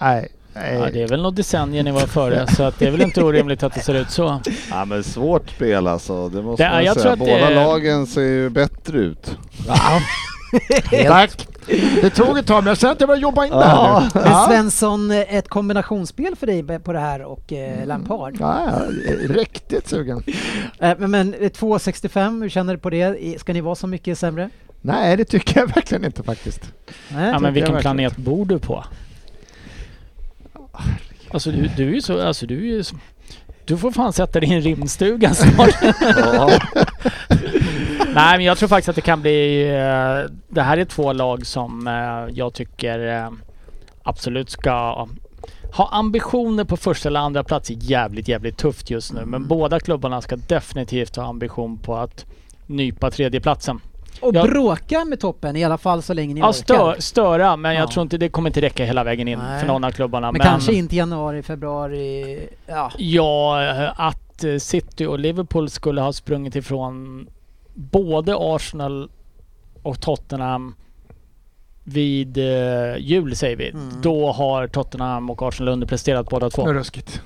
Nej. nej. Ja, det är väl något decennier ni var före så att det är väl inte orimligt att det ser ut så. Ja men svårt spel alltså, det måste Det- man jag tror säga. att Båda det- lagen ser ju bättre ut. Tack. Det tog ett tag, men jag ser att jag börjar jobba in det här nu. Men Svensson, eh, ett kombinationsspel för dig på det här och eh, Lampard. Ja, jag är riktigt sugen. Eh, men men eh, 2,65, hur känner du på det? Ska ni vara så mycket sämre? Nej, det tycker jag verkligen inte faktiskt. Nej. Ja, men vilken verkligen. planet bor du på? Alltså du, du är ju så... Alltså, du, är ju så du får fan sätta dig i en rymdstuga snart. Ja, Nej men jag tror faktiskt att det kan bli... eh, Det här är två lag som eh, jag tycker eh, absolut ska ha ambitioner på första eller andra plats är jävligt, jävligt tufft just nu. Mm. Men båda klubbarna ska definitivt ha ambition på att nypa tredjeplatsen. Och Ja. bråka med toppen i alla fall så länge ni Ja, orkar. stö, störa, men Ja. jag tror inte det kommer inte räcka hela vägen in Nej. för någon av klubbarna. Men, kanske inte januari, februari. Ja. Ja, eh, att eh, City och Liverpool skulle ha sprungit ifrån både Arsenal och Tottenham vid eh, jul säger vi. Mm. Då har Tottenham och Arsenal underpresterat båda två. Nu ruskigt.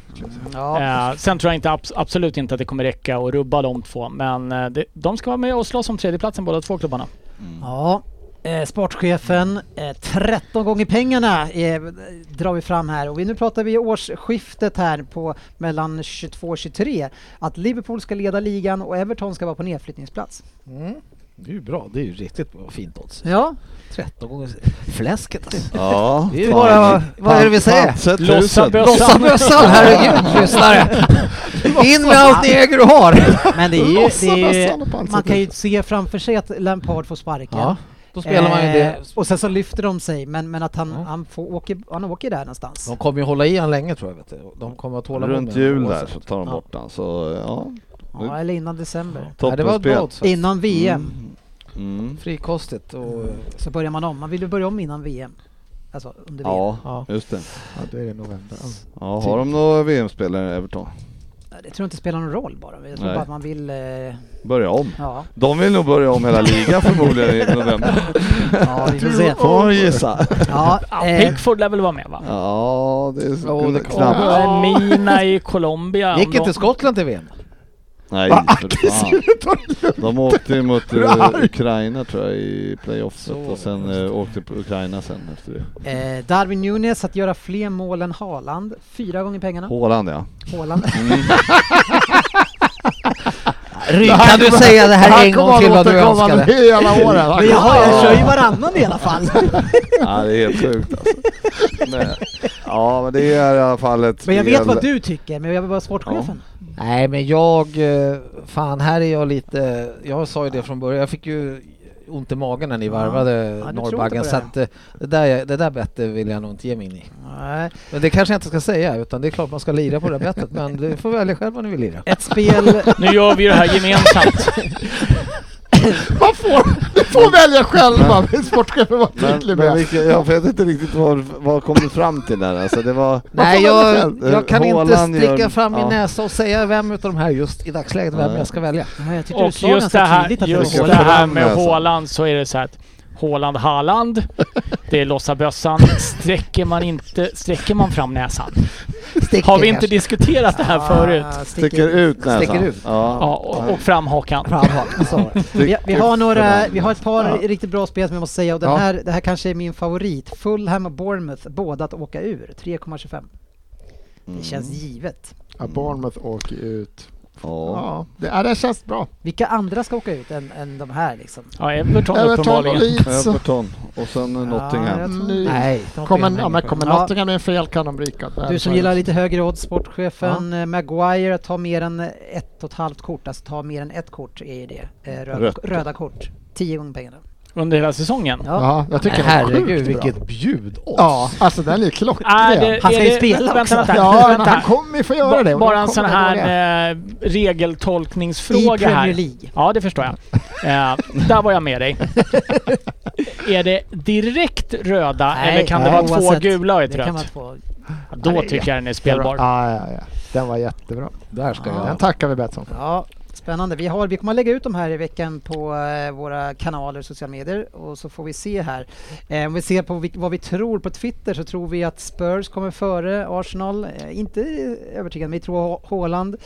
ja. Eh, sen tror jag inte, abs- absolut inte att det kommer räcka att rubba de två. Men eh, det, de ska vara med och slåss om tredjeplatsen båda två klubbarna. ja. Eh, sportchefen, eh, 13 gånger pengarna eh, drar vi fram här. Och vi, nu pratar vi årsskiftet här på mellan 22 och 23. Att Liverpool ska leda ligan och Everton ska vara på nedflyttningsplats. Mm. Det är ju bra, det är ju riktigt bra, fint odds. Ja, 13 gånger fläsket alltså. ja Det är ju fan. bara, vad är det vi säger? Pantsätt Lossa huset. bössan! Lossa mössan, herregud lyssnare! In med allt ni äger och har! men det är ju, Alltså, Lossa det är mössan ju, och pantsätt man kan ju huset. se framför sig att Lampard får sparken. Ja, då spelar man ju det. Eh, Och sen så lyfter de sig, men, men att han, Ja. han, får, åker, han åker där någonstans. De kommer ju hålla i han länge tror jag. Vet du. De kommer att tåla Runt med honom jul där oavsett. så tar de Ja. bort den. Så ja, Ja, eller innan december. Nej, det var ett bra toppenspel. odds. faktiskt. Innan VM Mm. Frikostigt och... så börjar man om. Man vill ju börja om innan VM. Alltså under VM. Ja, Ja. just det. Ja, då är det november. Ja. Ja, har de några VM-spelare Everton? Det tror jag inte spelar någon roll bara. Jag tror Nej. bara att man vill... eh, Börja om. Ja, De vill nog börja om hela ligan förmodligen i november. ja vi får se. Får man gissa? Ja, Ja, eh, Pickford lär väl vara med va? Ja, det är Jo, det kan- knappt. Och eh, Mina i Colombia. om Gick de- inte Skottland till VM? Nej, Va, för fan. De åkte ju mot eh, Hur arg? Ukraina tror jag i playoffet Så, och sen eh, åkte på Ukraina sen efter det. eh, Darwin Nunes att göra fler mål än Haaland. Fyra gånger pengarna. Håland ja. Haaland. Kan du säga det här en gång till vad du återkomma önskade? hela året. Men jag, har- jag kör ju varannan i alla fall. ja, det är helt sjukt alltså. Men, ja, men det är i alla fall ett Men jag vet spel- vad du tycker, men jag vill vara sportchefen. Nej men jag, eh, fan här är jag lite, jag sa ju det från början, jag fick ju ont i magen när ni varvade tror inte Norrbaggen på så det. att eh, det där, det där bettet vill jag nog inte ge mig in i. Nej. Men det kanske jag inte ska säga utan det är klart man ska lira på det här bettet men du får välja själv vad ni vill lira. Ett spel... Nu gör vi det här gemensamt. Man får, du får välja själva, men sportchefen var Men, tydlig men med. vilka, jag vet inte riktigt vad, vad kom du fram till där alltså, det var... Nej får man jag, välja? jag kan inte Haaland gör- sticka fram min ja. näsa och säga vem utav de här just i dagsläget, vem Nej. jag ska välja. Nej, jag tyckte du Och sa just det ganska här, tydligt att det just var det Håland. här med Näsan. Haaland så är det så här att Haaland, Haaland. Det är lossabössan. Sträcker man inte, sträcker man fram näsan? Sticker Har vi inte kanske. diskuterat det här förut? Ah, sticker Sticker ut näsan. Sticker ut. Ja. Ja, och, och fram hakan. Fram Haaland, så var det. Vi, vi, har några, vi har ett par Ja. riktigt bra spel som jag måste säga och den Ja. här, det här kanske är min favorit. Fulham och Bournemouth, båda att åka ur. 3,25. Mm. Mm. Det känns givet. Ja, Bournemouth åker ut. Ja. Ja, det, ja, det känns bra. Vilka andra ska åka ut än, än de här liksom? Ja, Everton Everton och uppenbarligen. Leeds. Everton och sen eh, Nottingham. jag tror- Ny- Nej, det har Kommer, inte ja, jag men hängt på. kommer Ja. Nottingham med fel kan de ryka. Du som gillar lite högre odds, sportchefen eh, Maguire att ta mer än ett och ett halvt kort, alltså ta mer än ett kort är ju det. Eh, Röda, Rött. röda kort. Tio gånger pengarna. Under hela säsongen. Ja. Ja, jag tycker det var Herregud sjukt bra. vilket bjud oss. Ja, alltså den är Är klockren. det, Han ska är ju det- spela vänta, också. Vänta, Ja, men vänta. han kommer ju få göra det. och Bara de en kommer sån att göra det. här eh, I regeltolkningsfråga Premier här. League. Ja, det förstår jag. Eh, där var jag med dig. är det direkt röda Nej, Ah, eller kan det nej, vara två oavsett. gula och ett Det kan vara rött? två. Då Nej, tycker jag den är spelbar. Ja, ja, ja. Den var jättebra. Där ska Den jag. tackar vi Betsson för. Ja, spännande. Vi, har, vi kommer att lägga ut de här i veckan på eh, våra kanaler, sociala medier och så får vi se här. Eh, om vi ser på vilk, vad vi tror på Twitter så tror vi att Spurs kommer före Arsenal. Eh, inte övertygande, men vi tror Ha- Haaland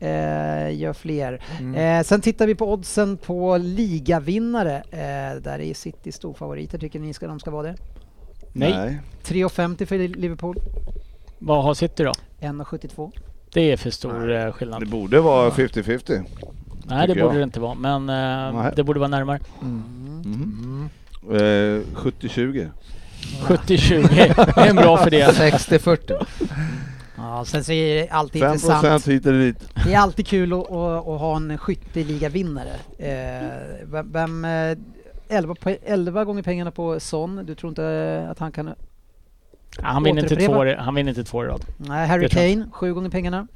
eh, gör fler. Mm. Eh, sen tittar vi på oddsen på ligavinnare. Eh, där är City storfavoriter. Tycker ni ska, de ska vara det? Nej. 3,50 för Liverpool, Vad har City då? 1,72. Det är för stor eh, skillnad. Det borde vara 50-50. Nej, det tycker borde jag. det inte vara. Men eh, Nej. det borde vara närmare. Mm. Eh, 70-20. 70-20 är en bra för det. 60-40. Ja, sen så är det alltid 5 intressant. procent hit eller dit. Det är alltid kul att, att, att ha en skytteligavinnare. Eh, vem, vem, eh, 11, po- 11 gånger pengarna på Son. Du tror inte att han kan... Ja, Han vinner, inte Återupprepa. två, i- han vinner inte två i rad. Nej, Harry Det tror jag Kane, 7 gånger pengarna.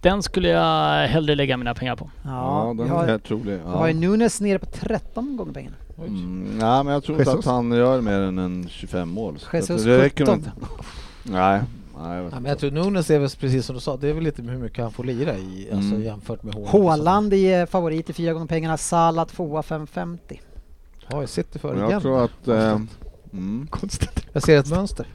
Den skulle jag hellre lägga mina pengar på. Ja, Ja, vi den har, är helt trolig. vi har Ja. ju Nunes nere på 13 gånger pengarna. Mm, nej, men jag tror inte Jesus. att han gör mer än en 25 mål. Så Jesus att det räcker nog 17. inte. Nej. nej jag vet Ja, inte. men jag tror Nunes är väl precis som du sa, det är väl lite med hur mycket han får lira i alltså, Mm. jämfört med Haaland. Haaland är favorit i 4 gånger pengarna. Salah 2 550. Ja, jag sitter för Men igen. jag Jag, tror att... Eh, mm. ser ett mönster.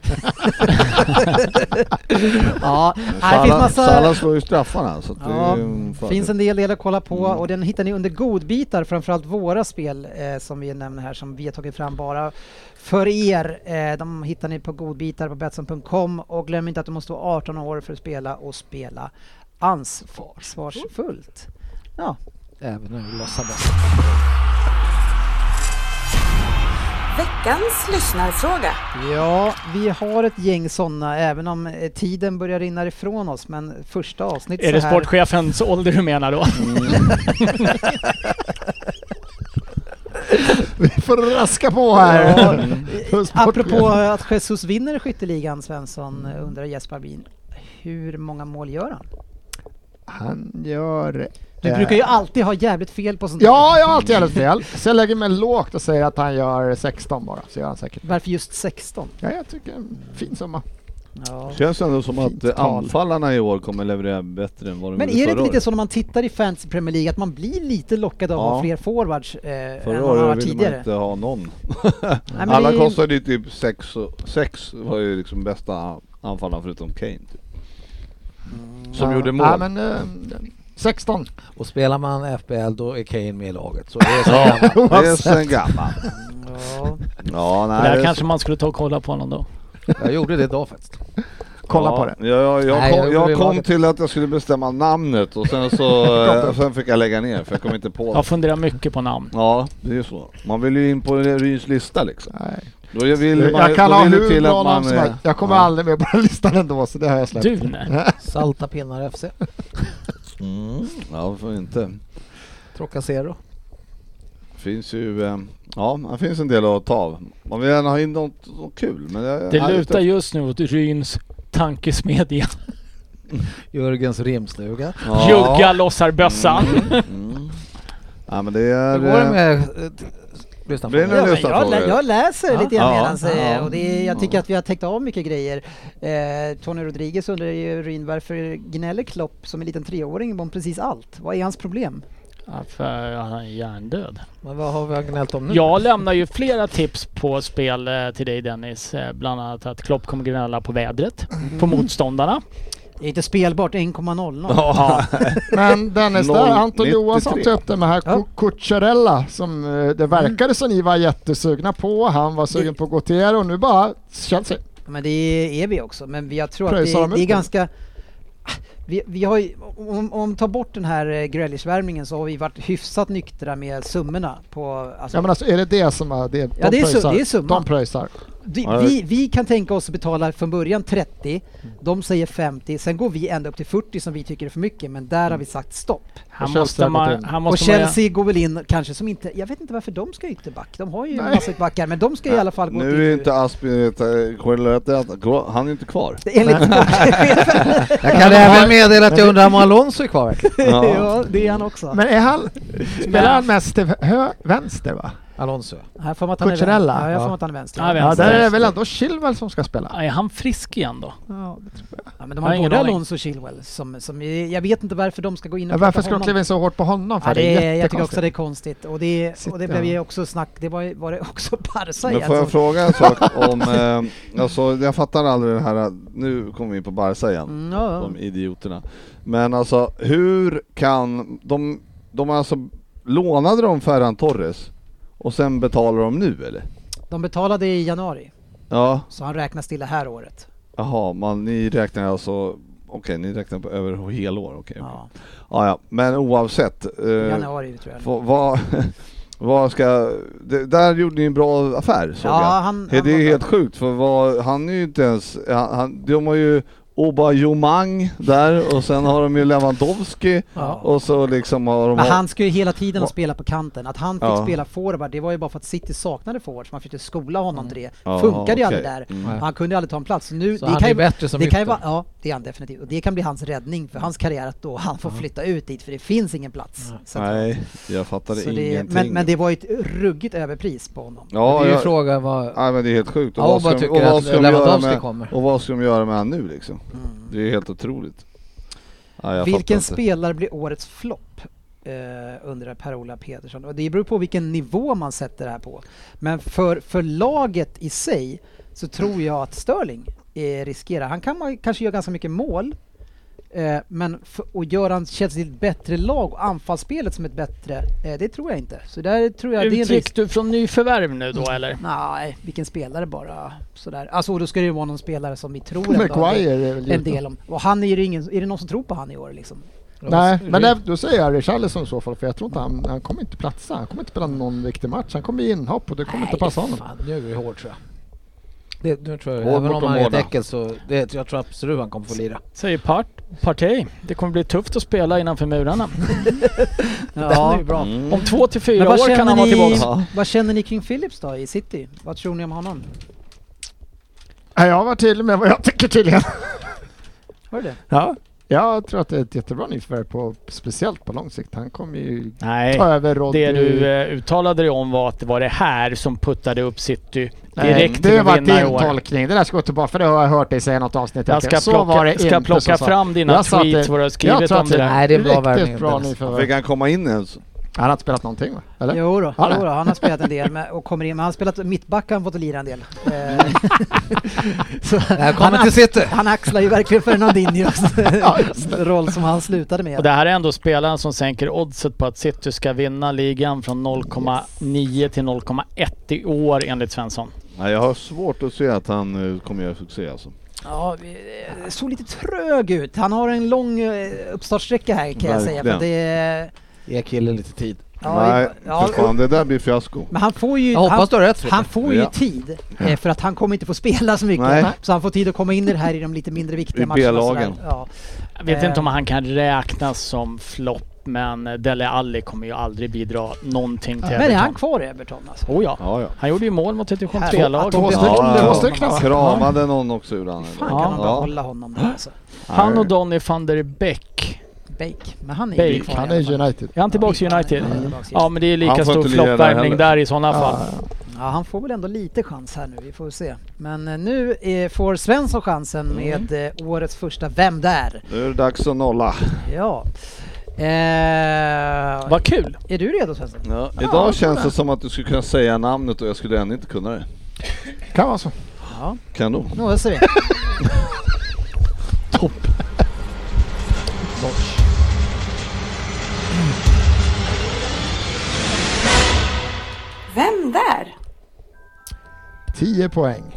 Ja, här finns Salah, massa... Salah slår ju straffarna. Så att eh, det Ja, är ju en fördel. finns en del del att kolla på Mm. och den hittar ni under godbitar, framförallt våra spel eh, som vi nämner här som vi har tagit fram bara för er. Eh, de hittar ni på godbitar på Betsson.com och glöm inte att du måste vara 18 år för att spela och spela ansvarsfullt. Ja, Även när vi lossar bort. Veckans lyssnarfråga. ja vi har ett gäng sådana även om eh, tiden börjar rinna ifrån oss men första avsnitt Är så det här- sportchefens ålder du menar då? Vi får raska på här. Ja, Puss på Apropå er. att Jesus vinner skytteligan Svensson eh, undrar Jesper Bin hur många mål gör han? Han gör... Du eh, brukar ju alltid ha jävligt fel på sånt där. Ja, jag har alltid jävligt fel. Så jag lägger mig lågt och säger att han gör 16 bara. Så gör han säkert. Varför just 16? Ja, jag tycker en fin summa. Ja. Känns ändå som Fint att eh, tal. anfallarna i år kommer leverera bättre än vad de Men gjorde är det Mm, förra inte lite året. så när man tittar i Fantasy Premier League att man blir lite lockad av att Ja. ha fler forwards eh, än Förra vad man har året ville man tidigare? inte ha någon. Nej, men Alla det- kostade ju typ 6 och 6 var ju liksom bästa anfallaren förutom Kane. Typ. Som Ja. gjorde mål. Ja, men, eh, 16. Och spelar man FBL då är Kane med i laget. Så det är så gammalt. det är sen gammal. Ja. Ja, nej, där det är kanske så- man skulle ta och kolla på honom då. Jag gjorde det idag faktiskt. Kolla ja, på det. Jag, jag, Nej, kom, jag jag vill kom laget. till att jag skulle bestämma namnet och sen så eh, sen fick jag lägga ner för jag kom inte på det. Jag funderar mycket på namn. Ja, det är ju så. Man vill ju in på Ryns lista liksom. Nej. Då vill man, jag kan då ha vill det hur till bra att man, namn som helst. eh, Jag kommer ja. aldrig med på den listan ändå så det har jag släppt. Dune. Salta pinnar FC. Mm. Ja, varför inte? Trocacero. Finns ju, eh, ja, det finns en del att ta av. Man vill gärna ha in något, något kul. Men jag, Det lutar just nu åt Ryns tankesmedja. Jörgens rimstuga. Ja. Jugga lossar bössan. Mm. Ja men det är... Hur går det eh, med... eh, t- Lyssna på Blir det mig. Ja, men jag, någon- nästa fråga. lä- jag läser Ja. lite grann Ja. medans, eh, Ja. och det är, jag tycker att vi har täckt av mycket grejer. Eh, Tony Rodriguez undrar ju Ryn varför gnäller Klopp som en liten treåring om precis allt? Vad är hans problem? Ja, för han är hjärndöd. Men vad har vi gnällt Mm. om nu? Jag lämnar ju flera tips på spel eh, till dig Dennis. Eh, Bland annat att Klopp kommer gnälla på vädret, Mm. på motståndarna. Det är inte spelbart 1,00. Ja. Men Dennis, där, Anton 0,93. Johansson tog upp det med här Ja. Mm. ja. Cucurella som eh, det verkade som ni var jättesugna på. Han var sugen på Gautier och nu bara Chelsea. Men det är vi också, men jag tror att Pröjsar det, de det är ut det? ganska... Vi, vi har ju, om, om ta bort den här eh, Grealish-värmningen så har vi varit hyfsat nyktra med summorna på... Alltså, Ja men alltså är det det som är det? De Ja, det är su- pröjsar. det är summan. De pröjsar. vi, Ja, vi, vi kan tänka oss att betala från början 30, Mm. de säger 50, sen går vi ända upp till 40 som vi tycker är för mycket, men där Mm. har vi sagt stopp. Han Och måste Chelsea har gått man... in. Han Och måste man Chelsea går väl in kanske som inte... Jag vet inte varför de ska ytterback, de har ju Nej. massa ytterbackar, men de ska i alla fall gå till... Nu är inte Aspin, han är inte kvar. Enligt sportchefen. Jag kan även meddela att jag undrar om Alonso är kvar verkligen. ja, det är han också. Men är han, spelar han mest till hö- vänster va? Alonso. Här får man att han är vän- Cucurella. Ja, jag får Ja. man att han är vänster. Ja, Ja, vänster. där är det väl ändå Chilwell som ska spela? Ja, Är han frisk igen då? Ja, Ja, men de Jag har har ingen både aning. Alonso och Chilwell som, som, jag vet inte varför de ska gå in och varför plocka ska de honom. kliva in så hårt på honom? För Ja, det är jag tycker också jättekonstigt. det är konstigt och det, och det Sitter blev ju han. också snack, det var, ju- var det också Barca Men igen får jag som- fråga en sak om, eh, alltså jag fattar aldrig det här, eh, nu kommer vi in på Barca igen, Mm, ja, ja. de idioterna. Men alltså hur kan, de, de har alltså, lånade de Ferran Torres och sen betalar de nu eller? De betalade i januari, Ja, så han räknas till det här året. jaha, man, ni räknar alltså, okej ni räknar på över helår, okej. okej. Ja, Ja, ja, men oavsett. eh, januari tror jag. Vad, vad, vad ska, det, där gjorde ni en bra affär såg Ja, jag. han- det han är var bra. helt sjukt för vad, han är ju inte ens, han, han, de har ju Obajomang där och sen har de ju Lewandowski Ja. och så liksom har de... Men han ska ju hela tiden Ja. spela på kanten. Att han fick Ja. spela forward, det var ju bara för att City saknade forwards. Man fick ju skola honom till det. Mm. Ja, Funkade ju aldrig okej. där. Mm. Han kunde ju aldrig ta en plats. Nu, Så det han kan är ju bättre som det kan ju ytter. vara, ja, det är han definitivt. Och det kan bli hans räddning för hans karriär att då han får flytta ut dit för det finns ingen plats. Så att- Nej, jag fattade så det, ingenting. men, men det var ju ett ruggigt överpris på honom. ja, det är ju jag, frågan vad... nej, men det är helt sjukt. Ja, vad tycker att de Lewandowski göra med, kommer? och vad ska de göra med han nu liksom? Det är helt otroligt. Ja, jag fattar Mm. vilken inte. spelare blir årets flopp? Uh, undrar Per-Ola Petersson. Och det beror på vilken nivå man sätter det här på. Men för, för laget i sig så tror jag att Sterling eh, riskerar. Han kan man, kanske göra ganska mycket mål. eh, men för, och gör han Chelsea till ett bättre lag och anfallsspelet som ett bättre, eh, det tror jag inte. Så där tror jag det är en risk. Uttrycks du från nyförvärv nu då eller? Nej, vilken spelare bara sådär. Alltså och då ska det ju vara någon spelare som vi tror ändå en, Maguire är en väl givet. del om. Och han är ju ingen, är det någon som tror på han i år liksom? Nej, men det, då säger jag Richarlison i så fall, för jag tror inte han, han kommer inte platsa. Han kommer inte spela någon viktig match. Han kommer bli inhopp och det kommer inte passa honom. Fan, nu är det hårt tror jag. Det, nu tror jag, Hård även mot om han är ett Pomona. äckel så... Det, jag tror absolut han kommer få lira. Säger part, Partey. Det kommer bli tufft att spela innanför murarna. Den är ju bra. Mm. Om två till fyra Mm. Men vad år kan känner han vara ni- tillbaka. Vad känner ni kring Philips då i City? Vad tror ni om honom? Nej, Jag var tydlig med vad jag tycker tydligen. Hör du det? Ja. Jag tror att det är ett jättebra nyförvärv, på, speciellt på lång sikt. Han kommer ju Nej, ta över Rodri. det du eh, uttalade dig om var att det var det här som puttade upp City Nej, direkt det till var att vinna i din år. tolkning. Det där ska gå tillbaka, för det har jag hört dig säga i något avsnitt. Jag ska så plocka, var det ska inte, plocka så sa- fram dina Jag sa att tweets, det- vad du har Jag skrivit tror om att det där. Nej, det är en bra värvning, Riktigt bra Dennis. Fick nyförvärv. han komma in ens? Han har inte spelat någonting va? Eller? Jo då, Ja, det. jo då, han har spelat en del med, och kommer in, men han har spelat mittback har han fått lira en del. Eh, så Välkommen han, till City! han axlar ju verkligen Fernandinhos Ja, just roll som han slutade Och med. det här är ändå spelaren som sänker oddset på att City ska vinna ligan från 0,9 till 0,1 i år enligt Svensson. Nej, jag har svårt att se att han eh, kommer göra succé alltså. Ja, vi- eh, såg lite trög ut. Han har en lång eh, uppstartssträcka här kan jag säga. För Verkligen. det, Ge killen lite tid. ja, Nej, ja, för fan, det där blir fiasko. men han får ju... Jag hoppas du har rätt Han Frippe. får ju Ja. tid eh, för att han kommer inte få spela så mycket. Nej. Så han får tid att komma in i det här i de lite mindre viktiga I matcherna. och B-lagen. sådär. Ja. Jag vet Eh. inte om han kan räknas som flopp, men Dele Alli kommer ju aldrig bidra någonting till Men är han Everton. kvar i Everton alltså? Oh ja. Ja, ja. Han gjorde ju mål mot ett division Här. 3-lag. Två stycken. Två stycken va? Kramade någon också ur han. Fan Ja. kan de behålla honom där alltså? Han och Donny van der Beck. Bake. Men han är Bake. ju kvar i Han alla är fall. United. Är han tillbaka i United? Han är tillbaks i- Ja men det är lika Han får stor inte lira där floppvärvning heller. där i sådana fall. Ja, han får väl ändå lite chans här nu, vi får se. Men eh, nu eh, får Svensson chansen med eh, årets första Vem där? Nu är det dags att nolla. Ja. Eh, Vad kul! är du redo Svensson? Idag känns det som att du skulle kunna säga namnet och jag skulle ändå inte kunna det. Kan vara så. Kanon. Nu öser vi. Vem där? 10 poäng.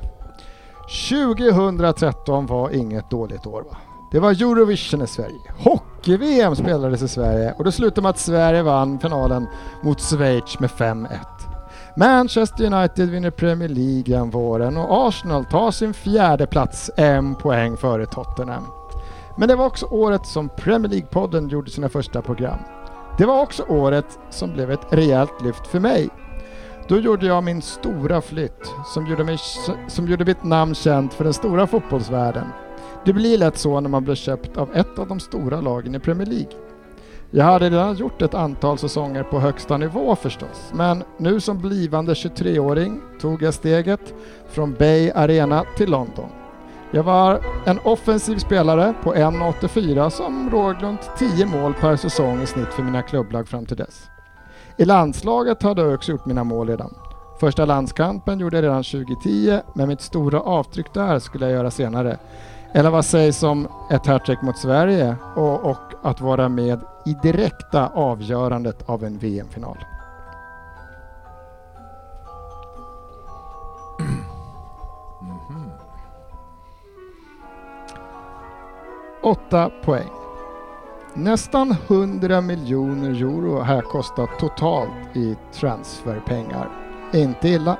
2013 var inget dåligt år va? Det var Eurovision i Sverige. Hockey-VM spelades i Sverige och det slutade med att Sverige vann finalen mot Schweiz med 5-1. Manchester United vinner Premier League den våren och Arsenal tar sin fjärde plats en poäng före Tottenham. Men det var också året som Premier League-podden gjorde sina första program. Det var också året som blev ett rejält lyft för mig då gjorde jag min stora flytt som gjorde, mig, som gjorde mitt namn känt för den stora fotbollsvärlden. Det blir lätt så när man blir köpt av ett av de stora lagen i Premier League. Jag hade redan gjort ett antal säsonger på högsta nivå förstås, men nu som blivande 23-åring tog jag steget från Bay Arena till London. Jag var en offensiv spelare på 1,84 som låg runt 10 mål per säsong i snitt för mina klubblag fram till dess. I landslaget hade jag också gjort mina mål redan. Första landskampen gjorde jag redan 2010, men mitt stora avtryck där skulle jag göra senare. Eller vad sägs om ett hattrick mot Sverige och, och att vara med i direkta avgörandet av en VM-final? Åtta poäng. Nästan 100 miljoner euro här kostat totalt i transferpengar. Inte illa.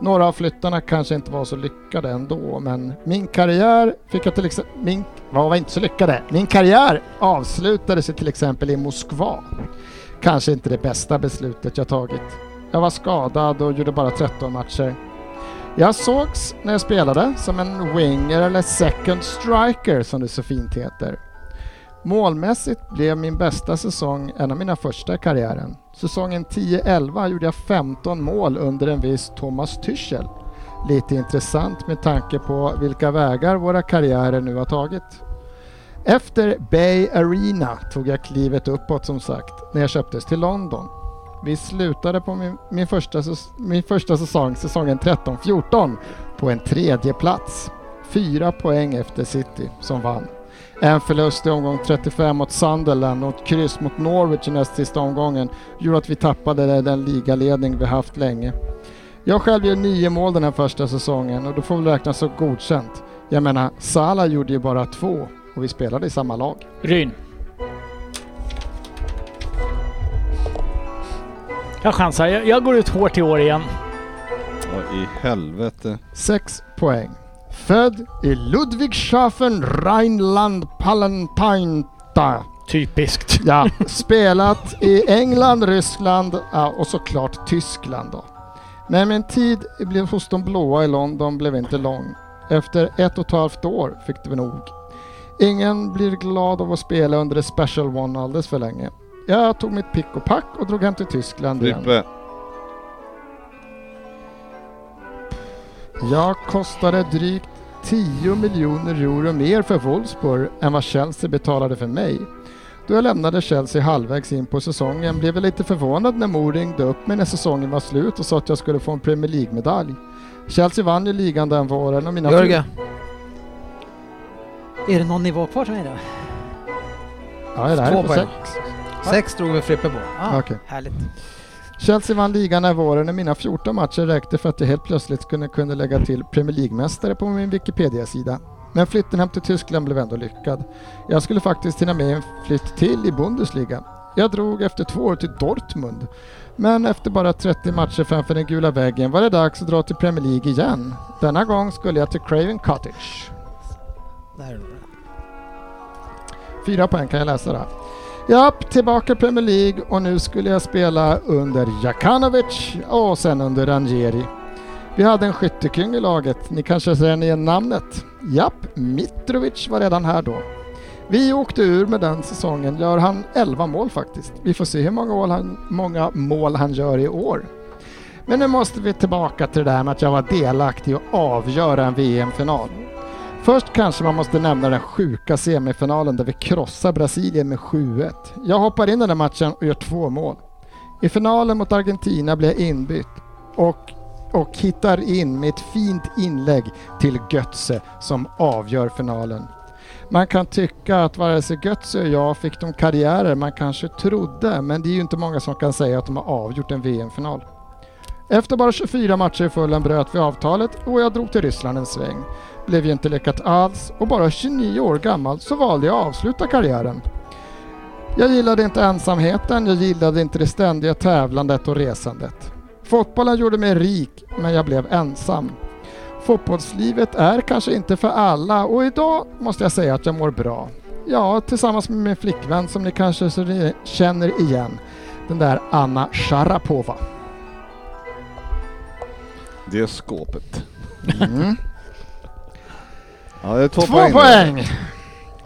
Några av flyttarna kanske inte var så lyckade ändå, men min karriär fick jag till exempel... Min... Vad var inte så lyckade? Min karriär avslutades till exempel i Moskva. Kanske inte det bästa beslutet jag tagit. Jag var skadad och gjorde bara 13 matcher. Jag sågs när jag spelade som en winger eller second striker som det så fint heter. Målmässigt blev min bästa säsong en av mina första i karriären. Säsongen 10-11 gjorde jag 15 mål under en viss Thomas Tyschel. Lite intressant med tanke på vilka vägar våra karriärer nu har tagit. Efter Bay Arena tog jag klivet uppåt som sagt när jag köptes till London. Vi slutade på min, min, första, säs- min första säsong, säsongen 13-14, på en tredje plats. Fyra poäng efter City som vann. En förlust i omgång 35 mot Sunderland och ett kryss mot Norwich i näst sista omgången gjorde att vi tappade den ligaledning vi haft länge. Jag själv gör nio mål den här första säsongen och då får väl räknas som godkänt. Jag menar, Salah gjorde ju bara två och vi spelade i samma lag. Ryn. Jag chansar. Jag, jag går ut hårt i år igen. Vad i helvete. Sex poäng. Född i Ludwigshafen, Rheinland, Palantinta. Typiskt. Ja, spelat i England, Ryssland ja, och såklart Tyskland då. Men min tid blev hos de blåa i London blev inte lång. Efter ett och ett halvt år fick det nog. Ingen blir glad av att spela under the special one alldeles för länge. Jag tog mitt pick och pack och drog hem till Tyskland igen. Frippe. Jag kostade drygt 10 miljoner euro mer för Wolfsburg än vad Chelsea betalade för mig. Då jag lämnade Chelsea halvvägs in på säsongen blev jag lite förvånad när Moore ringde upp mig när säsongen var slut och sa att jag skulle få en Premier League-medalj. Chelsea vann ju ligan den våren och mina... Jörgen. Är det någon nivå kvar till mig då? Ja, det här Två är på poäng. sex. Sex drog vi Frippe på. Ah, Okej. Härligt. Chelsea vann ligan den våren när mina 14 matcher räckte för att jag helt plötsligt kunde, kunde lägga till Premier League-mästare på min Wikipedia-sida. Men flytten hem till Tyskland blev ändå lyckad. Jag skulle faktiskt hinna med en flytt till i Bundesliga. Jag drog efter två år till Dortmund. Men efter bara 30 matcher framför den gula väggen var det dags att dra till Premier League igen. Denna gång skulle jag till Craven Cottage. Fyra poäng kan jag läsa det här. Japp, tillbaka i Premier League och nu skulle jag spela under Jakanovic och sen under Ranieri. Vi hade en skyttekung i laget, ni kanske känner igen namnet? Japp, Mitrovic var redan här då. Vi åkte ur med den säsongen, gör han 11 mål faktiskt. Vi får se hur många mål han, många mål han gör i år. Men nu måste vi tillbaka till det där med att jag var delaktig och avgöra en VM-final. Först kanske man måste nämna den sjuka semifinalen där vi krossar Brasilien med 7-1. Jag hoppar in i den matchen och gör två mål. I finalen mot Argentina blir jag inbytt och, och hittar in med ett fint inlägg till Götze som avgör finalen. Man kan tycka att vare sig Götze och jag fick de karriärer man kanske trodde men det är ju inte många som kan säga att de har avgjort en VM-final. Efter bara 24 matcher i fullen bröt vi avtalet och jag drog till Ryssland en sväng blev ju inte lyckat alls och bara 29 år gammal så valde jag att avsluta karriären. Jag gillade inte ensamheten, jag gillade inte det ständiga tävlandet och resandet. Fotbollen gjorde mig rik, men jag blev ensam. Fotbollslivet är kanske inte för alla och idag måste jag säga att jag mår bra. Ja, tillsammans med min flickvän som ni kanske så re- känner igen. Den där Anna Sharapova. Det är skåpet. Mm. Ja, det är två, Två poäng!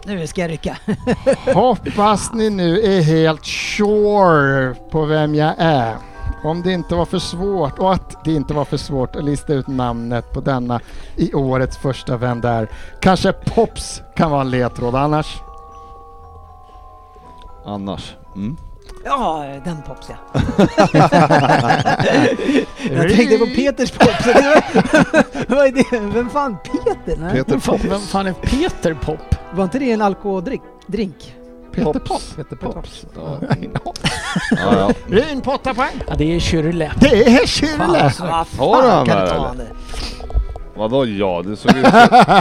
Nu ska jag rycka. Hoppas ni nu är helt sure på vem jag är. Om det inte var för svårt och att det inte var för svårt att lista ut namnet på denna i årets första Vem där? Kanske Pops kan vara en ledtråd annars. Annars. Mm. Ja, den pops ja. jag tänkte på Peters pops. Det var- Vad är det? Vem fan Peter? Nej. Peter Pops. Vem fan är Peter Pop? Var inte det en alkoholdrink? Drink? Peter Pops. Pops. Peter Pops. Ja, mm. ja, ja. Ryn på åtta poäng. Ja, det är Kyrle. Det är Schürrle! Vad Har du han kan här, du ta eller? han det? Vadå ja? Du, såg ut,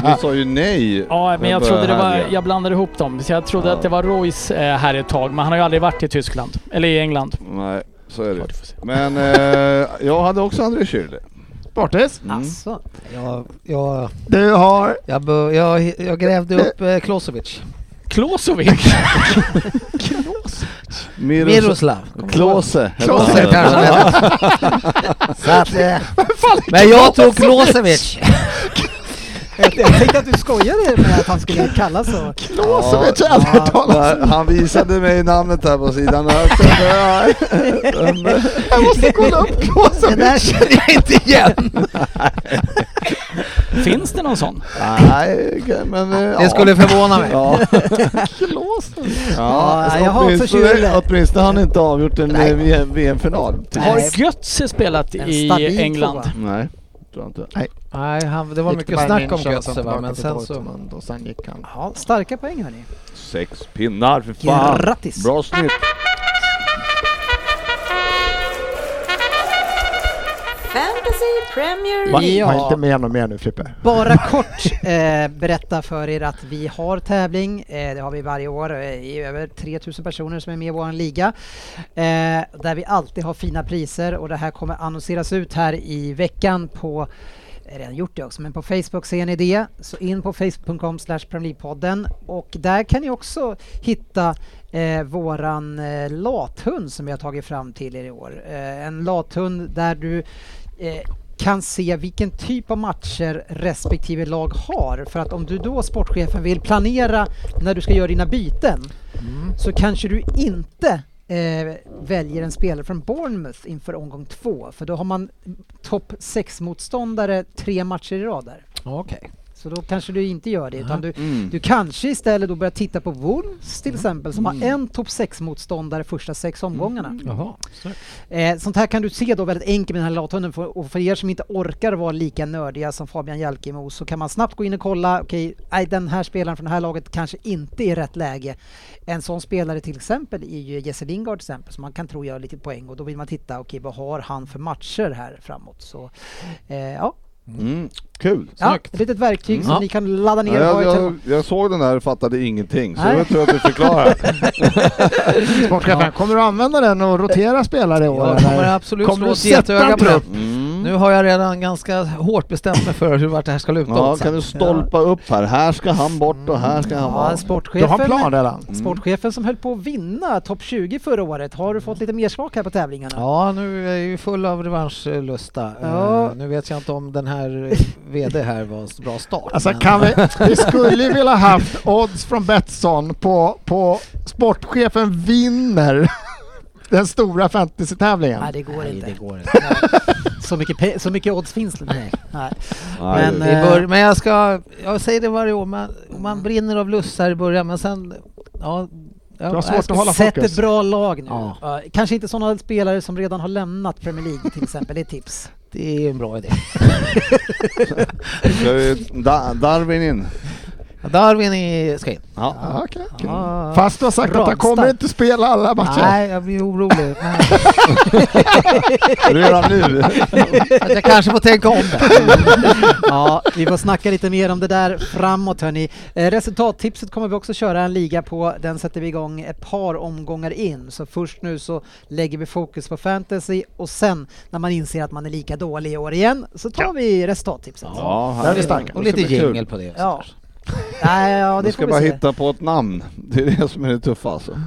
du sa ju nej. Ja, men jag Vem trodde det var... härliga? Jag blandade ihop dem. Så jag trodde Ja. att det var Royce eh, här ett tag, men han har ju aldrig varit i Tyskland. Eller i England. Nej, så är Ja, det. du får se. Men eh, jag hade också André Schürrle. Bortis. Mm. Asså. Jag, jag, Du har jag, bör- jag, jag grävde upp eh, Klosovic. Klosovic! Miroslav. Klose. Klose kanske han hette. Så att, eh, Men jag tog Klosevic. Jag jag tänkte att du skojade med att han skulle kallas så. Klåsevets Ja, övertalats. Han- Han visade mig namnet här på sidan. Jag kände- Jag måste kolla upp Det där känner jag inte igen. Finns det någon sån? Nej, men... eh, ja. Det skulle förvåna mig. Ja. Klåsevets. Ja, alltså, Ja, jag har också åtminstone, Schürrle. åtminstone har han inte avgjort en eh, VM VM-final. typ. Har Götze spelat En i stabil England? tvåa. Nej, tror jag inte. Nej, han, det var mycket snack om Götze va, men sen så... Dortmund och sen gick han. Ja, starka poäng hörni. Sex pinnar, för fan! Grattis! Bra snitt! Fantasy Premier Va? League. Ja. Var inte med något mer nu Frippe. Bara kort eh, berätta för er att vi har tävling. Eh, det har vi varje år. Eh, Det är över 3000 personer som är med i vår liga. Eh, där vi alltid har fina priser och det här kommer annonseras ut här i veckan på jag har redan gjort det också, men på Facebook ser ni det. Så in på facebook.com slash podden och där kan ni också hitta eh, våran eh, lathund som vi har tagit fram till er i år. Eh, en lathund där du eh, kan se vilken typ av matcher respektive lag har. För att om du då, sportchefen, vill planera när du ska göra dina byten så kanske du inte eh, väljer en spelare från Bournemouth inför omgång två. För då har man topp 6-motståndare tre matcher i rad där. Okej. Så då kanske du inte gör det, utan du, Mm. du kanske istället då börjar titta på Wolves till exempel, som har en topp 6-motståndare första sex omgångarna. Jaha. Eh, sånt här kan du se då väldigt enkelt med den här lathunden för, och för er som inte orkar vara lika nördiga som Fabian Jalkemo så kan man snabbt gå in och kolla, okej, nej den här spelaren från det här laget kanske inte är i rätt läge. En sån spelare till exempel är ju Jesse Lingard till exempel som man kan tro gör lite poäng och då vill man titta, okej vad har han för matcher här framåt? Så, eh, ja. Mm. Kul! ja, ett litet verktyg som Ja. Mm. ni kan ladda ner. Ja, och ha jag, i jag, telefonen. jag såg den där och fattade ingenting, så Nej. det var tur att du förklarade. Sportchefen, kommer du använda den och rotera spelare i år? Jag eller? kommer absolut Kommer slå du ett sätta getöga en på den. trupp? Mm. Nu har jag redan ganska hårt bestämt mig för hur vart det här ska luta Ja, åt sen. kan du stolpa upp här? Här ska han bort och här ska han Ja, vara. Du har en sportchefen, Mm. plan redan? sportchefen som höll på att vinna topp 20 förra året, har du fått lite mer smak här på tävlingarna? Ja, nu är jag ju full av revanschlusta. Ja. Eh, nu vet jag inte om den här eh, VD här var en bra start. Alltså men- kan vi, vi skulle ju vilja haft odds från Betsson på, på sportchefen vinner den stora fantasytävlingen. Nej, det går Nej, inte. det går inte. Så mycket, pe- så mycket odds finns det inte. Nej. Nej, Men, det- I eh, bör- men jag ska, jag säger det varje år, man, Mm. man brinner av lustar i början men sen, ja. ja Du har svårt jag ska- att hålla Sätt fokus. ett bra lag nu. Ja. Ja, Kanske inte sådana spelare som redan har lämnat Premier League till exempel, det är tips. Det är en bra idé. Ska vi- Da- Darwin in. Darwin är, ska in. Ja. Ja, okej, okej. Ja. Fast du har sagt att han Ramstad. kommer inte spela alla matcher. Nej, jag blir orolig. Men Redan nu. att jag kanske får tänka om det. Ja, vi får snacka lite mer om det där framåt hörni. Eh, Resultattipset kommer vi också köra en liga på. Den sätter vi igång ett par omgångar in. Så först nu så lägger vi fokus på fantasy och sen när man inser att man är lika dålig i år igen så tar vi resultattipset. Ja, Där är vi starka. Och lite Det ska bli kul. jingel på det. och Ja. sådär. Nej, ja, det Du får ska vi bara se. hitta på ett namn. Det är det som är det tuffa alltså.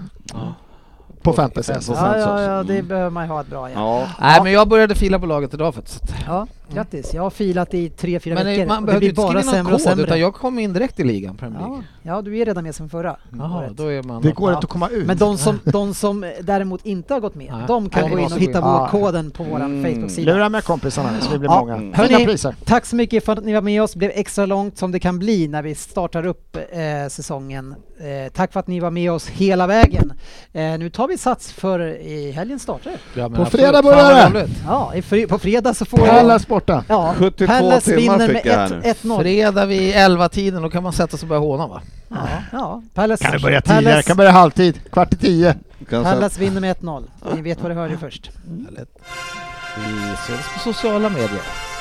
På fantasy. På Ja, ja, ja, Fantasy. det behöver man ju ha ett bra ja. Ja. Nej, men jag började fila på laget idag faktiskt. Ja, grattis. Jag har filat i tre, fyra Men eh, veckor. man och det behövde blir inte bara skriva någon sämre och kod sämre. utan jag kom in direkt i ligan, Premier ja. League. ja, du är redan med sen förra Jaha, året. då är man... Det går Ja. inte att komma ut. Men de som, de som däremot inte har gått med, Ja. de Ja, kan gå in det måste och vi. hitta Ja. på koden på vår Mm. Facebook-sida. Lura med kompisarna så vi blir Ja. Mm. många. Hörni. Fina priser. Tack så mycket för att ni var med oss. Det blev extra långt som det kan bli när vi startar upp eh, säsongen. Eh, tack för att ni var med oss hela vägen. Eh, nu tar vi sats för i helgen startar det. Ja, men På absolut. Fan, fredag vad börjar det. roligt. Ja, i fre- på fredag så får Pallas borta. Ja, 72 Palace timmar vinner med fick jag här nu. 1-0. Fredag vid 11-tiden, då kan man sätta sig och börja håna va? Ja, ja. Palace, Kan vi börja Palace- tidigare? Kan börja halvtid. Kvart i tio. Kan jag säga- Pallas vinner med 1-0. Ni vet vad ni hörde först. Vi syns på sociala medier.